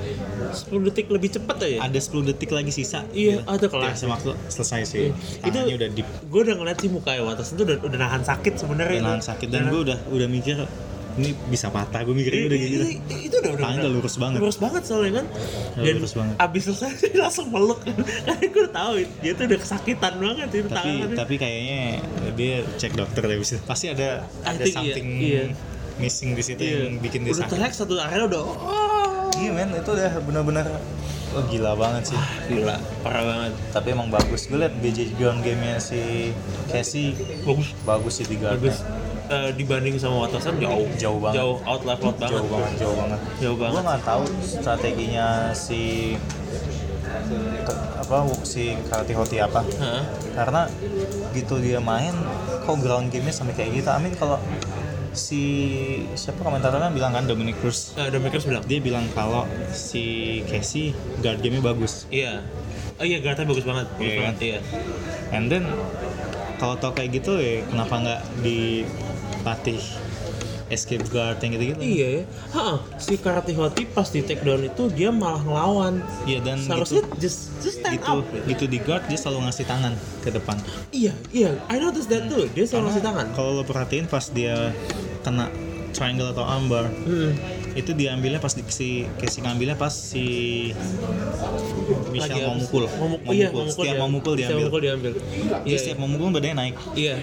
10 detik lebih cepat aja. ada 10 detik lagi sisa Iya, ada kelar. ya, waktu selesai sih itu tangannya udah deep gue udah ngeliat sih mukanya Watas itu udah, udah nahan sakit sebenarnya. udah nahan sakit dan gue udah udah mikir ini bisa patah gue mikirnya udah gitu Itu, itu udah udah Tangannya udah lurus banget. lurus banget soalnya kan Udah lurus banget. abis selesai dia langsung meluk kan karena gue tahu dia tuh udah kesakitan banget itu tapi tangannya tapi kayaknya dia cek dokter deh bisa pasti ada ada I think iya, something iya. missing di situ Iya. yang bikin dia udah sakit teriak satu akhirnya udah "Oh." iya men itu udah benar-benar oh, gila banget sih Ah, gila parah banget tapi emang bagus gue liat BJ ground game-nya si Casey bagus bagus sih di guard bagus Eh, dibanding sama Watson jauh Jauh banget. jauh out leveled banget jauh banget jauh banget Jauh banget. gue nggak tahu strateginya si apa si karate hoti apa Hah? karena gitu dia main kok ground gamenya sampai kayak gitu amin kalau si siapa komentatornya bilang kan Dominic Cruz Eh, Dominikers bilang dia bilang kalau si Casey guard gamenya bagus iya oh iya Garta bagus banget bagus Iya, banget kan? iya and then kalau tau kayak gitu ya kenapa nggak dilatih escape guard yang gitu-gitu Iya ya. Ha, si Karate Hoti pas di take down itu dia malah ngelawan. Iya, dan seharusnya just just stand gitu up. gitu di guard dia selalu ngasih tangan ke depan Iya, iya. I noticed that too. Dia selalu ngasih tangan. kalau lo perhatiin pas dia kena triangle atau armbar Hmm. itu diambilnya pas di, si Casey ngambilnya pas si Michelle Lagi mau abis- mukul Ngomuk, iya, Mau mukul. ngomukul setiap dia- mau mukul setiap diambil mukul diambil. Dia Iya, setiap mau mukul badannya naik iya.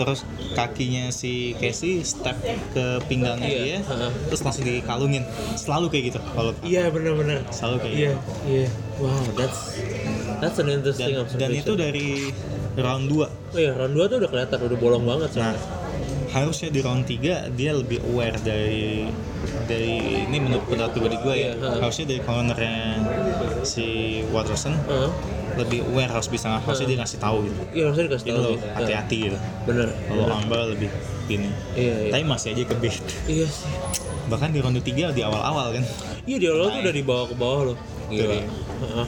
terus kakinya si Casey step ke pinggangnya Iya, dia ha-ha. terus langsung dikalungin selalu kayak gitu kalau Iya, benar-benar. Selalu kayak gitu. Iya, iya. Wow, that's that's an dan, interesting dan itu observation. dari round 2 Oh iya, round 2 tuh udah kelihatan udah bolong banget Nah, soalnya. harusnya di round 3 dia lebih aware dari dari ini menurut pendapat pribadi gue ya. Iya, ha. Harusnya dari cornernya si Watson Heeh. lebih aware harus bisa harusnya dia ngasih tahu gitu. Iya, harusnya dikasih Ini tahu. loh sih. hati-hati gitu. Bener. Kalau Amba lebih gini. Iya, iya. Tapi masih aja ke beat. Iya sih. Bahkan di round 3 di awal-awal kan. Iya dia lo tuh udah dibawa ke bawah loh. Betul, Gila. ya. Heeh.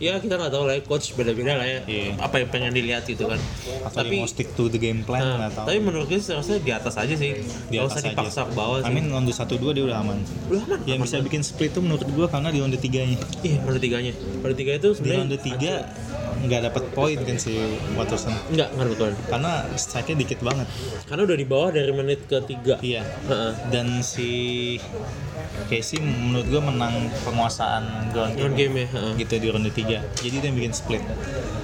Ya kita nggak tahu lah ya, coach beda-beda lah ya. Iya. Apa yang pengen dilihat gitu kan. Atau dia tapi mau stick to the game plan nah, nggak tahu. tapi menurut gue seharusnya di atas aja sih. Di Nggak atas usah aja. dipaksa ke bawah I sih. mean round 1 2 dia udah aman. Udah aman. Yang aman bisa banget. bikin split itu menurut gue karena di round 3-nya. Iya, ronde tiganya. Ronde tiga itu Di sebenarnya round 3 hancur. nggak dapat poin kan si Watson Enggak, enggak betul. karena strike-nya dikit banget Karena udah di bawah dari menit ketiga. iya Heeh. dan si Casey menurut gue menang penguasaan ground game, Ground game ya, heeh. gitu di ronde 3 jadi dia bikin split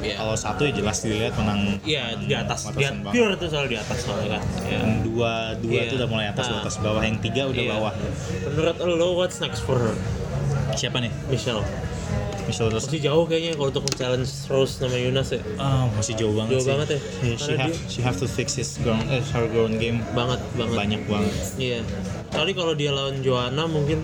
Iya. kalau satu ya jelas dilihat menang Iya, menang di atas. Di Watson banget. pure itu soal di atas soalnya kan. Iya. yang dua dua Iya. itu udah mulai atas Ah. atas bawah yang tiga udah Iya. bawah Menurut lo what's next for her? siapa nih Michelle. Michelle Rose Masih jauh kayaknya kalau untuk challenge Rose sama Yunas ya. Ah, masih jauh banget Jauh sih. banget ya? She, she Karena have, dia- she have to fix his ground, eh, her ground game Banget, banget. banyak banget. Iya. Soalnya kalau dia lawan Joanna mungkin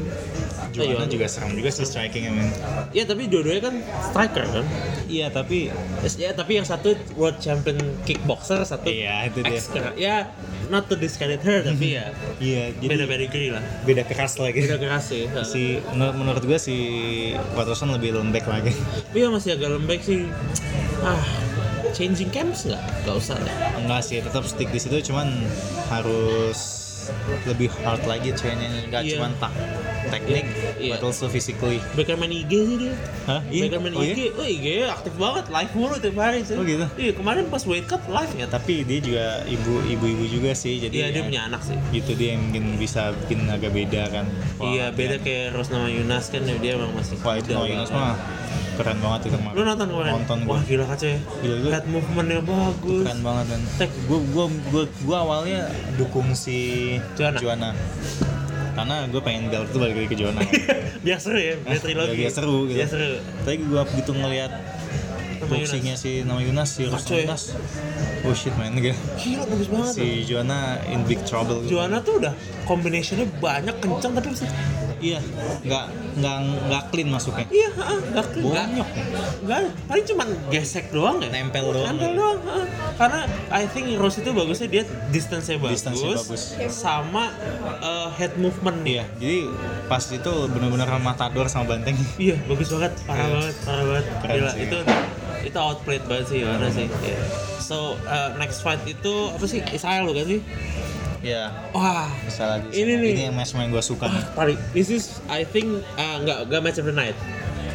Eh, Joanna juga serem juga sih striking I mean. Iya, tapi dua-duanya kan striker kan. Iya tapi Ya, tapi yang satu world champion kickboxer, satu Iya, itu dia. ex-ker. Ya, not to discredit her, tapi ya iya jadi beda pedigree lah. beda keras lagi. Beda keras sih. ha. si menur- menurut gue si Watson lebih lembek lagi. Tapi ya masih agak lembek sih. Ah, changing camps nggak? Nggak usah deh. Enggak sih tetap stick di situ cuman harus lebih hard lagi trainnya enggak Iya. cuman tak teknik Iya. but also physically. Baker main IG sih dia. Hah? Iya? Baker main Oh, iya? IG, oh IG -nya aktif banget, live mulu tiap hari sih. Oh, gitu? Iya, kemarin pas weight cut live Ya ya. tapi dia juga ibu ibu-ibu juga sih jadi Iya, dia ya, punya anak sih. itu dia yang mungkin bisa bikin agak beda kan. Wah, Iya, beda kayak Rosnama Yunas kan ya, dia emang masih Wah itu muda Noah Yunus banget. mah keren banget itu kemarin. Lu nonton kemarin? Nonton gua. Wah, gila kacau ya. Gila, gila. Head movement-nya bagus. Keren banget kan. Tek. Gua gua gua gua awalnya dukung si Joanna. Karena gue pengen belt itu balik lagi ke Joanna. Biar seru ya, biar trilogi. Biar Eh, seru gitu. Biar seru. Tapi gua begitu ngelihat Sama boxingnya si nama Yunas si Kacau Ruslan ya. Yunas. Oh shit man gitu. Gila bagus banget. Si Si Joanna in big trouble. Joanna tuh udah combination-nya banyak kencang tapi masih Iya, nggak nggak nggak clean masuknya. iya, heeh, enggak enggak. Bonyok. Enggak, paling cuman gesek doang ya. Nempel doang. Nempel doang. heeh. Karena I think Rose itu bagusnya dia distance-nya bagus. Distance-nya bagus. Sama eh, head movement Iya, jadi pas itu benar-benar matador sama banteng. Iya, bagus banget, parah Iya. banget, parah banget. Keren Gila, sih. Hmm. itu itu outplayed banget sih, mana sih. Iya. So, uh, next fight itu apa sih? Israel bukan sih? Iya, Wah, bisa lagi. Ini nih. Ah, Ini yang match-match yang gue suka nih. paling this is I think uh, nggak nggak match of the night.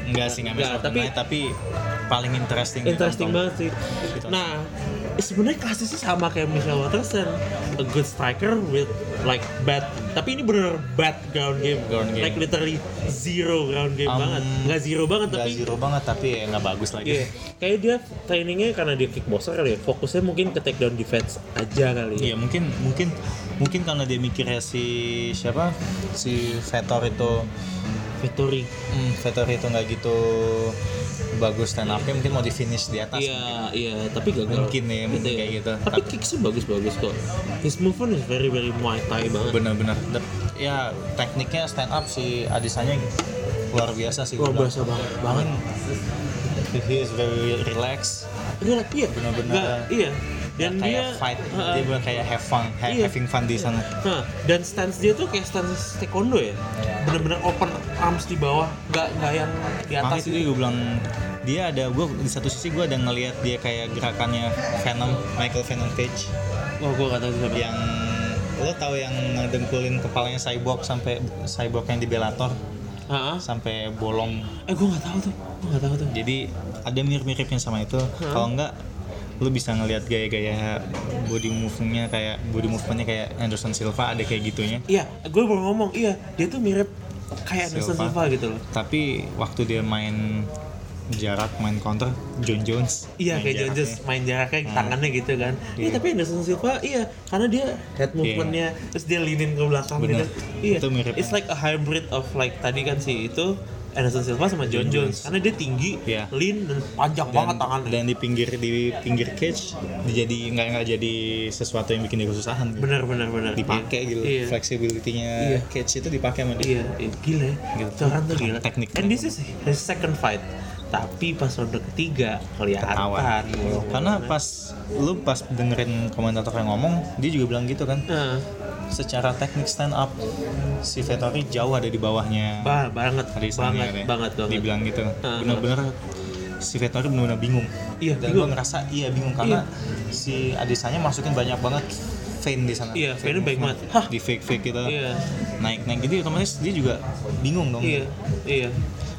Enggak sih, enggak match Nggak, of the tapi- night, tapi paling interesting. Interesting ditonton. banget sih. Nah, sebenarnya klasisnya sama kayak Michelle Watterson, a good striker with like bad. Tapi ini bener bad ground game. Ground game. Like literally zero ground game Um, banget. Nggak zero banget Nggak tapi zero banget, tapi ya nggak bagus lagi. Iya, kayak dia trainingnya karena dia kickboxer kali ya, fokusnya mungkin ke takedown defense aja kali ya. Iya, mungkin mungkin mungkin karena dia mikirnya si siapa si Vettor itu Vettori. hmm, Vettor itu nggak gitu bagus stand up mungkin mau di finish di atas Iya, iya, tapi gagal. Iya. Mungkin ya, mungkin kayak gitu. Tapi kicksnya bagus-bagus kok. His movement is very very Muay Thai banget. bener-bener Dep- ya tekniknya stand up si Adisanya luar biasa sih Luar gua biasa bilang. banget, banget. he is very relaxed Iya, iya. Benar-benar. Nggak, iya. Dan Nggak kayak dia fight Ha-ha. dia bukan kayak have fun ha- Iya. having fun di sana Iya. Nah, dan stance dia tuh kayak stance taekwondo ya. Bener-bener open arms di bawah, nggak nggak yang di atas. Makanya sih gue bilang dia ada gue di satu sisi gue ada ngelihat dia kayak gerakannya Venom Michael Venom Page Oh, Wah, gua nggak tahu siapa. yang lo tahu yang ngedengkulin kepalanya cyborg sampai cyborg yang di Bellator Ha-ha. sampai bolong Eh, gua nggak tahu tuh. Gua nggak tahu tuh. jadi ada mirip-miripnya sama itu kalau enggak lo bisa ngelihat gaya-gaya body movement-nya kayak body movement-nya kayak Anderson Silva ada kayak gitunya Iya, gue baru ngomong, iya, dia tuh mirip kayak Anderson Silva. Silva gitu loh. tapi waktu dia main jarak main counter John Jones Iya, main kayak John Jones jaraknya. Hmm. main jaraknya tangannya gitu kan. Iya, tapi Anderson Silva, iya, karena dia head movement-nya, terus dia linin ke belakang Bener. gitu. Iya, Iya. Itu mirip. it's like a hybrid of like tadi kan sih itu Anderson Silva sama John Jones, karena dia tinggi, Iya. lean dan panjang dan, banget tangannya. dan di pinggir di pinggir cage jadi nggak nggak jadi sesuatu yang bikin dia kesusahan gitu. bener bener bener. dipakai gitu Iya. flexibility-nya Iya. cage itu dipakai sama dia Iya, iya, gila ya. Gitu. Joran tuh gila. Teknik. And this is his second fight. Tapi pas ronde ketiga Ketawa. kelihatan. karena pas lu pas dengerin komentator yang ngomong dia juga bilang gitu kan Eh, secara teknik stand up si Vettori jauh ada di bawahnya bah, banget, Adi banget, Sanggar ya. banget, banget. dibilang gitu Heeh. bener-bener si Vettori bener-bener bingung Iya, dan bingung. gue ngerasa iya bingung karena si Adesanya masukin banyak banget vein di sana Iya, Vein veinnya baik movement. banget. Hah. di fake fake gitu Iya. naik naik jadi otomatis dia juga bingung dong Iya, iya.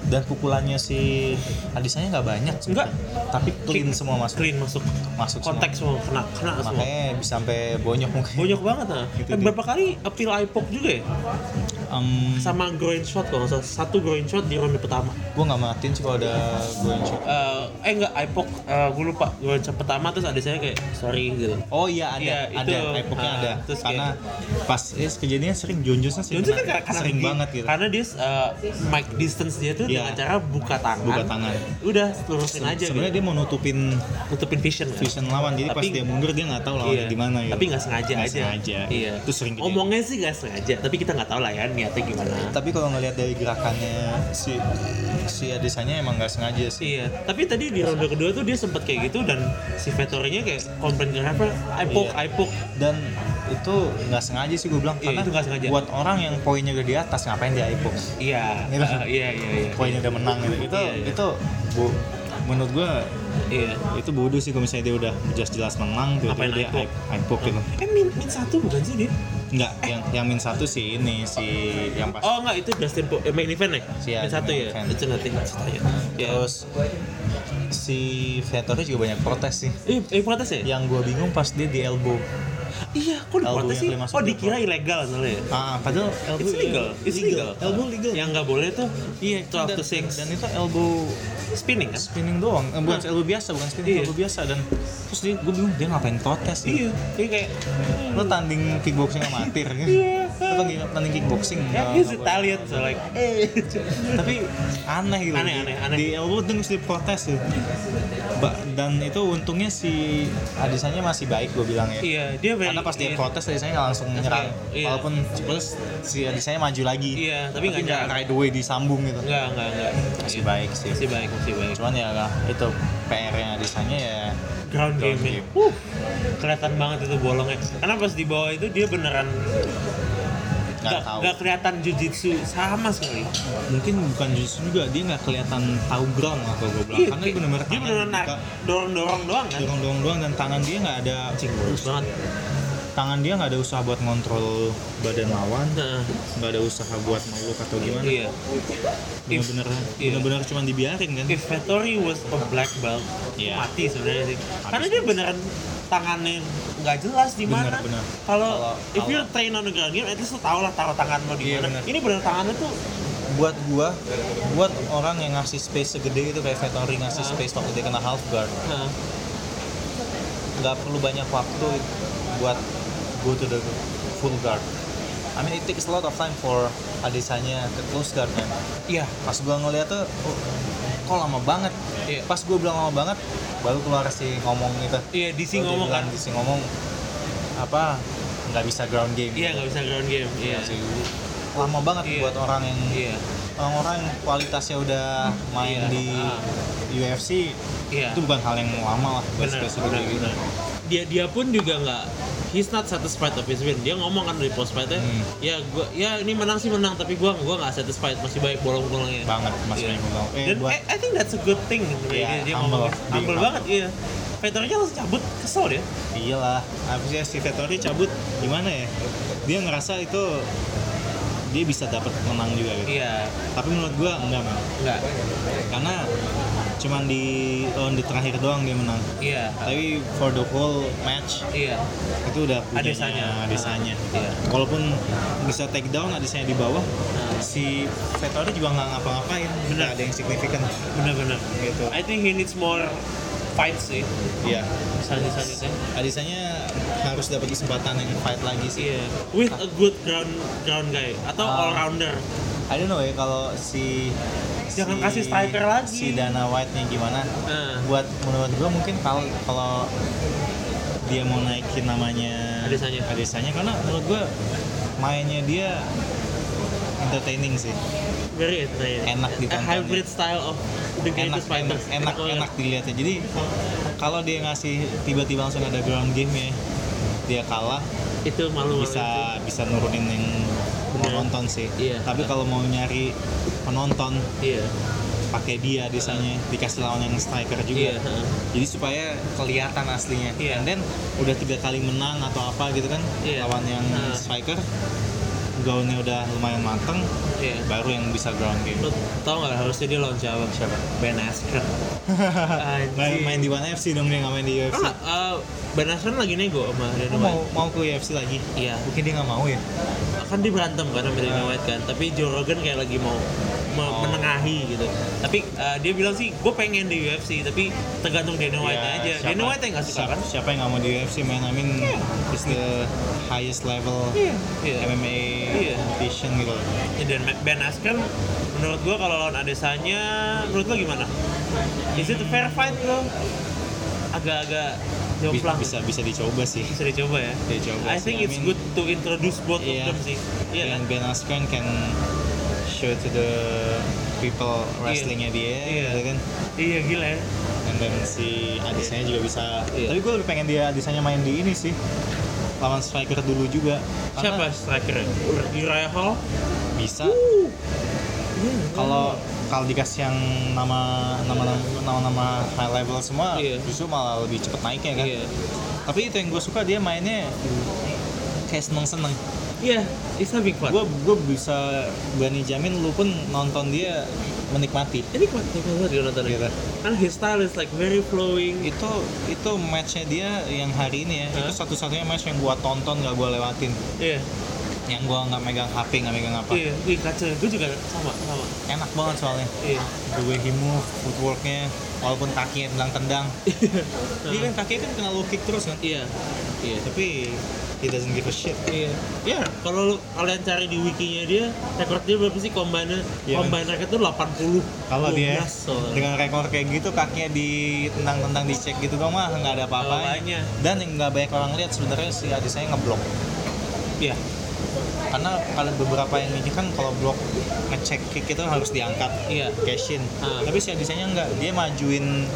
dan pukulannya si Adisanya nggak banyak sebenarnya. Nggak. tapi clean semua masuk Clean masuk. Masuk semua. Konteks semua kena kena semua. makanya bisa sampai bonyok mungkin Bonyok banget nah. Gitu Eh, dia. berapa kali appeal ipok juga ya? Sama groin shot kalau nggak salah. Satu groin shot di ronde pertama. gue nggak matiin sih kalau ada bonyok Eh, eh enggak ipok gue lupa groin shot pertama terus ada saya kayak sorry gitu. Oh iya ada, Iya, ada, itu. epoknya Ah, ada. terus karena pas eh, kejadiannya sering Jonjusnya sering, Johnson kan kena- karena, karena sering gigi, banget gitu. Karena dia eh, mic distance dia tuh Iya. dengan cara buka tangan. Buka tangan. Udah terusin aja. Sebenarnya dia mau nutupin tutupin vision kan? vision lawan, jadi pas gitu. Tapi- iya. dia mundur dia nggak tahu lawannya di mana gitu. Tapi nggak sengaja Nggak aja. sengaja. Iya. Itu sering kejadian. Omongnya sih nggak sengaja, tapi kita nggak tahu lah ya niatnya gimana. Tapi kalau ngelihat dari gerakannya si si Adesanya emang nggak sengaja sih. Iya, tapi tadi di ronde kedua tuh dia sempat kayak gitu dan si Vettori-nya kayak komplain kenapa I poke, Iya. I poke. Dan itu nggak sengaja sih gue bilang Iya, karena itu nggak sengaja. buat orang yang poinnya udah di atas ngapain dia ipok? Iya, Gitu. eh, iya, iya, iya. Poinnya udah menang gitu. Itu Iya, iya. itu bu, menurut gue Iya. itu bodoh sih kalau misalnya dia udah jelas jelas menang tiba Ngapain dia iPop? iPop gitu Eh, min, min satu bukan sih dia? enggak yang yang min satu sih ini si yang pas Oh enggak, itu Dustin po- eh, main event ya? Iya, min satu main ya? event. Iya. Itu nanti kasih tanya. Ya. terus si Vettori juga banyak protes sih Eh, eh protes ya? yang gua bingung pas dia di elbow Iya, kok Elbow diprotes yang sih? kelima Oh, sudah dikira ilegal soalnya ya? ah padahal elbow It's legal, it's legal. elbow legal Yang nggak boleh tuh, iya, 12 to 6. dan itu elbow spinning kan? spinning doang eh, bukan Nah. elbow biasa bukan spinning Iya. elbow biasa dan terus dia gua bingung dia ngapain protes sih Iya, dia kayak lo tanding kickboxing amatir gitu Iya. atau gila- tanding kickboxing eh, ya Nggak- he's nggak boleh. Italian so like Eh. tapi aneh gitu Aneh, Di- aneh, aneh. di elbow tuh mesti protes tuh Ba- dan itu untungnya si Adesanya masih baik gue bilang ya iya dia very karena pas dia iya. protes Adesanya nggak langsung nyerang Iya. walaupun terus si Adesanya maju lagi Iya, tapi nggak nyerang. right away disambung gitu enggak enggak enggak masih baik sih masih baik masih baik cuman ya lah, itu PR-nya Adesanya ya ground game nya game. uh kelihatan banget itu bolongnya karena pas di bawah itu dia beneran nggak nggak tahu Nah, nggak kelihatan jujitsu sama sekali mungkin bukan justru juga dia nggak kelihatan tahu ground lah kalau gue bilang karena dia kayak- benar-benar Iya, dia beneran narik dorong dorong doang kan dorong-dorong doang dan tangan dia nggak ada bagus banget tangan dia nggak ada usaha buat ngontrol badan lawan nah nggak ada usaha buat meluk atau gimana iya If- bener-bener iya. bener-bener cuma dibiarin kan if Vettori was a black belt Iya. mati sebenarnya sih karena dia beneran tangannya nggak jelas di Bener, mana bener. kalau Kalau- if you kalau- train on the ground game at least lo tau lah taruh tangan lo di Iya, mana bener. ini bener tangannya tuh buat gua buat orang yang ngasih space segede itu kayak Vettori ngasih space waktu dia kena half guard nah, nggak perlu banyak waktu buat go to the full guard I mean it takes a lot of time for Adesanya ke close guard kan iya pas gua ngeliat tuh oh, kok lama banget Iya. pas gua bilang lama banget baru keluar si ngomong itu iya Kalau dia DC ngomong kan bilang, si ngomong apa nggak bisa ground game iya nggak bisa ground game iya Masih lama banget Iya. buat orang yang iya orang-orang yang kualitasnya udah main Iya. di Ah. UFC iya itu bukan hal yang lama lah buat benar spesial benar kayak gitu. benar dia dia pun juga nggak he's not satisfied of his win dia ngomong kan dari post fightnya Hmm. ya gua ya ini menang sih menang tapi gua gua nggak satisfied masih baik bolong-bolongnya banget mas Iya. yeah. ngomong eh Dan buat I, I think that's a good thing sebenarnya Iya, dia, dia humble. ngomongnya. Being humble humble. banget iya Vettori-nya langsung cabut kesel dia iyalah habisnya si Vettori cabut gimana ya dia ngerasa itu dia bisa dapat menang juga gitu iya tapi menurut gua enggak man. enggak karena cuman di ronde terakhir doang dia menang iya tapi for the whole match iya itu udah punya Adesanya. Adesanya. ya. Iya. Walaupun bisa take down Adesanya di bawah, si Vettori juga nggak ngapa-ngapain. Bener ada yang signifikan benar-benar gitu. I think he needs more fights sih Iya. selanjutnya selanjutnya Adesanya harus dapat kesempatan yang fight lagi sih. iya with a good ground ground guy atau Ah. all rounder I don't know ya kalau si Jangan kasih striker lagi. Si Dana White nya gimana? Ah. Buat menurut gua mungkin kalau kalau dia mau naikin namanya Adesanya. Adesanya karena menurut gua mainnya dia entertaining sih. very entertaining Enak a ditonton, hybrid style of the enak enak greatest fighters Oh, iya. enak, banget. enak dilihatnya jadi kalau dia ngasih tiba-tiba langsung ada ground game ya dia kalah itu malu bisa bisa nurunin yang penonton sih Iya. tapi kalau mau nyari penonton iya pakai dia desanya dikasih lawan yang striker iya juga jadi supaya kelihatan aslinya Iya. and then udah tiga kali menang atau apa gitu kan Iya. lawan yang Heeh. striker gaunnya udah lumayan mateng Iya. baru yang bisa ground game Lo tau nggak harusnya dia lawan siapa? Siapa? Ben Askren. Anjing. main, main di One FC dong dia nggak main di UFC Ah, eh, Ben Askren lagi nego sama Dana Lo mau White. mau ke UFC lagi Iya. mungkin dia nggak mau ya Kan dia berantem kan sama Dana White kan. Tapi Joe Rogan kayak lagi mau me- Oh. menengahi gitu. Tapi eh, dia bilang sih, gue pengen di UFC, tapi tergantung Dana White Ya, aja. siapa- Dana White yang nggak suka siapa, kan? siapa yang nggak mau di UFC man I mean it's the highest level Iya. Iya. MMA Iya. competition gitu loh Ya, dan Ben Askren menurut gua kalau lawan Adesanya menurut lo gimana? Is it a fair fight lo? Agak-agak Bi- jomplang bisa bisa dicoba sih bisa dicoba ya. Dicoba I sih, think I it's mean- good to introduce both Iya. of them sih. Iya kan? Ben, ben Askren can show to the people wrestlingnya dia Iya. gitu kan Iya gila ya. and then si Adisanya juga bisa Iya. tapi gue lebih pengen dia Adisanya main di ini sih lawan striker dulu juga Siapa Karena strikernya? Uriah Hall. bisa Iya, kalau kalau dikasih yang nama nama nama nama, nama high level semua Iya. justru malah lebih cepet naiknya kan Iya. tapi itu yang gue suka dia mainnya kayak seneng seneng Iya, it's a big fun. gue gue bisa berani jamin lu pun nonton dia menikmati ini kuat banget banget dia nontonnya. Iya. Kan his style is like very flowing. itu itu matchnya dia yang hari ini ya Hah? itu satu-satunya match yang gua tonton gak gua lewatin Iya. yang gua nggak megang HP nggak megang apa Iya, ih kacau. Gue juga sama, sama. enak banget soalnya Iya. the way he move footworknya walaupun kakinya tendang-tendang dia kan kakinya kan kena low kick terus kan Iya. Iya. tapi he doesn't give a shit Iya. Ya, kalau lu- kalian cari di wikinya dia, rekor dia berapa sih combine-nya? Iya. Combine record tuh 80. kalau dia 12 soalnya. dengan rekor kayak gitu kakinya ditendang-tendang dicek gitu gua mah nggak ada Apanya? apa-apanya dan yang nggak banyak orang lihat sebenarnya si adik saya ngeblok Iya. karena kalau beberapa yang ini kan kalau blok ngecek kick itu harus diangkat Iya. cash in Ah. tapi si Adisanya enggak dia majuin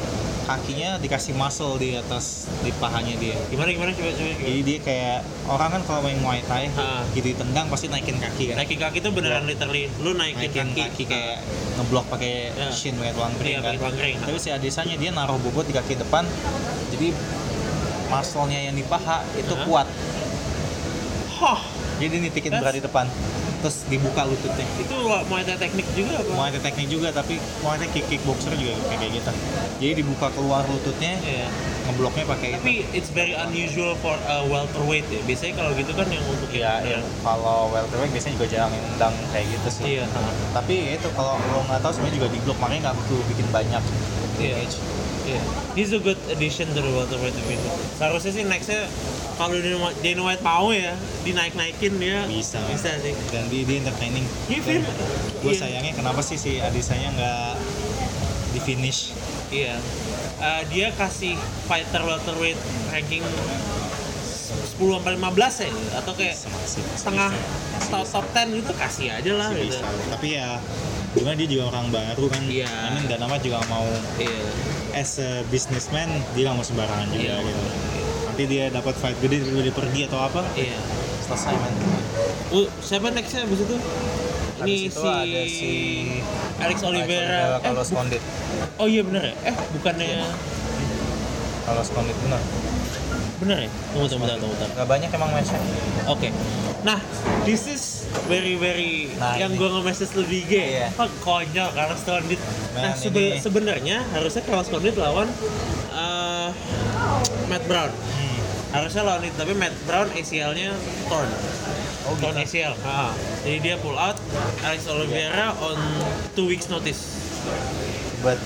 kakinya dikasih muscle di atas di pahanya dia Gimana gimana coba coba. coba. jadi dia kayak orang kan kalau main Muay Thai Ah. gitu ditendang pasti naikin kaki kan Naikin kaki tuh beneran literally lu naikin, kan. naikin kaki, kayak ngeblok pakai Iya. shin pakai tulang kering Iya, kan pakai tulang kering. tapi si Adisanya dia naruh bobot di kaki depan jadi muscle-nya yang di paha itu Ah. kuat Hah, jadi nitikin That's- berat di depan terus dibuka lututnya itu lo- mau ada teknik juga apa? Muay Thai teknik juga tapi Muay Thai kick kickboxer juga kayak gitu. Jadi dibuka keluar lututnya, Iya. ngebloknya pakai itu. Tapi it's very unusual for a welterweight ya. Biasanya kalau gitu kan yang untuk Iya, yang- iya. Kalau welterweight biasanya juga jarang yang nendang kayak gitu sih. Iya. ah, Tapi ya itu kalau lo nggak tahu sebenarnya juga diblok makanya nggak perlu bikin banyak Iya. damage. Iya. He's a good addition to the welterweight division. Seharusnya sih nextnya kalau Dana White- Dana White mau ya dinaik naikin dia Bisa. bisa sih. Dan dia, dia entertaining. Give him- Gue iya. sayangnya kenapa sih si Adisanya nggak di finish? Iya. Eh, dia kasih fighter welterweight ranking 10 sampai 15 ya atau kayak Masih- masih setengah bisa. Masih top bisa. top 10 gitu kasih aja lah Masih gitu. bisa. Tapi ya gimana dia juga orang baru kan. Iya. Amin dan nama juga nggak mau Iya. as a businessman dia nggak mau sembarangan juga Iya. gitu. Nanti dia dapat fight gede tiba-tiba dia pergi atau apa, Iya. selesai man. Uh, siapa nextnya abis itu? Ini Habis itu si... ada si Alex Oliveira. Eh, Kalau Iya. Condit, oh iya bener ya? Eh bukannya kalau Condit benar. bener ya? Tunggu tunggu bentar, tunggu bentar. Gak banyak emang matchnya. Oke. Nah, this is very very Nah, yang ini. gua nge-message lu di IG. Iya. Oh, konyol Carlos Condit. Nah, Man, sebe- ini- sebenarnya harusnya Carlos Condit lawan eh, Matt Brown. Hmm. Harusnya lawan itu, tapi Matt Brown ACL-nya torn. Oh Torn ACL. Ah. Jadi dia pull out Alex Iya. Oliveira on two weeks notice. But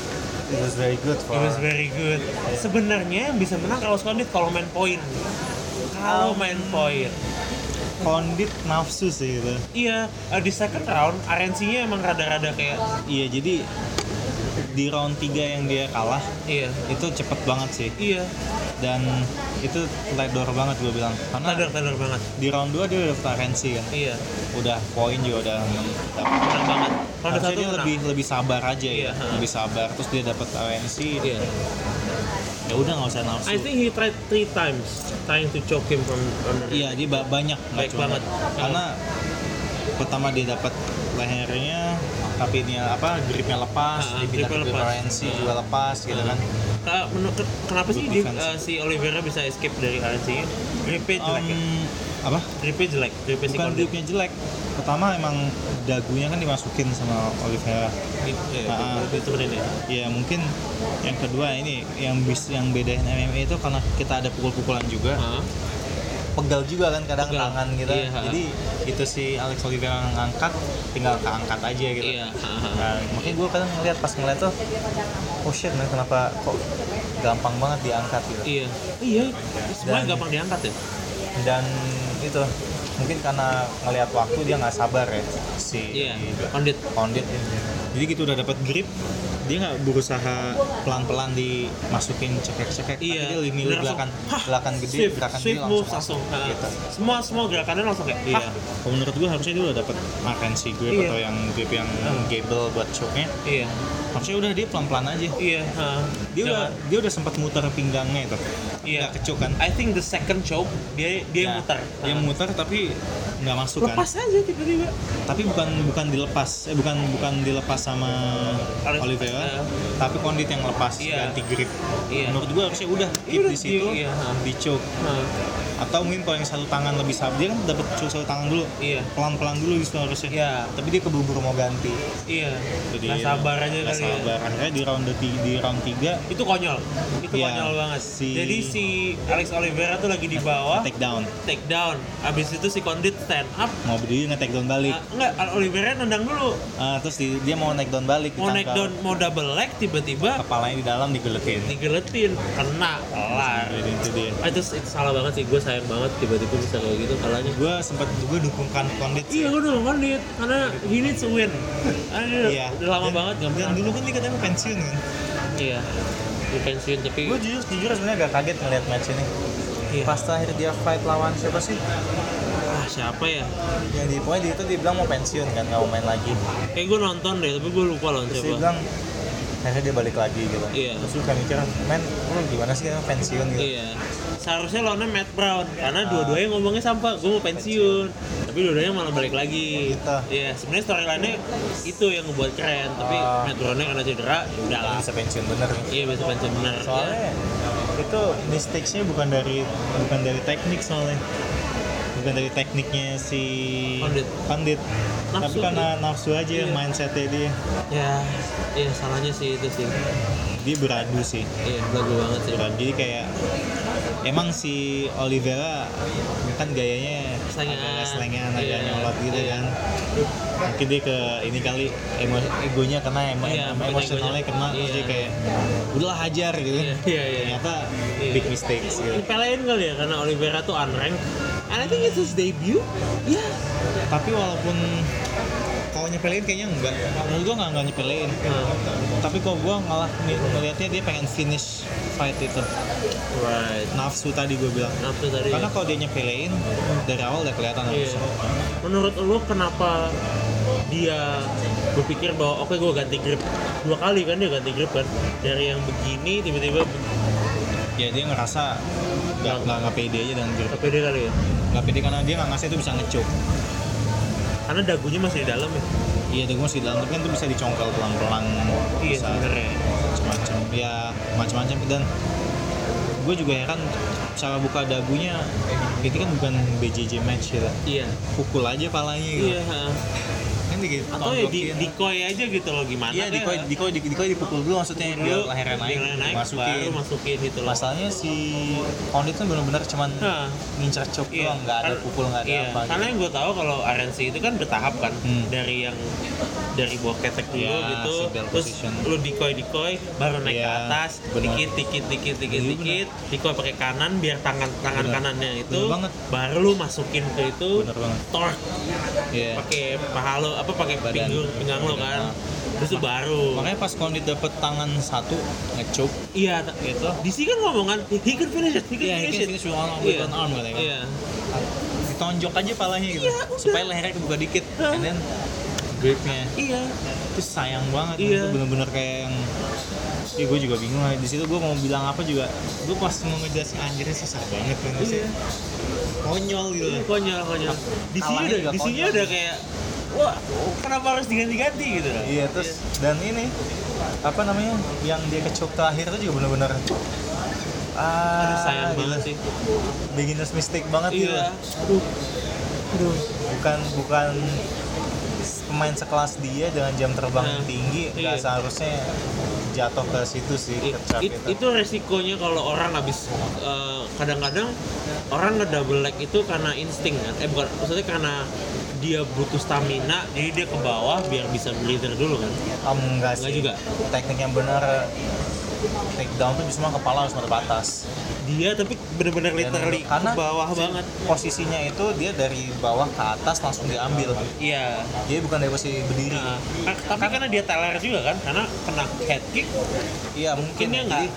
it was very good for. It was very good. Sebenarnya yang bisa menang Carlos Condit kalau main poin. Um, Kalau main poin. Condit nafsu sih gitu. Iya, eh, di second round RNC-nya emang rada-rada kayak Iya jadi di round 3 yang dia kalah iya, itu cepet banget sih iya, dan itu teledor banget gue bilang karena tadar tadar banget. di round 2 dia udah referensi kan Iya, udah poin juga udah dapat menang banget. Round Harusnya satu dia menang. lebih lebih sabar aja Iya, ya, ha. lebih sabar. Terus dia dapat ANC, Iya. ya udah nggak usah nafsu. I think he tried three times trying to choke him from on the Iya, dia ba- banyak, nggak Baik banget. Karena pertama dia dapat lehernya, tapi ini apa gripnya lepas, Ha, dia pindah ke gripnya grip lepas. ANC juga lepas, gitu kan. Ka- menu- ke- Uh, kenapa sih Good dia, uh, defense. eh, si Oliveira bisa escape dari RNC-nya? Repeat Um, jelek ya? apa gripnya jelek gripnya si bukan Condit gripnya jelek pertama emang dagunya kan dimasukin sama Oliveira Grip- ya, Ah. grip- ditemenin ya ya mungkin yang kedua ini yang bis yang bedain MMA itu karena kita ada pukul-pukulan juga Ah. pegal juga kan kadang Pegal. tangan kita Iya, ha. jadi itu si Alex Oliveira yang ngangkat tinggal keangkat aja gitu Iya, ha, ha. Nah, makanya gue kadang ngeliat pas ngeliat tuh oh shit man kenapa kok gampang banget diangkat gitu iya iya semuanya gampang diangkat Iya, ya dan itu mungkin karena ngelihat waktu dia nggak sabar ya si iya Condit Condit jadi gitu udah dapat grip dia nggak berusaha pelan-pelan dimasukin cekek-cekek tapi Iya, dia milih bener, gerakan langsung, "Hah, gerakan gede swift, gerakan swift gede moves langsung langsung, masuk, Ah. gitu semua semua gerakannya langsung kayak iya "Hah, kalau menurut gua harusnya dia udah dapat atensi grip Iya. atau yang grip yang gable buat choke-nya iya harusnya udah dia pelan-pelan aja iya ah. dia udah Jangan- dia udah sempat muter pinggangnya itu Iya. nggak kecuk kan I think the second choke dia dia Nah, muter dia Ah. muter tapi nggak masuk kan lepas aja tiba-tiba tapi bukan bukan dilepas eh bukan bukan dilepas sama Oleh- Oliveira eh. tapi kondit yang lepas Iya. ganti grip Iya. menurut gua harusnya udah Iya, keep udah, di situ iya, iya. di choke Ah. atau mungkin kalau yang satu tangan lebih sabar dia kan dapat choke satu tangan dulu Iya. pelan pelan dulu gitu harusnya Iya. tapi dia keburu mau ganti Iya. Jadi, Nggak sabar aja nggak kali ya. sabar akhirnya di round ketiga di round tiga Itu konyol. Itu Iya, konyol banget. si- Jadi si Alex Oliveira tuh lagi di bawah, take down take down. Abis itu si Condit stand up. mau berdiri nge take down balik Nah, enggak, Al- Oliveira nendang dulu. Ah, terus di- dia mau naik down balik Mau naik ditangkal. down, mau double leg tiba-tiba kepalanya di dalam digelekin Nah, digeletin, kena, kelar. Jadi itu dia Ah, Itu, itu salah banget sih, gue sayang banget tiba-tiba bisa kayak gitu kalahnya. gue sempat gue dukungkan kondit Iya, gue udah Condit karena he needs a win. Ah, dia Iya. udah lama Dan- banget gak Dan menang. dulu kan dia katanya pensiun kan. Iya. Dia pensiun tapi Gue jujur jujur sebenarnya agak kaget ngeliat match ini. Iya. Pas terakhir dia fight lawan siapa sih? ah siapa ya? Yang di pokoknya dia itu dia bilang mau pensiun kan, nggak mau main lagi. Kayak gue nonton deh, tapi gue lupa loh Terus siapa. dia bilang akhirnya dia balik lagi gitu. Iya. Terus gue kayak mikir, men, lu gimana sih kan pensiun gitu? Iya. Seharusnya lawannya Matt Brown Ah. karena dua-duanya ngomongnya sampah, gue mau pensiun. Tapi dua-duanya malah balik lagi. Gitu. Iya, sebenarnya storyline-nya itu yang ngebuat keren, tapi Ah. Matt Brown-nya karena cedera, ya Nggak udahlah. bisa pensiun bener. Iya, bisa pensiun benar. Soalnya itu mistakesnya bukan dari bukan dari teknik soalnya bukan dari tekniknya si Pandit. Pandit. Tapi Nafsu, karena nafsu aja Iya. mindsetnya dia ya, iya salahnya sih itu sih. dia beradu sih Iya, lagu banget sih. Gitu. Jadi kayak emang si Oliveira kan gayanya Slengan. agak selengan, Iya, agak nyolot gitu iya. kan. Mungkin dia ke ini kali emo, egonya kena emo, Iya, em- mungkin emosionalnya egonya. kena terus Iya. dia kayak udahlah hajar gitu. Iya, iya, iya. Ternyata Iya. big mistakes gitu. Dipelein kali ya karena Oliveira tuh unranked. And I think it's his debut. Ya, Tapi walaupun kalau nyepelin kayaknya enggak. Menurut gua enggak, enggak nyepelin. Hmm. Tapi kalau gua malah ng- ngelihatnya dia pengen finish fight itu. right. Nafsu tadi gua bilang. Nafsu tadi. Karena kalau dia nyepelin dari awal udah kelihatan Iya. nafsu. Menurut lo kenapa dia berpikir bahwa oke gue ganti grip dua kali kan dia ganti grip kan dari yang begini tiba-tiba ya dia ngerasa nggak nggak nggak pede aja dengan grip KPD kali ya nggak pede karena dia nggak ngerasa itu bisa ngecuk karena dagunya masih di dalam ya iya dia masih dalam tapi kan itu bisa dicongkel pelan pelan iya bisa sebenarnya macam-macam ya macam-macam dan gue juga heran cara buka dagunya ini kan bukan BJJ match ya iya pukul aja palanya gitu iya ha. kan dikit atau ya di decoy aja gitu loh gimana iya di ya. dikoi dikoi di- dikoi dipukul dulu maksudnya Dulu, biar lehernya naik, lehernya naik baru masukin masukin gitu loh masalahnya si Condit tuh benar-benar cuman Hah. ngincer cok Iya, doang nggak ada kan- pukul nggak ada iya, apa gitu. Karena yang gue tahu kalau RNC itu kan bertahap kan Hmm. dari yang dari bawah ketek dulu Iya, gitu, si bell terus position. lu dikoi dikoi, baru naik Iya, ke atas, benar. dikit dikit dikit dikit Iya, dikit, dikoi pakai kanan biar tangan tangan Benar. kanannya itu, Benar banget. baru lu masukin ke itu, Benar banget. torque Iya. pakai paha lo apa pakai Badan. pinggang pinggang lo kan, terus itu baru. Makanya pas Kondit dapet tangan satu ngecuk Iya, ta- gitu. DC kan ngomong kan, he can finish it, he can Iya, finish ini it. finish with one arm, with Iya. one arm katanya. Iya, Ditonjok aja palanya gitu. Iya, udah. supaya lehernya kebuka dikit. Hah. And then gripnya iya, itu sayang banget. Iya. Itu bener-bener kayak yang Iya, gue juga bingung lah. Di situ gue mau bilang apa juga. Gue pas mau ngejelasin anjirnya susah banget kan sih. Iya. Konyol gitu. Iya, konyol konyol di sini Kalahnya udah juga di sini konyol. udah kayak wah kenapa harus diganti-ganti gitu loh Iya, terus dan ini apa namanya yang dia kecuk terakhir itu juga bener-bener ah Aduh sayang banget sih. beginners mistake banget gitu Iya. Aduh. Aduh. bukan bukan pemain sekelas dia dengan jam terbang Nah, tinggi nggak iya. seharusnya jatuh ke situ sih It- ke trap it- itu. itu resikonya kalau orang habis eh, kadang-kadang orang ngedouble leg itu karena insting kan eh bukan maksudnya karena dia butuh stamina jadi dia ke bawah biar bisa breather dulu kan Am, enggak sih juga. teknik yang benar take down tuh cuma kepala harus mata batas dia tapi bener-bener Dan- literally karena ke bawah si- banget posisinya itu dia dari bawah ke atas langsung diambil iya jadi bukan dari posisi berdiri Nah, ka- tapi karena dia teler juga kan karena kena head kick iya mungkin Mungkin ya dia jadi, nggak-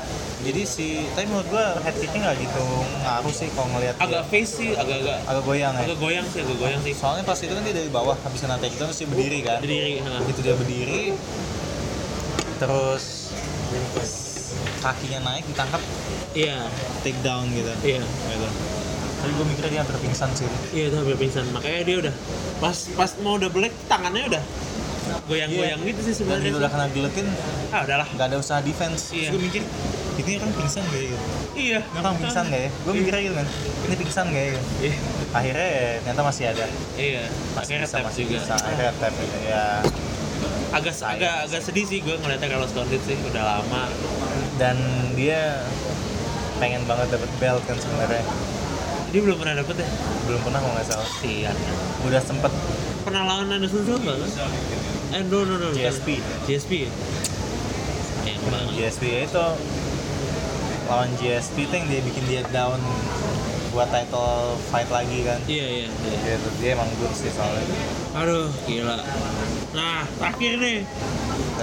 jadi si tapi menurut gua head kicknya nggak gitu ngaruh sih kalau ngelihat dia. agak face sih agak-agak agak goyang ya agak goyang sih agak goyang sih soalnya pas itu kan dia dari bawah habis kena takedown terus dia berdiri kan berdiri nah. begitu dia berdiri terus kakinya naik ditangkap iya take down gitu iya gitu tapi gue mikirnya dia hampir pingsan sih Iya itu hampir pingsan. Makanya dia udah pas pas mau udah black tangannya udah goyang-goyang gitu sih dan sebenarnya. dia sih. udah kena giletin Ah udahlah. nggak ada usaha defense Iya. gue mikir ini orang pingsan gak ya Iya. ini orang pingsan gak ya gue mikirnya gitu kan ini pingsan gak ya Iya. akhirnya ya, ternyata masih ada Iya. masih Akhirnya bisa tap masih juga. bisa akhirnya tap gitu ya Agak agak agak sedih sih gue ngeliatnya kalau Stondit sih udah lama. dan dia pengen banget dapet belt kan sebenarnya Dia belum pernah dapet ya. belum pernah kalau nggak salah Sian. udah sempet Pernah lawan Anderson Silva kan? Eh no no no. bukan. GSP. GSP. ya? Sayang banget. GSP ya itu lawan GSP itu yang dia bikin dia down buat title fight lagi kan Iya iya. iya. dia, dia emang good sih soalnya Aduh gila. Nah terakhir nih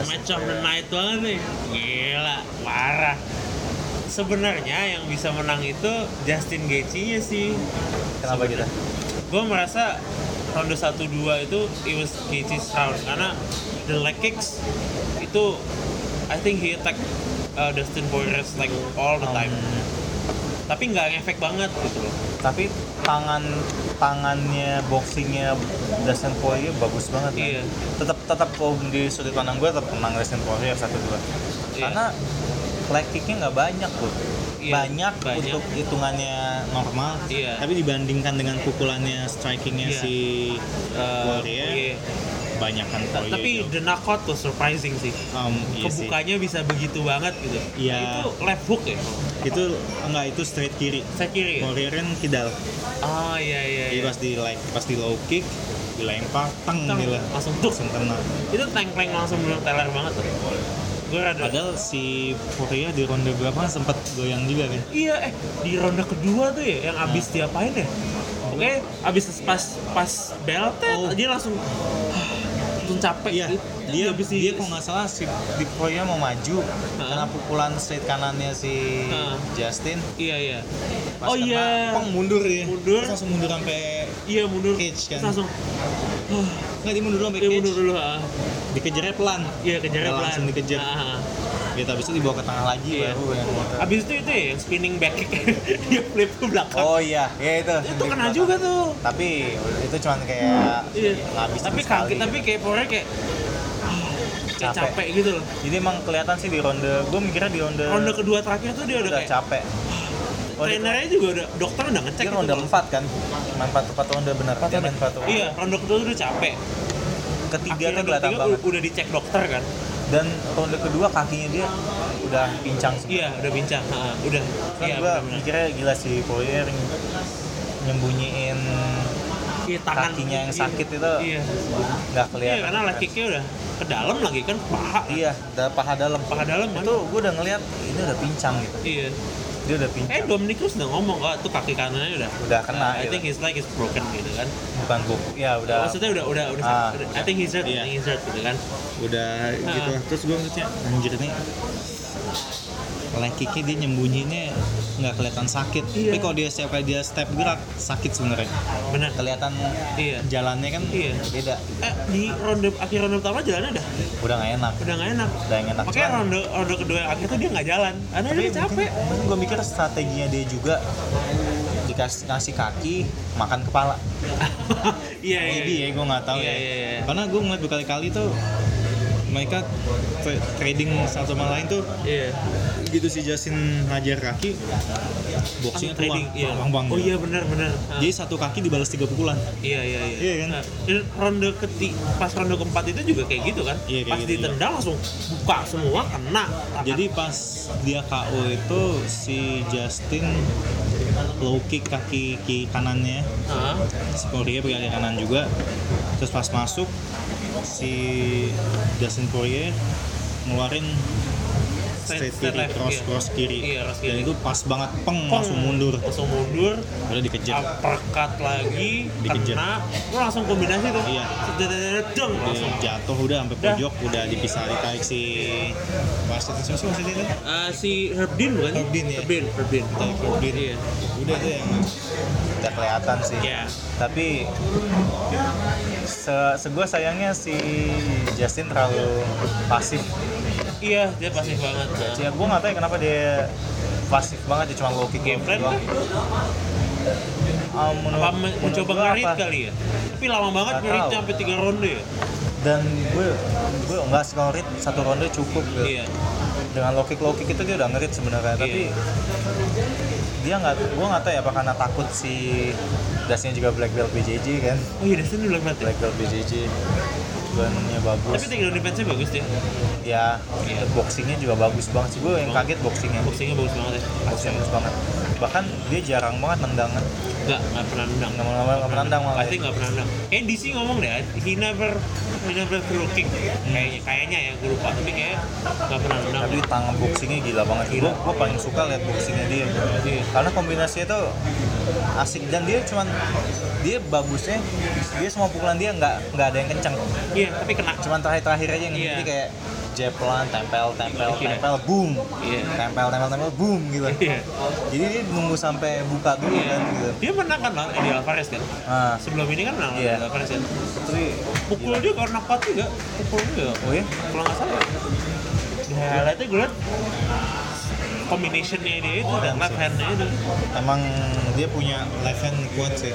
match of the night banget nih gila parah sebenarnya yang bisa menang itu Justin Gaethje nya sih kenapa gitu gue merasa ronde 1-2 itu it was Gaethje's round karena the leg kicks itu I think he attack uh, Dustin Poirier like all the time Hmm. tapi nggak ngefek banget gitu loh tapi tangan tangannya boxingnya Dustin Poirier bagus banget kan? Iya. tetap tetap kalau di sudut pandang gue tetap menang Dustin Poirier satu dua Iya. karena leg kicknya nggak banyak tuh Iya, banyak, banyak. untuk hitungannya normal Iya. tapi dibandingkan dengan pukulannya strikingnya Iya. si eh, Uh, Poirier iya. banyakan Ta- Poirier tapi itu. the knockout was surprising sih Um, iya sih. kebukanya bisa begitu banget gitu Iya. itu left hook ya itu enggak itu straight kiri saya kiri ya? Poirier kan kidal oh iya iya, jadi iya. pas di like pas di low kick dilempar teng gitu. Teng, gila langsung duk. langsung kena itu tengkleng langsung belum teler banget tuh gue rada Padahal si Poria di ronde berapa sempat goyang juga kan? iya eh di ronde kedua tuh ya yang Nah. abis diapain ya oke abis pas pas beltet Oh. dia langsung langsung capek Iya, gitu. dia abis di- dia kalau nggak salah si di Poria mau maju karena pukulan straight kanannya si Heeh. Justin. iya iya Pas oh kena, iya peng, mundur dia. Mundur. Terus langsung mundur sampai iya mundur Cage kan. Terus langsung "Huh, nggak dia mundur dulu sampai dia cage. mundur dulu ah Dikejarnya pelan. iya kejarnya Nggak pelan Langsung dikejar. Ah. Gitu habis itu dibawa ke tengah lagi Iya. baru yang abis itu itu ya yang spinning back kick dia flip ke belakang Oh iya, ya itu. itu kena juga tuh Tapi itu cuman kayak Iya. ngabisin Tapi sekali kaget, tapi gitu. kayak Poirier kayak ah, kayak Capek. capek. gitu loh. Jadi emang kelihatan sih di ronde, gue mikirnya di ronde Ronde kedua terakhir tuh dia udah, udah kayak capek. Oh, dia- trainernya juga udah dokter udah ngecek Dia gitu ronde loh. 4 kan? Main 4 4 ronde bener. Dia main 4 ronde. Iya, ronde kedua tuh udah capek. Ketiga Akhirnya tuh ronde kelihatan ketiga banget. u- udah dicek dokter kan. Dan ronde kedua kakinya dia udah pincang semua. Iya, udah bincang. Ha, udah. Kan Iya, gua benar-benar. mikirnya gila sih Poirier nyembunyiin Iya, tangan kakinya yang iya. sakit itu Iya. nggak Iya, kelihatan. karena leg kicknya udah ke dalam lagi kan paha. Iya, da- paha dalam. Paha dalam kan. Itu gue udah ngeliat ini udah pincang gitu. Iya. Dia udah Eh, pincang. Dominikus udah ngomong kok tuh kaki kanannya udah Udah kena. I gitu. think Oh, his leg is broken gitu kan. bukan buku. Ya udah. Maksudnya udah udah udah, Ah. udah- I think he's hurt, I think he's hurt gitu kan. udah gitu Ah. lah. terus gue maksudnya anjir nih leg kicknya dia nyembunyiinnya nggak kelihatan sakit Iya. tapi kalau dia setiap kali dia step gerak sakit sebenarnya Benar. kelihatan Iya. jalannya kan Iya. beda Eh, di ronde akhir ronde pertama jalannya udah udah nggak enak udah nggak enak. udah nggak enak Makanya Cuman, ronde ronde kedua yang akhir tuh dia nggak jalan. Karena dia capek. mungkin gue mikir strateginya dia juga dikasih ngasih kaki makan kepala Iya iya. maybe ya gue nggak tahu ya Iya, iya, iya. karena gue ngeliat berkali-kali tuh mereka tra- trading satu sama lain tuh Iya. gitu si Justin ngajar kaki boxing Langsung trading, iya. bang bang Oh iya benar benar. Ah, jadi satu kaki dibalas tiga pukulan iya iya iya. Iya kan? Ah, dan ronde keti pas ronde keempat itu juga kayak gitu kan. Iya, kayak pas gitu Iya. ditendang langsung buka semua kena. tangan. jadi pas dia KO itu si Justin low kick kaki kiri kanannya Ah, si Poirier pakai kaki kanan juga terus pas masuk si Justin Poirier ngeluarin Straight- straight, straight kiri left, cross iya. cross kiri Iya, cross dan kiri. itu pas banget peng, langsung mundur langsung mundur udah dikejar uppercut lagi Iya. Dikejar. kena lu langsung kombinasi tuh Iya. Sedet-sedet, deng Dia langsung jatuh udah sampai Dah. pojok udah dipisah ditarik si wasit siapa sih wasitnya itu Eh, si Herb Dean bukan sih? Herb Dean, ya. Herb Dean, Herb Dean. Tarik Robin. Iya. udah tuh yang udah kelihatan sih Iya. tapi se segua sayangnya si Justin terlalu pasif Iya, dia pasif banget. Nah. ya gue nggak tahu ya kenapa dia pasif banget dia cuma low kick Game plan doang. Ah, menurut- Apa men- menurut mencoba gua ngerit apa? kali ya? Tapi lama banget Nggak ngerit tahu. sampai tiga ronde ya. dan gue gue nggak sih kalau read satu ronde cukup gitu. Iya. dengan low kick low kick itu dia udah ngerit sebenarnya tapi dia nggak gue nggak tahu ya apa karena takut si dasnya juga black belt BJJ kan Oh iya, Dustin udah mati. black belt BJJ gunnya Tapi bagus takedown defense-nya bagus dia. ya Iya. boxingnya juga bagus banget sih gue yang kaget boxingnya Boxingnya bagus banget ya. boxing bagus banget bahkan dia jarang banget nendang kan Nggak, nggak pernah nendang. nggak mau nggak pernah nendang malah Pasti nggak pernah nendang. Kayak DC ngomong deh, he never, he never throw kick. Hmm. Kayaknya, kayaknya ya, gue lupa. Tapi kayak nggak pernah nendang. tapi tangan boxingnya gila banget gue gue paling suka lihat boxingnya dia Iya. karena kombinasinya itu asik dan dia cuman dia bagusnya dia semua pukulan dia nggak nggak ada yang kenceng Iya, tapi kena. cuman terakhir terakhir aja yang Iya. jadi kayak jeplan tempel tempel Iya. tempel boom Iya. tempel tempel tempel boom gitu Iya. jadi dia nunggu sampai buka dulu Iya. kan gitu Dia menang kan lawan Eddie Alvarez kan? nah Sebelum ini kan menang lawan Iya. Eddie Alvarez kan? tapi Pukul dia karena kuat juga. Pukul juga. oh ya Kalau nggak salah ya. Di highlight-nya gue liat combination-nya dia itu dan left hand-nya itu. emang dia punya left hand kuat sih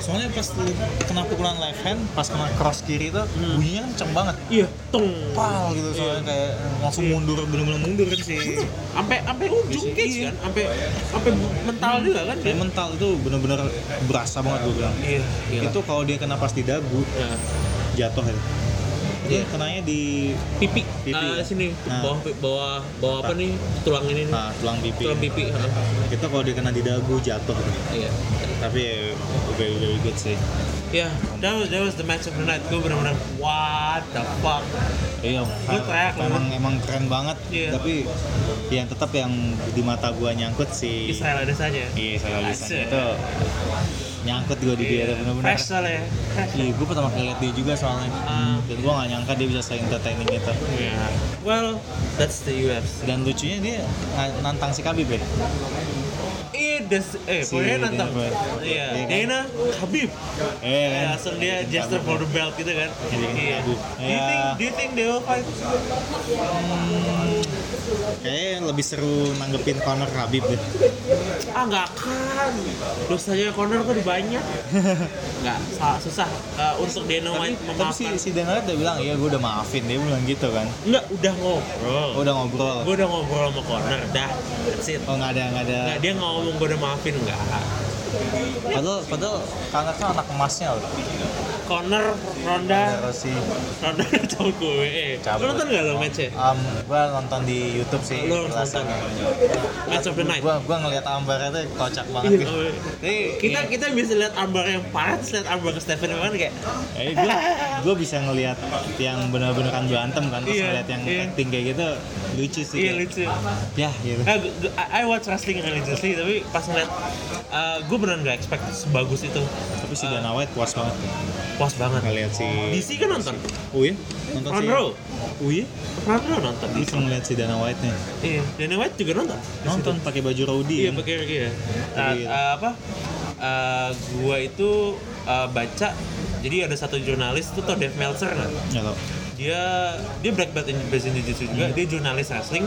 soalnya pas lu kena pukulan left hand pas kena cross kiri itu Hmm. bunyinya kan kenceng banget Iya, tung. pal gitu Iya. soalnya kayak langsung mundur bener-bener mundur kan sih Sampai sampai ujung cage kan, sampai sampai mental Hmm. juga kan dia. Kayak mental itu bener-bener berasa banget gue bilang Iya, gila. itu kalau dia kena pas di dagu Nah, jatuh ya itu Iya. kenanya di pipi, Pipi. Eh, sini Nah. bawah bawah bawah apa nih tulang ini nih. nah, tulang pipi tulang pipi ha. itu kalau dia kena di dagu jatuh gitu. iya tapi ya, very very good sih ya that was that was the match of the night gue benar-benar what the fuck Iya, Gua teriak, emang emang keren banget. Iya. Tapi yang tetap yang di mata gua nyangkut si Israel ada saja Iya, Israel Adesanya Asik. itu nyangkut gua di dia Iya, benar-benar. fresh soalnya fresh Iya, gua pertama kali lihat dia juga soalnya. Hmm, Ah. Dan gua nggak nyangka dia bisa se-entertaining itu. Iya. well that's the UFC Dan lucunya dia nga- nantang si Khabib ya. Iya, das, eh, Si pokoknya nantang. Dana Boy. Iya, Iya kan? Dana Habib. Eh, Ya, kan? langsung dia gesture for the belt gitu kan. Iya, Iya. Habib. Do you think, Ya. do you think they will fight? Kayaknya lebih seru nanggepin Conor Khabib deh. Ah, nggak akan. Dosanya Connor kok banyak. nggak, sa- susah eh, untuk Dana Tapi, White tapi si, memaafkan. si Dana White udah bilang, iya gua udah maafin. Dia bilang gitu kan. Nggak, udah ngobrol. Gua udah ngobrol. Gue udah ngobrol sama Connor, dah. That's it. Oh nggak ada nggak ada. Nggak, dia nggak ngomong gue udah maafin, nggak. Padahal padahal Conor tuh anak emasnya loh. Connor, Ronda, Terus si Ronda udah tau gue. eh. Lu Cabut. nonton nggak lo match-nya? Um, gua nonton di YouTube sih. Lu harus jelasan. nonton. Match of the night. Gua gua ngeliat ambarnya tuh kocak banget. Iya, gitu. oh, iya. Jadi, kita iya. kita bisa lihat armbar yang parah terus lihat armbar ke Stephen Wan kayak Eh, gua, gua bisa ngeliat yang bener-bener kan berantem kan terus Iya, ngeliat yang iya. acting kayak gitu lucu sih. iya kayak, lucu Ya, gitu. Nah, gu- gu- I, I watch wrestling religiously tapi pas ngeliat uh, gue beneran gak expect sebagus itu Tapi si Dana White puas banget puas banget ngeliat si DC kan nonton Oh iya? Nonton Front si row Oh iya? Front row nonton Lu cuma ngeliat si Dana White nih. iya Dana White juga nonton Di situ. Nonton pakai baju Rowdy. iya kan? pakai pakai ya nah, Iya. uh, apa uh, gue itu uh, baca jadi ada satu jurnalis itu tau Dave Meltzer nggak Nggak tau. dia dia black belt in Brazilian Jiu-Jitsu juga dia jurnalis wrestling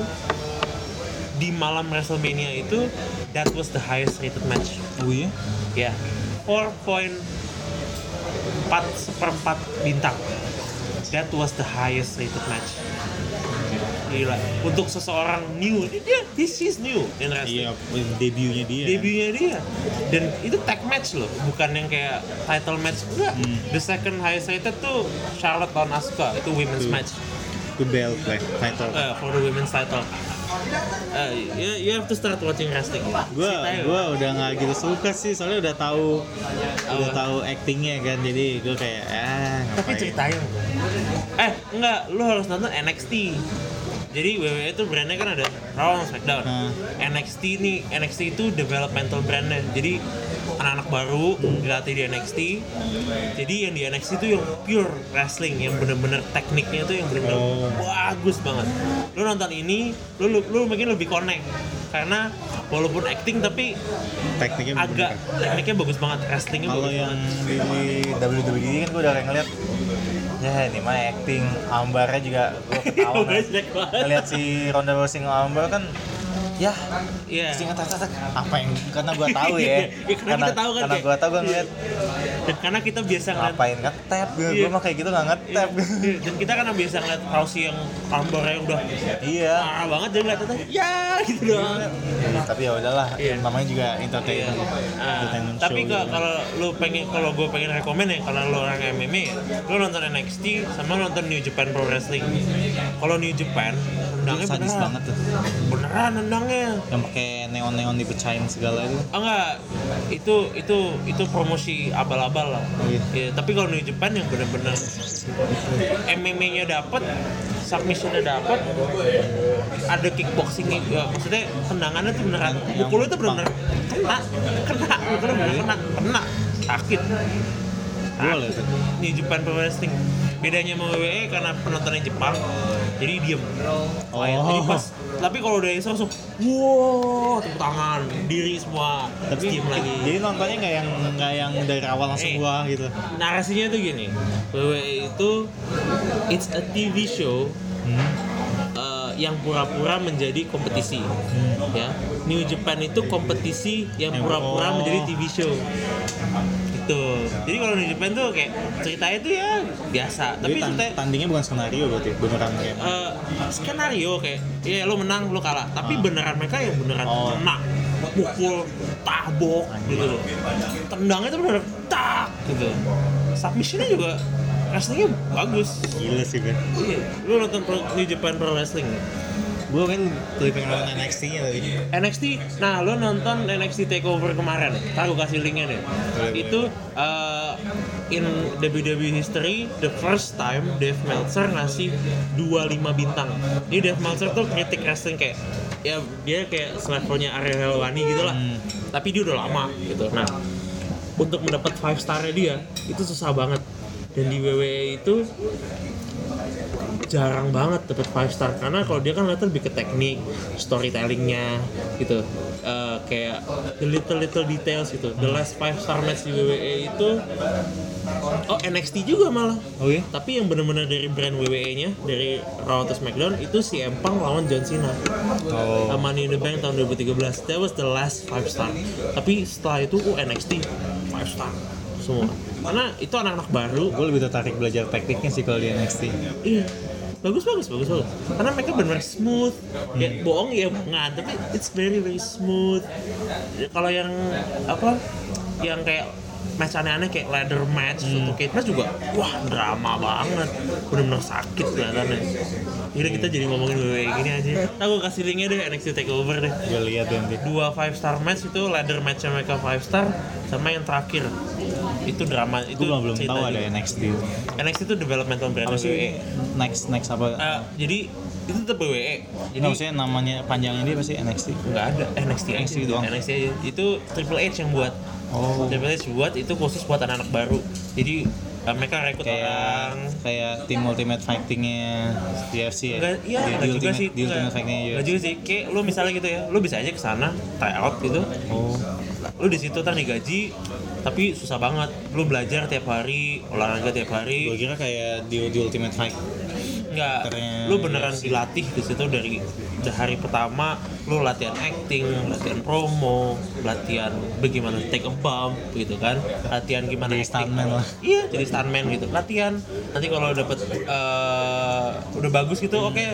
di malam Wrestlemania itu that was the highest rated match Oh iya? ya 4.4 seperempat bintang that was the highest rated match gila untuk seseorang new ini dia this is new in wrestling Iya, debutnya dia. debutnya dia dan itu tag match loh bukan yang kayak title match enggak Hmm. the second highest rated tuh Charlotte lawan Asuka itu women's Tuh. match The belt, like, title. eh, for the women's title Eh, you, you have to start watching wrestling Gua, Sit aja. gua udah nggak gitu suka sih, soalnya udah tahu, udah Apa? tahu actingnya kan, jadi gua kayak ah ngapain. tapi ceritanya eh enggak lu harus nonton NXT jadi WWE itu brandnya kan ada Raw sama Smackdown Hmm. NXT nih NXT itu developmental brandnya jadi anak-anak baru dilatih di NXT jadi yang di NXT itu yang pure wrestling yang bener-bener tekniknya itu yang bener-bener Oh. bagus banget lu nonton ini lu, lu, lu mungkin lebih connect karena walaupun acting tapi Tekniknya agak bener. tekniknya bagus banget wrestlingnya Kalau bagus yang banget di WWE E kan gua udah kayak ngeliat Ya ini mah acting, ambarnya juga gua ketawa kan. Ambarnya jelek banget. Ngeliat si Ronda Rousey ngambar kan ya Iya. pasti ngetak tak apa yang karena gua tahu ya, Iya, karena kita tahu kan, karena kayak- gua tahu ya. gua ngeliat Dan karena kita biasa ngeliat ngapain ngetap gue Iya. gue mah kayak gitu nggak Iya, ngetap iya. dan kita kan biasa ngeliat Rousey yang kambarnya udah iya parah banget jadi ngeliatnya tuh, ya gitu doang tapi ya udahlah Iya. namanya juga entertain Iya. Ah, entertainment tapi show gitu. kalau kalau lu pengen kalau gue pengen rekomen ya karena lu orang MMA lu nonton NXT sama nonton New Japan Pro Wrestling kalau New Japan Itu nendangnya sadis beneran banget tuh beneran nendangnya yang pakai neon neon dipecahin segala itu Oh enggak, itu itu itu promosi abal-abal lah. Iya. Iya, tapi kalau di Jepang yang benar-benar MMA-nya dapat, submission-nya dapat, ada kickboxing juga. Maksudnya tendangannya tuh beneran, Yang- mukul itu yang benar-benar kena, kena, mukul benar kena, kena, sakit. boleh tuh Di Jepang pro wrestling. Bedanya sama WWE karena penontonnya Jepang, jadi diem. Oh. Jadi pas, tapi kalau udah langsung, wow, tepuk tangan, diri semua, terus tapi diem lagi. jadi nontonnya nggak yang nggak yang dari awal langsung Eh. wah gitu narasinya tuh gini WWE itu it's a TV show Hmm. eh, yang pura-pura menjadi kompetisi Hmm. ya New Japan itu kompetisi yang Eh, oh. pura-pura menjadi TV show gitu jadi kalau New Japan tuh kayak ceritanya tuh ya biasa tapi jadi tan- ceritanya tandingnya bukan skenario berarti beneran kayak eh, skenario kayak ya lo menang lo kalah tapi beneran mereka yang beneran Oh. kena pukul tabok gitu loh tendangnya tuh bener tak gitu submissionnya juga wrestlingnya bagus gila sih gue iya lo nonton pro, New Japan Pro Wrestling gue kan lebih pengen nonton NXT nya tadi NXT, nah lo nonton NXT Takeover kemarin, tahu kasih linknya deh. Boleh, itu eh, in WWE history the first time Dave Meltzer ngasih 25 bintang. Jadi Dave Meltzer tuh kritik wrestling kayak ya dia kayak levelnya Ariel Helwani gitu lah. Hmm. Tapi dia udah lama gitu. Nah, untuk mendapat 5 star-nya dia itu susah banget. Dan di WWE itu jarang banget dapat five star karena kalau dia kan lihat lebih ke teknik storytellingnya gitu Eh, kayak the little little details gitu the last five star match di WWE itu oh NXT juga malah oh iya tapi yang benar-benar dari brand WWE nya dari Raw atau SmackDown itu si Empang lawan John Cena Oh. sama Money in the Bank tahun 2013 that was the last five star tapi setelah itu oh, NXT five star semua karena itu anak-anak baru gue lebih tertarik belajar tekniknya sih kalau di NXT Iya. Bagus bagus bagus bagus. Karena mereka benar smooth. Ya Hmm. bohong ya bohongan, tapi it's very very smooth. Kalau yang apa? Yang kayak match aneh-aneh kayak ladder match Hmm. untuk cage match juga wah drama banget bener-bener sakit kelihatannya Yaudah kita jadi ngomongin WWE gini aja aku kasih linknya deh NXT Takeover deh gue lihat nanti dua five star match itu ladder match mereka five star sama yang terakhir itu drama itu gue belum belum cerita tahu ada juga. NXT NXT itu developmental brand apa WWE. sih next next apa Eh, jadi itu tetap WWE. jadi Oh, maksudnya Eh, namanya panjangnya dia pasti NXT E. nggak ada NXT aja. NXT gitu doang. NXT aja. Itu Triple H yang buat. Oh. Triple H buat itu khusus buat anak-anak baru. Jadi eh, mereka rekrut kayak orang. kayak tim Ultimate Fightingnya UFC ya Enggak, iya, Di- di enggak juga Ultimate- sih. di Ultimate Fightingnya Enggak UFC juga sih. Kayak lu misalnya gitu ya, lu bisa aja ke sana, tryout gitu. oh Lu di situ tadi gaji, tapi susah banget. Lu belajar tiap hari, olahraga tiap gue hari. kira kayak di, di Ultimate Fight nggak karakternya, lu beneran iya sih. dilatih di situ dari dari hari pertama lu latihan acting latihan promo latihan bagaimana take a bump gitu kan latihan gimana Jadi acting stuntman lah. iya jadi stuntman gitu latihan nanti kalau dapet eh, udah bagus gitu oke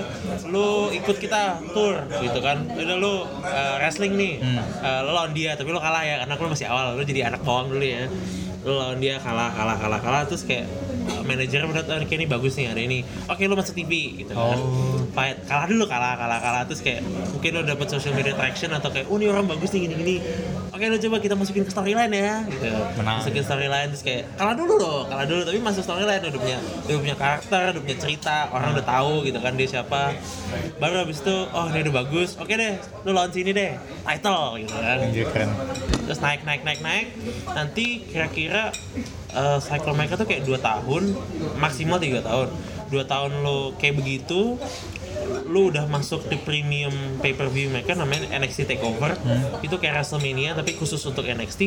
lu ikut kita tour gitu kan udah lu eh, wrestling nih Eh, lu lawan dia tapi lu kalah ya karena lu masih awal lu jadi anak bawang dulu ya lu lawan dia kalah kalah kalah kalah terus kayak eh, manajernya melihat oh, kayak ini bagus nih ada ini oke lu masuk TV gitu kan fight kalah dulu kalah kalah kalah terus kayak mungkin lo dapet social media traction atau kayak oh ini orang bagus nih gini gini oke lo coba kita masukin ke storyline ya gitu Menang. masukin storyline terus kayak kalah dulu loh kalah dulu tapi masuk storyline udah punya udah punya karakter udah punya cerita orang udah tahu gitu kan dia siapa baru habis itu oh ini udah bagus oke deh lo lawan sini deh title gitu kan Anjir Iya, keren. terus naik naik naik naik nanti kira-kira eh, cycle mereka tuh kayak dua tahun maksimal tiga tahun dua tahun lo kayak begitu lo udah masuk di premium pay per view mereka namanya NXT Takeover itu kayak Wrestlemania tapi khusus untuk NXT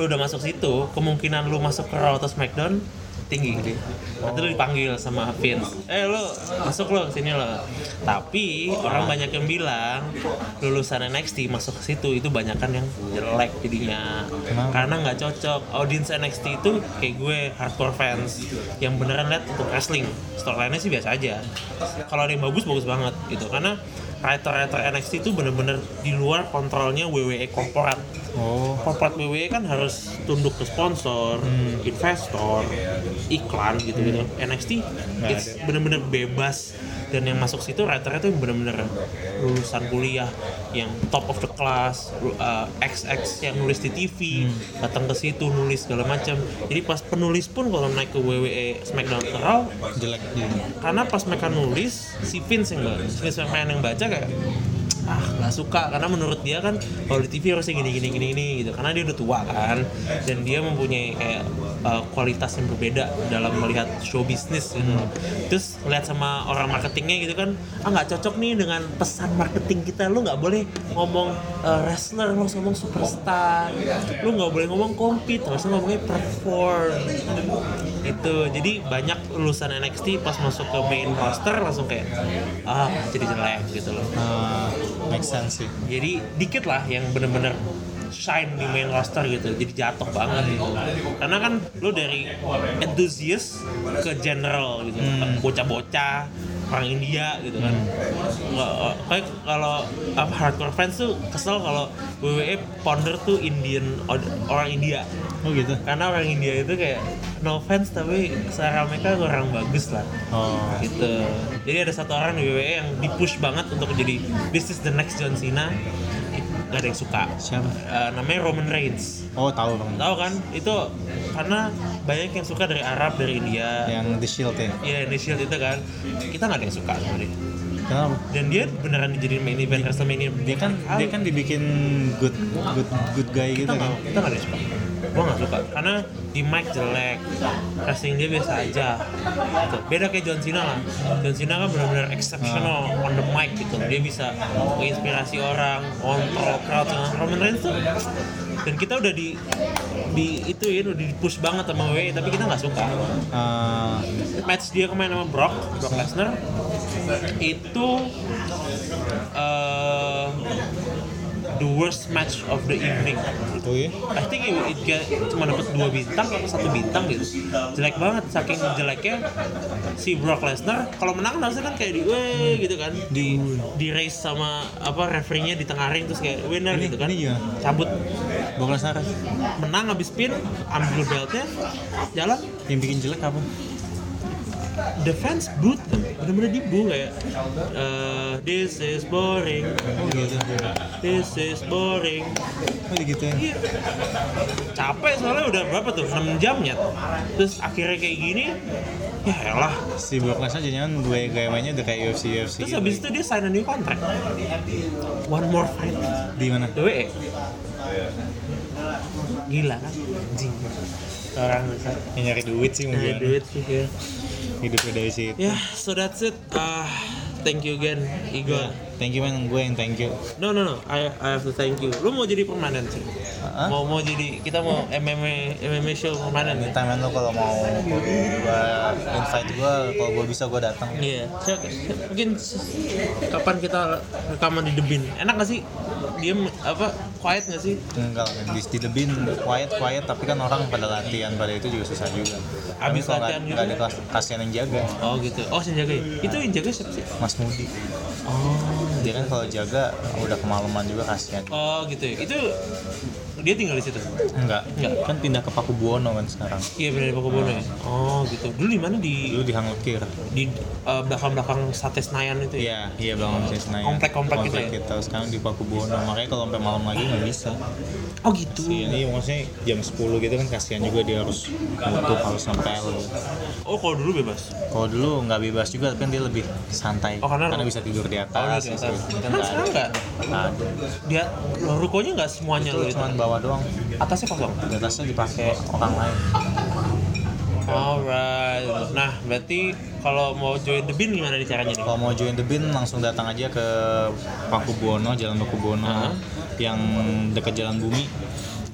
lo udah masuk situ kemungkinan lo masuk ke Raw atau SmackDown tinggi nanti lo dipanggil sama Vince eh lo masuk lo sini lo tapi orang banyak yang bilang lulusan NXT masuk ke situ itu banyakan yang jelek jadinya karena nggak cocok audiens NXT itu kayak gue hardcore fans yang beneran lihat untuk wrestling storyline-nya sih biasa aja kalau ada yang bagus bagus banget gitu karena writer-writer NXT itu bener-bener di luar kontrolnya E WWE korporat Oh, korporat WWE kan harus tunduk ke sponsor, investor, iklan gitu gitu. NXT it's bener-bener bebas dan yang masuk situ rata-rata yang bener-bener lulusan kuliah yang top of the class, lu- uh, XX yang nulis di TV, datang ke situ nulis segala macam. Jadi pas penulis pun kalau naik ke WWE SmackDown ke Raw, jelek jadinya. karena pas mereka nulis si Vince yang baca, Vince McMahon yang baca kayak ah nggak suka karena menurut dia kan kalau di TV harusnya gini gini gini gini gitu karena dia udah tua kan dan dia mempunyai kayak uh, kualitas yang berbeda dalam melihat show bisnis gitu loh. terus lihat sama orang marketingnya gitu kan ah nggak cocok nih dengan pesan marketing kita lu nggak boleh ngomong uh, wrestler lu harus ngomong superstar lu nggak boleh ngomong compete harusnya ngomongnya perform itu jadi banyak lulusan NXT pas masuk ke main roster langsung kayak ah jadi jelek gitu loh Ah, make sense sih. jadi dikit lah yang bener-bener shine di main roster gitu jadi jatuh banget gitu karena kan lu dari enthusiast ke general gitu bocah-bocah orang India gitu kan Nggak- kayak kalau apa hardcore fans tuh kesel kalau WWE ponder tuh Indian orang India Oh gitu. karena orang India itu kayak no offense tapi secara mereka kurang bagus lah Oh, gitu jadi ada satu orang di WWE yang dipush banget untuk jadi this is the next John Cena nggak ada yang suka siapa? Eh, namanya Roman Reigns Oh, tahu dong. tahu kan itu karena banyak yang suka dari Arab dari India Yang The Shield ya. ya initial itu kan kita nggak ada yang suka sama dia Kenapa? dan dia beneran dijadiin main event Wrestlemania Dia kan dia kan dibikin good good good guy gitu kita nggak kan. kita nggak ada yang suka gue nggak suka karena di mic jelek casting dia biasa aja gitu. beda kayak John Cena lah John Cena kan benar-benar exceptional on the mic gitu dia bisa menginspirasi orang kontrol crowd Nah, Roman Reigns tuh dan kita udah di di ituin udah di push banget sama WWE tapi kita nggak suka Ah, match dia kemarin sama Brock Brock Lesnar itu eh, the worst match of the evening oh iya. I think it, it get- cuma dapat dua bintang atau satu bintang gitu jelek banget saking jeleknya si Brock Lesnar kalau menang kan harusnya kan kayak di weh gitu kan di di race sama apa referee-nya di tengah ring terus kayak winner Ini- gitu kan ini gimana? cabut Bukan Sarah. menang habis pin ambil beltnya jalan Yang bikin jelek apa? the fans booed them bener-bener dibu kayak eh, this is boring Oh gitu. this is boring Oh gitu ya. Iya. capek soalnya udah berapa tuh 6 jam ya terus akhirnya kayak gini ya elah Si Brock Lesnar jadinya gaya gayanya udah kayak UFC UFC. terus habis itu dia sign a new contract one more fight di mana? WWE gila kan anjing orang besar Yang Ya, nyari duit sih Nah, mungkin. duit sih ya Hidup dari situ. ya so that's it ah thank you again Igor Yeah, thank you man gue yang thank you No no no, I, I have to thank you. Lu mau jadi permanen sih? Hah? Mau mau jadi kita mau MMA MMA show permanen ya? anytime man, lo kalau mau gue invite gue kalau gue bisa gue datang Iya, saya- mungkin se- kapan kita rekaman di Debin? Enak gak sih? Dia apa quiet gak sih? enggak men. di, di The Bin, quiet quiet tapi kan orang pada latihan pada itu juga susah juga tapi Abis kalau nggak- latihan nggak ada gitu? kelas kasihan yang jaga Oh gitu. Oh yang jaga ya? Itu yang jaga siapa sih? Mas Mudi Oh. dia kan kalau jaga udah kemalaman juga kasihan Oh gitu ya. Itu dia tinggal di situ. enggak Enggak. kan pindah ke Paku Buwono kan sekarang Iya benar di Pakubono ya. Oh gitu. Dulu di mana di dulu di Hanglekir di eh, belakang-belakang Sate Senayan itu ya? Iya, iya bangun bisnis naik. Komplek-komplek gitu ya? kita sekarang di Paku Buwono. Makanya kalau sampai malam lagi Iya, nggak bisa. Oh gitu. Iya, ini maksudnya jam 10 gitu kan kasihan juga dia harus tutup harus ngepel. Oh kalau dulu bebas. Iya. Kalau dulu nggak bebas juga, tapi kan dia lebih santai. Oh, karena- bisa tidur di atas. Oh, di atas. gitu. Kan Kan nggak sekarang ada. nggak. Nggak ada. Dia loh, rukonya nggak semuanya Itu loh itu. cuma bawa doang. Atasnya kosong. Di atasnya dipakai orang lain. Alright. Nah berarti kalau mau join The Bean gimana nih caranya nih? Kalau mau join The Bin langsung datang aja ke Paku Buwono, Jalan Paku Buwono Aha. yang dekat Jalan Bumi.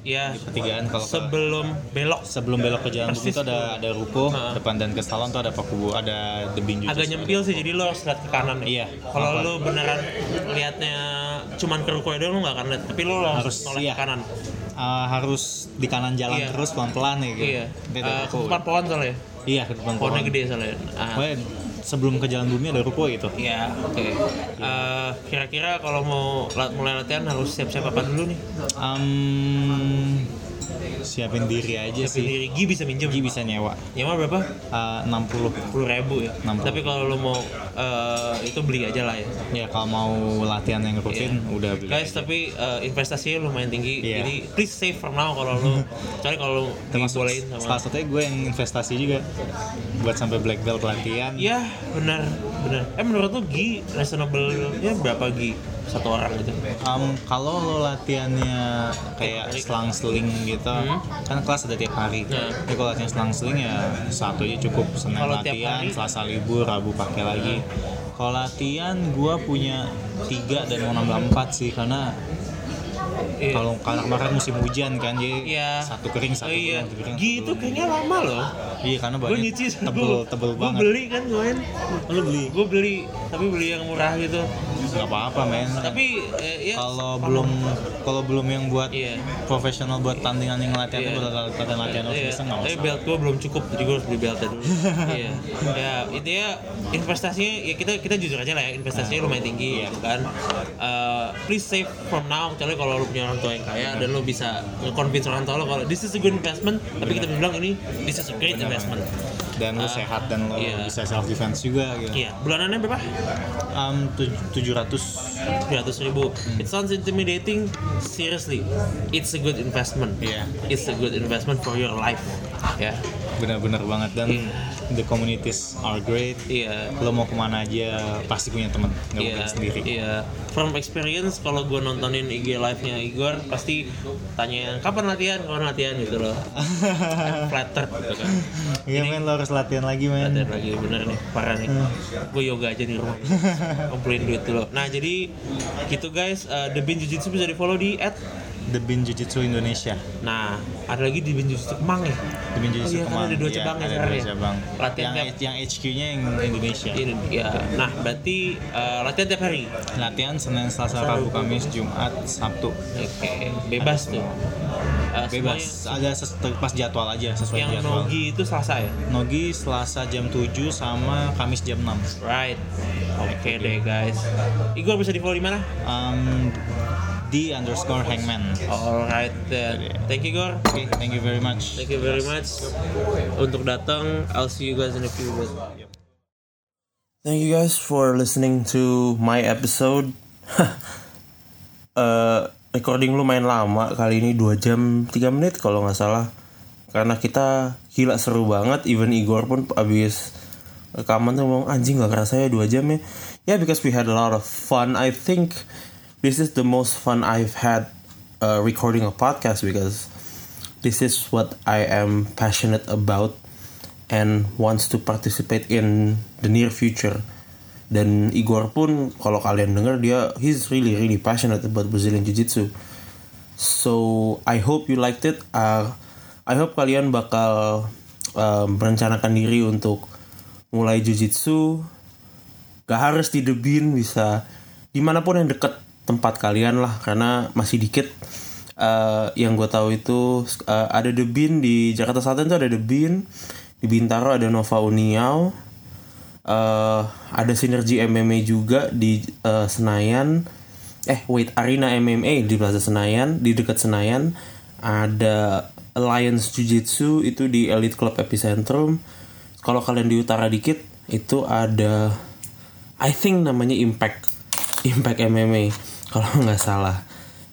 Iya. Pertigaan kalau ke- Sebelum belok sebelum belok ke jalan bumi Persis. itu ada ada ruko Ha. depan dan ke salon tuh ada pakubu ada the bin juga agak nyempil sih jadi lo harus lihat ke kanan nih. Gitu Iya. Kalau Apa? lo beneran liatnya cuman ke ruko doang lo nggak akan lihat, tapi lo harus Harus, noleh iya. ke kanan. Eh, harus di kanan jalan Iya. terus pelan pelan ya gitu Iya. Nanti ada Eh, ruko. Ketupat pohon soalnya. iya ke depan Pohonnya pohon. gede soalnya. Ah. Pokoknya sebelum ke jalan bumi ada ruko gitu Iya, oke. Eh, kira-kira kalau mau la- mulai latihan harus siap-siap apa dulu nih? Em, siapin diri aja Siapin sih diri. Gi bisa minjem. Gi Iya. bisa nyewa Nyewa berapa? Eh, 60 10 ribu ya. 60. Tapi kalau lo mau eh, itu beli aja lah ya. ya kalau mau latihan yang rutin Iya. udah beli Guys, aja. tapi eh, investasinya lumayan tinggi. Iya. Jadi please save for now kalau lo kecuali kalau lo termasuk dibolehin sama salah satunya gue yang investasi juga buat sampai black belt pelatihan Iya, benar, benar. Eh menurut lu Gi reasonable-nya berapa Gi satu orang gitu? Um, kalau lo latihannya kayak selang-seling gitu, Hmm. kan kelas ada tiap hari. Nah. Jadi kalau latihan selang-seling ya satu aja cukup. Senin Kalau tiap latihan, hari? Ya. Selasa libur, Rabu pakai lagi. Kalau latihan gua punya tiga dan mau nambah empat sih karena Iya. kalau kalau kemarin musim hujan kan jadi Iya. satu kering satu oh, kering, iya. satu kering, Gi satu itu kering. kayaknya lama loh. iya karena Gue banyak nyuci tebel tebel banget Gue beli kan main. Lu beli? Gue beli, tapi beli yang murah gitu. nggak apa-apa men Tapi eh, ya kalau sama. belum kalau belum yang buat Iya. profesional buat tandingan yang latihan Iya. itu buat latihan latihan harus Iya, bisa nggak tapi usah belt gue belum cukup, jadi gue harus beli beltnya dulu. Iya, ya itu ya investasinya ya kita kita jujur aja lah ya investasinya lumayan tinggi Iya. gitu kan. Eh, please save from now, kecuali kalau lu punya orang tua yang kaya dan lu bisa convince orang tua lo kalau this is a good investment, tapi kita bilang ini this is a great Benar, investment. dan lu sehat dan lu iya. bisa self defense juga gitu Iya, bulanannya berapa? tujuh ratus 300 ribu. Hmm. It sounds intimidating. Seriously, it's a good investment. Iya. It's a good investment for your life. Ya. benar-benar banget dan Iya. the communities are great Iya. lo mau kemana aja pasti punya teman nggak Iya, mungkin sendiri iya. From experience, kalau gue nontonin IG live-nya Igor, pasti tanya kapan latihan, kapan latihan gitu loh. I'm flattered gitu kan. Iya men lo harus latihan lagi men Latihan lagi bener nih, parah nih. Gue yoga aja di rumah. Kumpulin duit dulu. Nah jadi gitu guys, eh, The Bin Jujitsu bisa di follow di at. The Bin Jujitsu Indonesia Nah, ada lagi di Bin Jujitsu Kemang ya. The Bin Jujitsu iya, kan Kemang ada dua Iya, cabang ya ada sekarang dua ya. cabang Latihan yang, tiap- yang HQ-nya yang Indonesia Ini ya. Nah, berarti eh, latihan tiap hari. latihan Senin, Selasa, Rabu, Kamis, Jumat, Sabtu. Oke, bebas tuh. Eh, Bebas, ada ses- pas jadwal aja semuanya- sesuai Yang jadwal. Nogi. nogi itu Selasa ya? Selasa jam 7 sama Kamis jam 6. Right. Oke deh guys. Igor bisa di follow di mana? Um, di underscore hangman. Alright then. Thank you Igor. Oke, thank you very much. Thank you very much untuk datang. I'll see you guys in a few minutes. Thank you guys for listening to my episode. Eh, recording lumayan lama kali ini 2 jam 3 menit kalau nggak salah. Karena kita gila seru banget even Igor pun abis rekaman tuh ngomong anjing nggak kerasa ya 2 jam ya. Ya yeah, because we had a lot of fun. I think this is the most fun I've had uh, recording a podcast because this is what I am passionate about and wants to participate in the near future. dan Igor pun kalau kalian dengar dia he's really really passionate about Brazilian Jiu Jitsu so I hope you liked it Uh, I hope kalian bakal um, merencanakan diri untuk mulai Jiu Jitsu gak harus di The Bean bisa dimanapun yang deket tempat kalian lah karena masih dikit Eh, yang gue tahu itu eh, ada The Bean di Jakarta Selatan tuh ada The Bean di Bintaro ada Nova Uniao eh ada sinergi MMA juga di eh, Senayan eh wait Arena MMA di Plaza Senayan di dekat Senayan ada Alliance Jiu Jitsu itu di Elite Club Epicentrum kalau kalian di utara dikit itu ada I think namanya Impact Impact MMA kalau nggak salah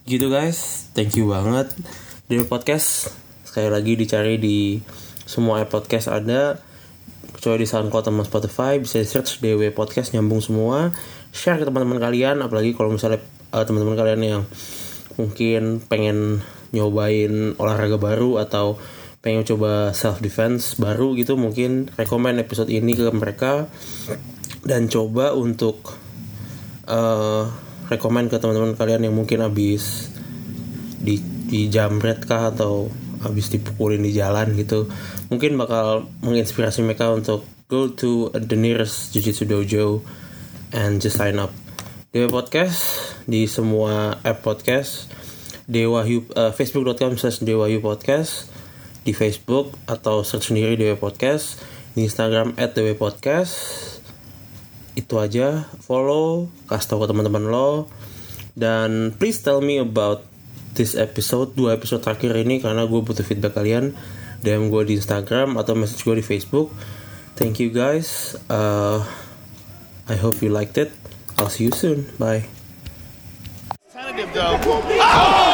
gitu guys thank you banget dari podcast sekali lagi dicari di semua app podcast ada kecuali di SoundCloud sama Spotify bisa di search DW Podcast nyambung semua share ke teman-teman kalian apalagi kalau misalnya eh, teman-teman kalian yang mungkin pengen nyobain olahraga baru atau pengen coba self defense baru gitu mungkin rekomend episode ini ke mereka dan coba untuk eh rekomend ke teman-teman kalian yang mungkin habis di di jamret kah atau habis dipukulin di jalan gitu mungkin bakal menginspirasi mereka untuk go to the nearest jujitsu dojo and just sign up Dewa Podcast di semua app podcast Dewa Hu- eh, facebook.com slash Dewa Hu Podcast di Facebook atau search sendiri Dewa Podcast di Instagram at Dewa Podcast itu aja follow kasih tahu ke teman-teman lo dan please tell me about this episode dua episode terakhir ini karena gue butuh feedback kalian DM gue di Instagram atau message gue di Facebook thank you guys Uh, I hope you liked it I'll see you soon bye Tentative though. Oh!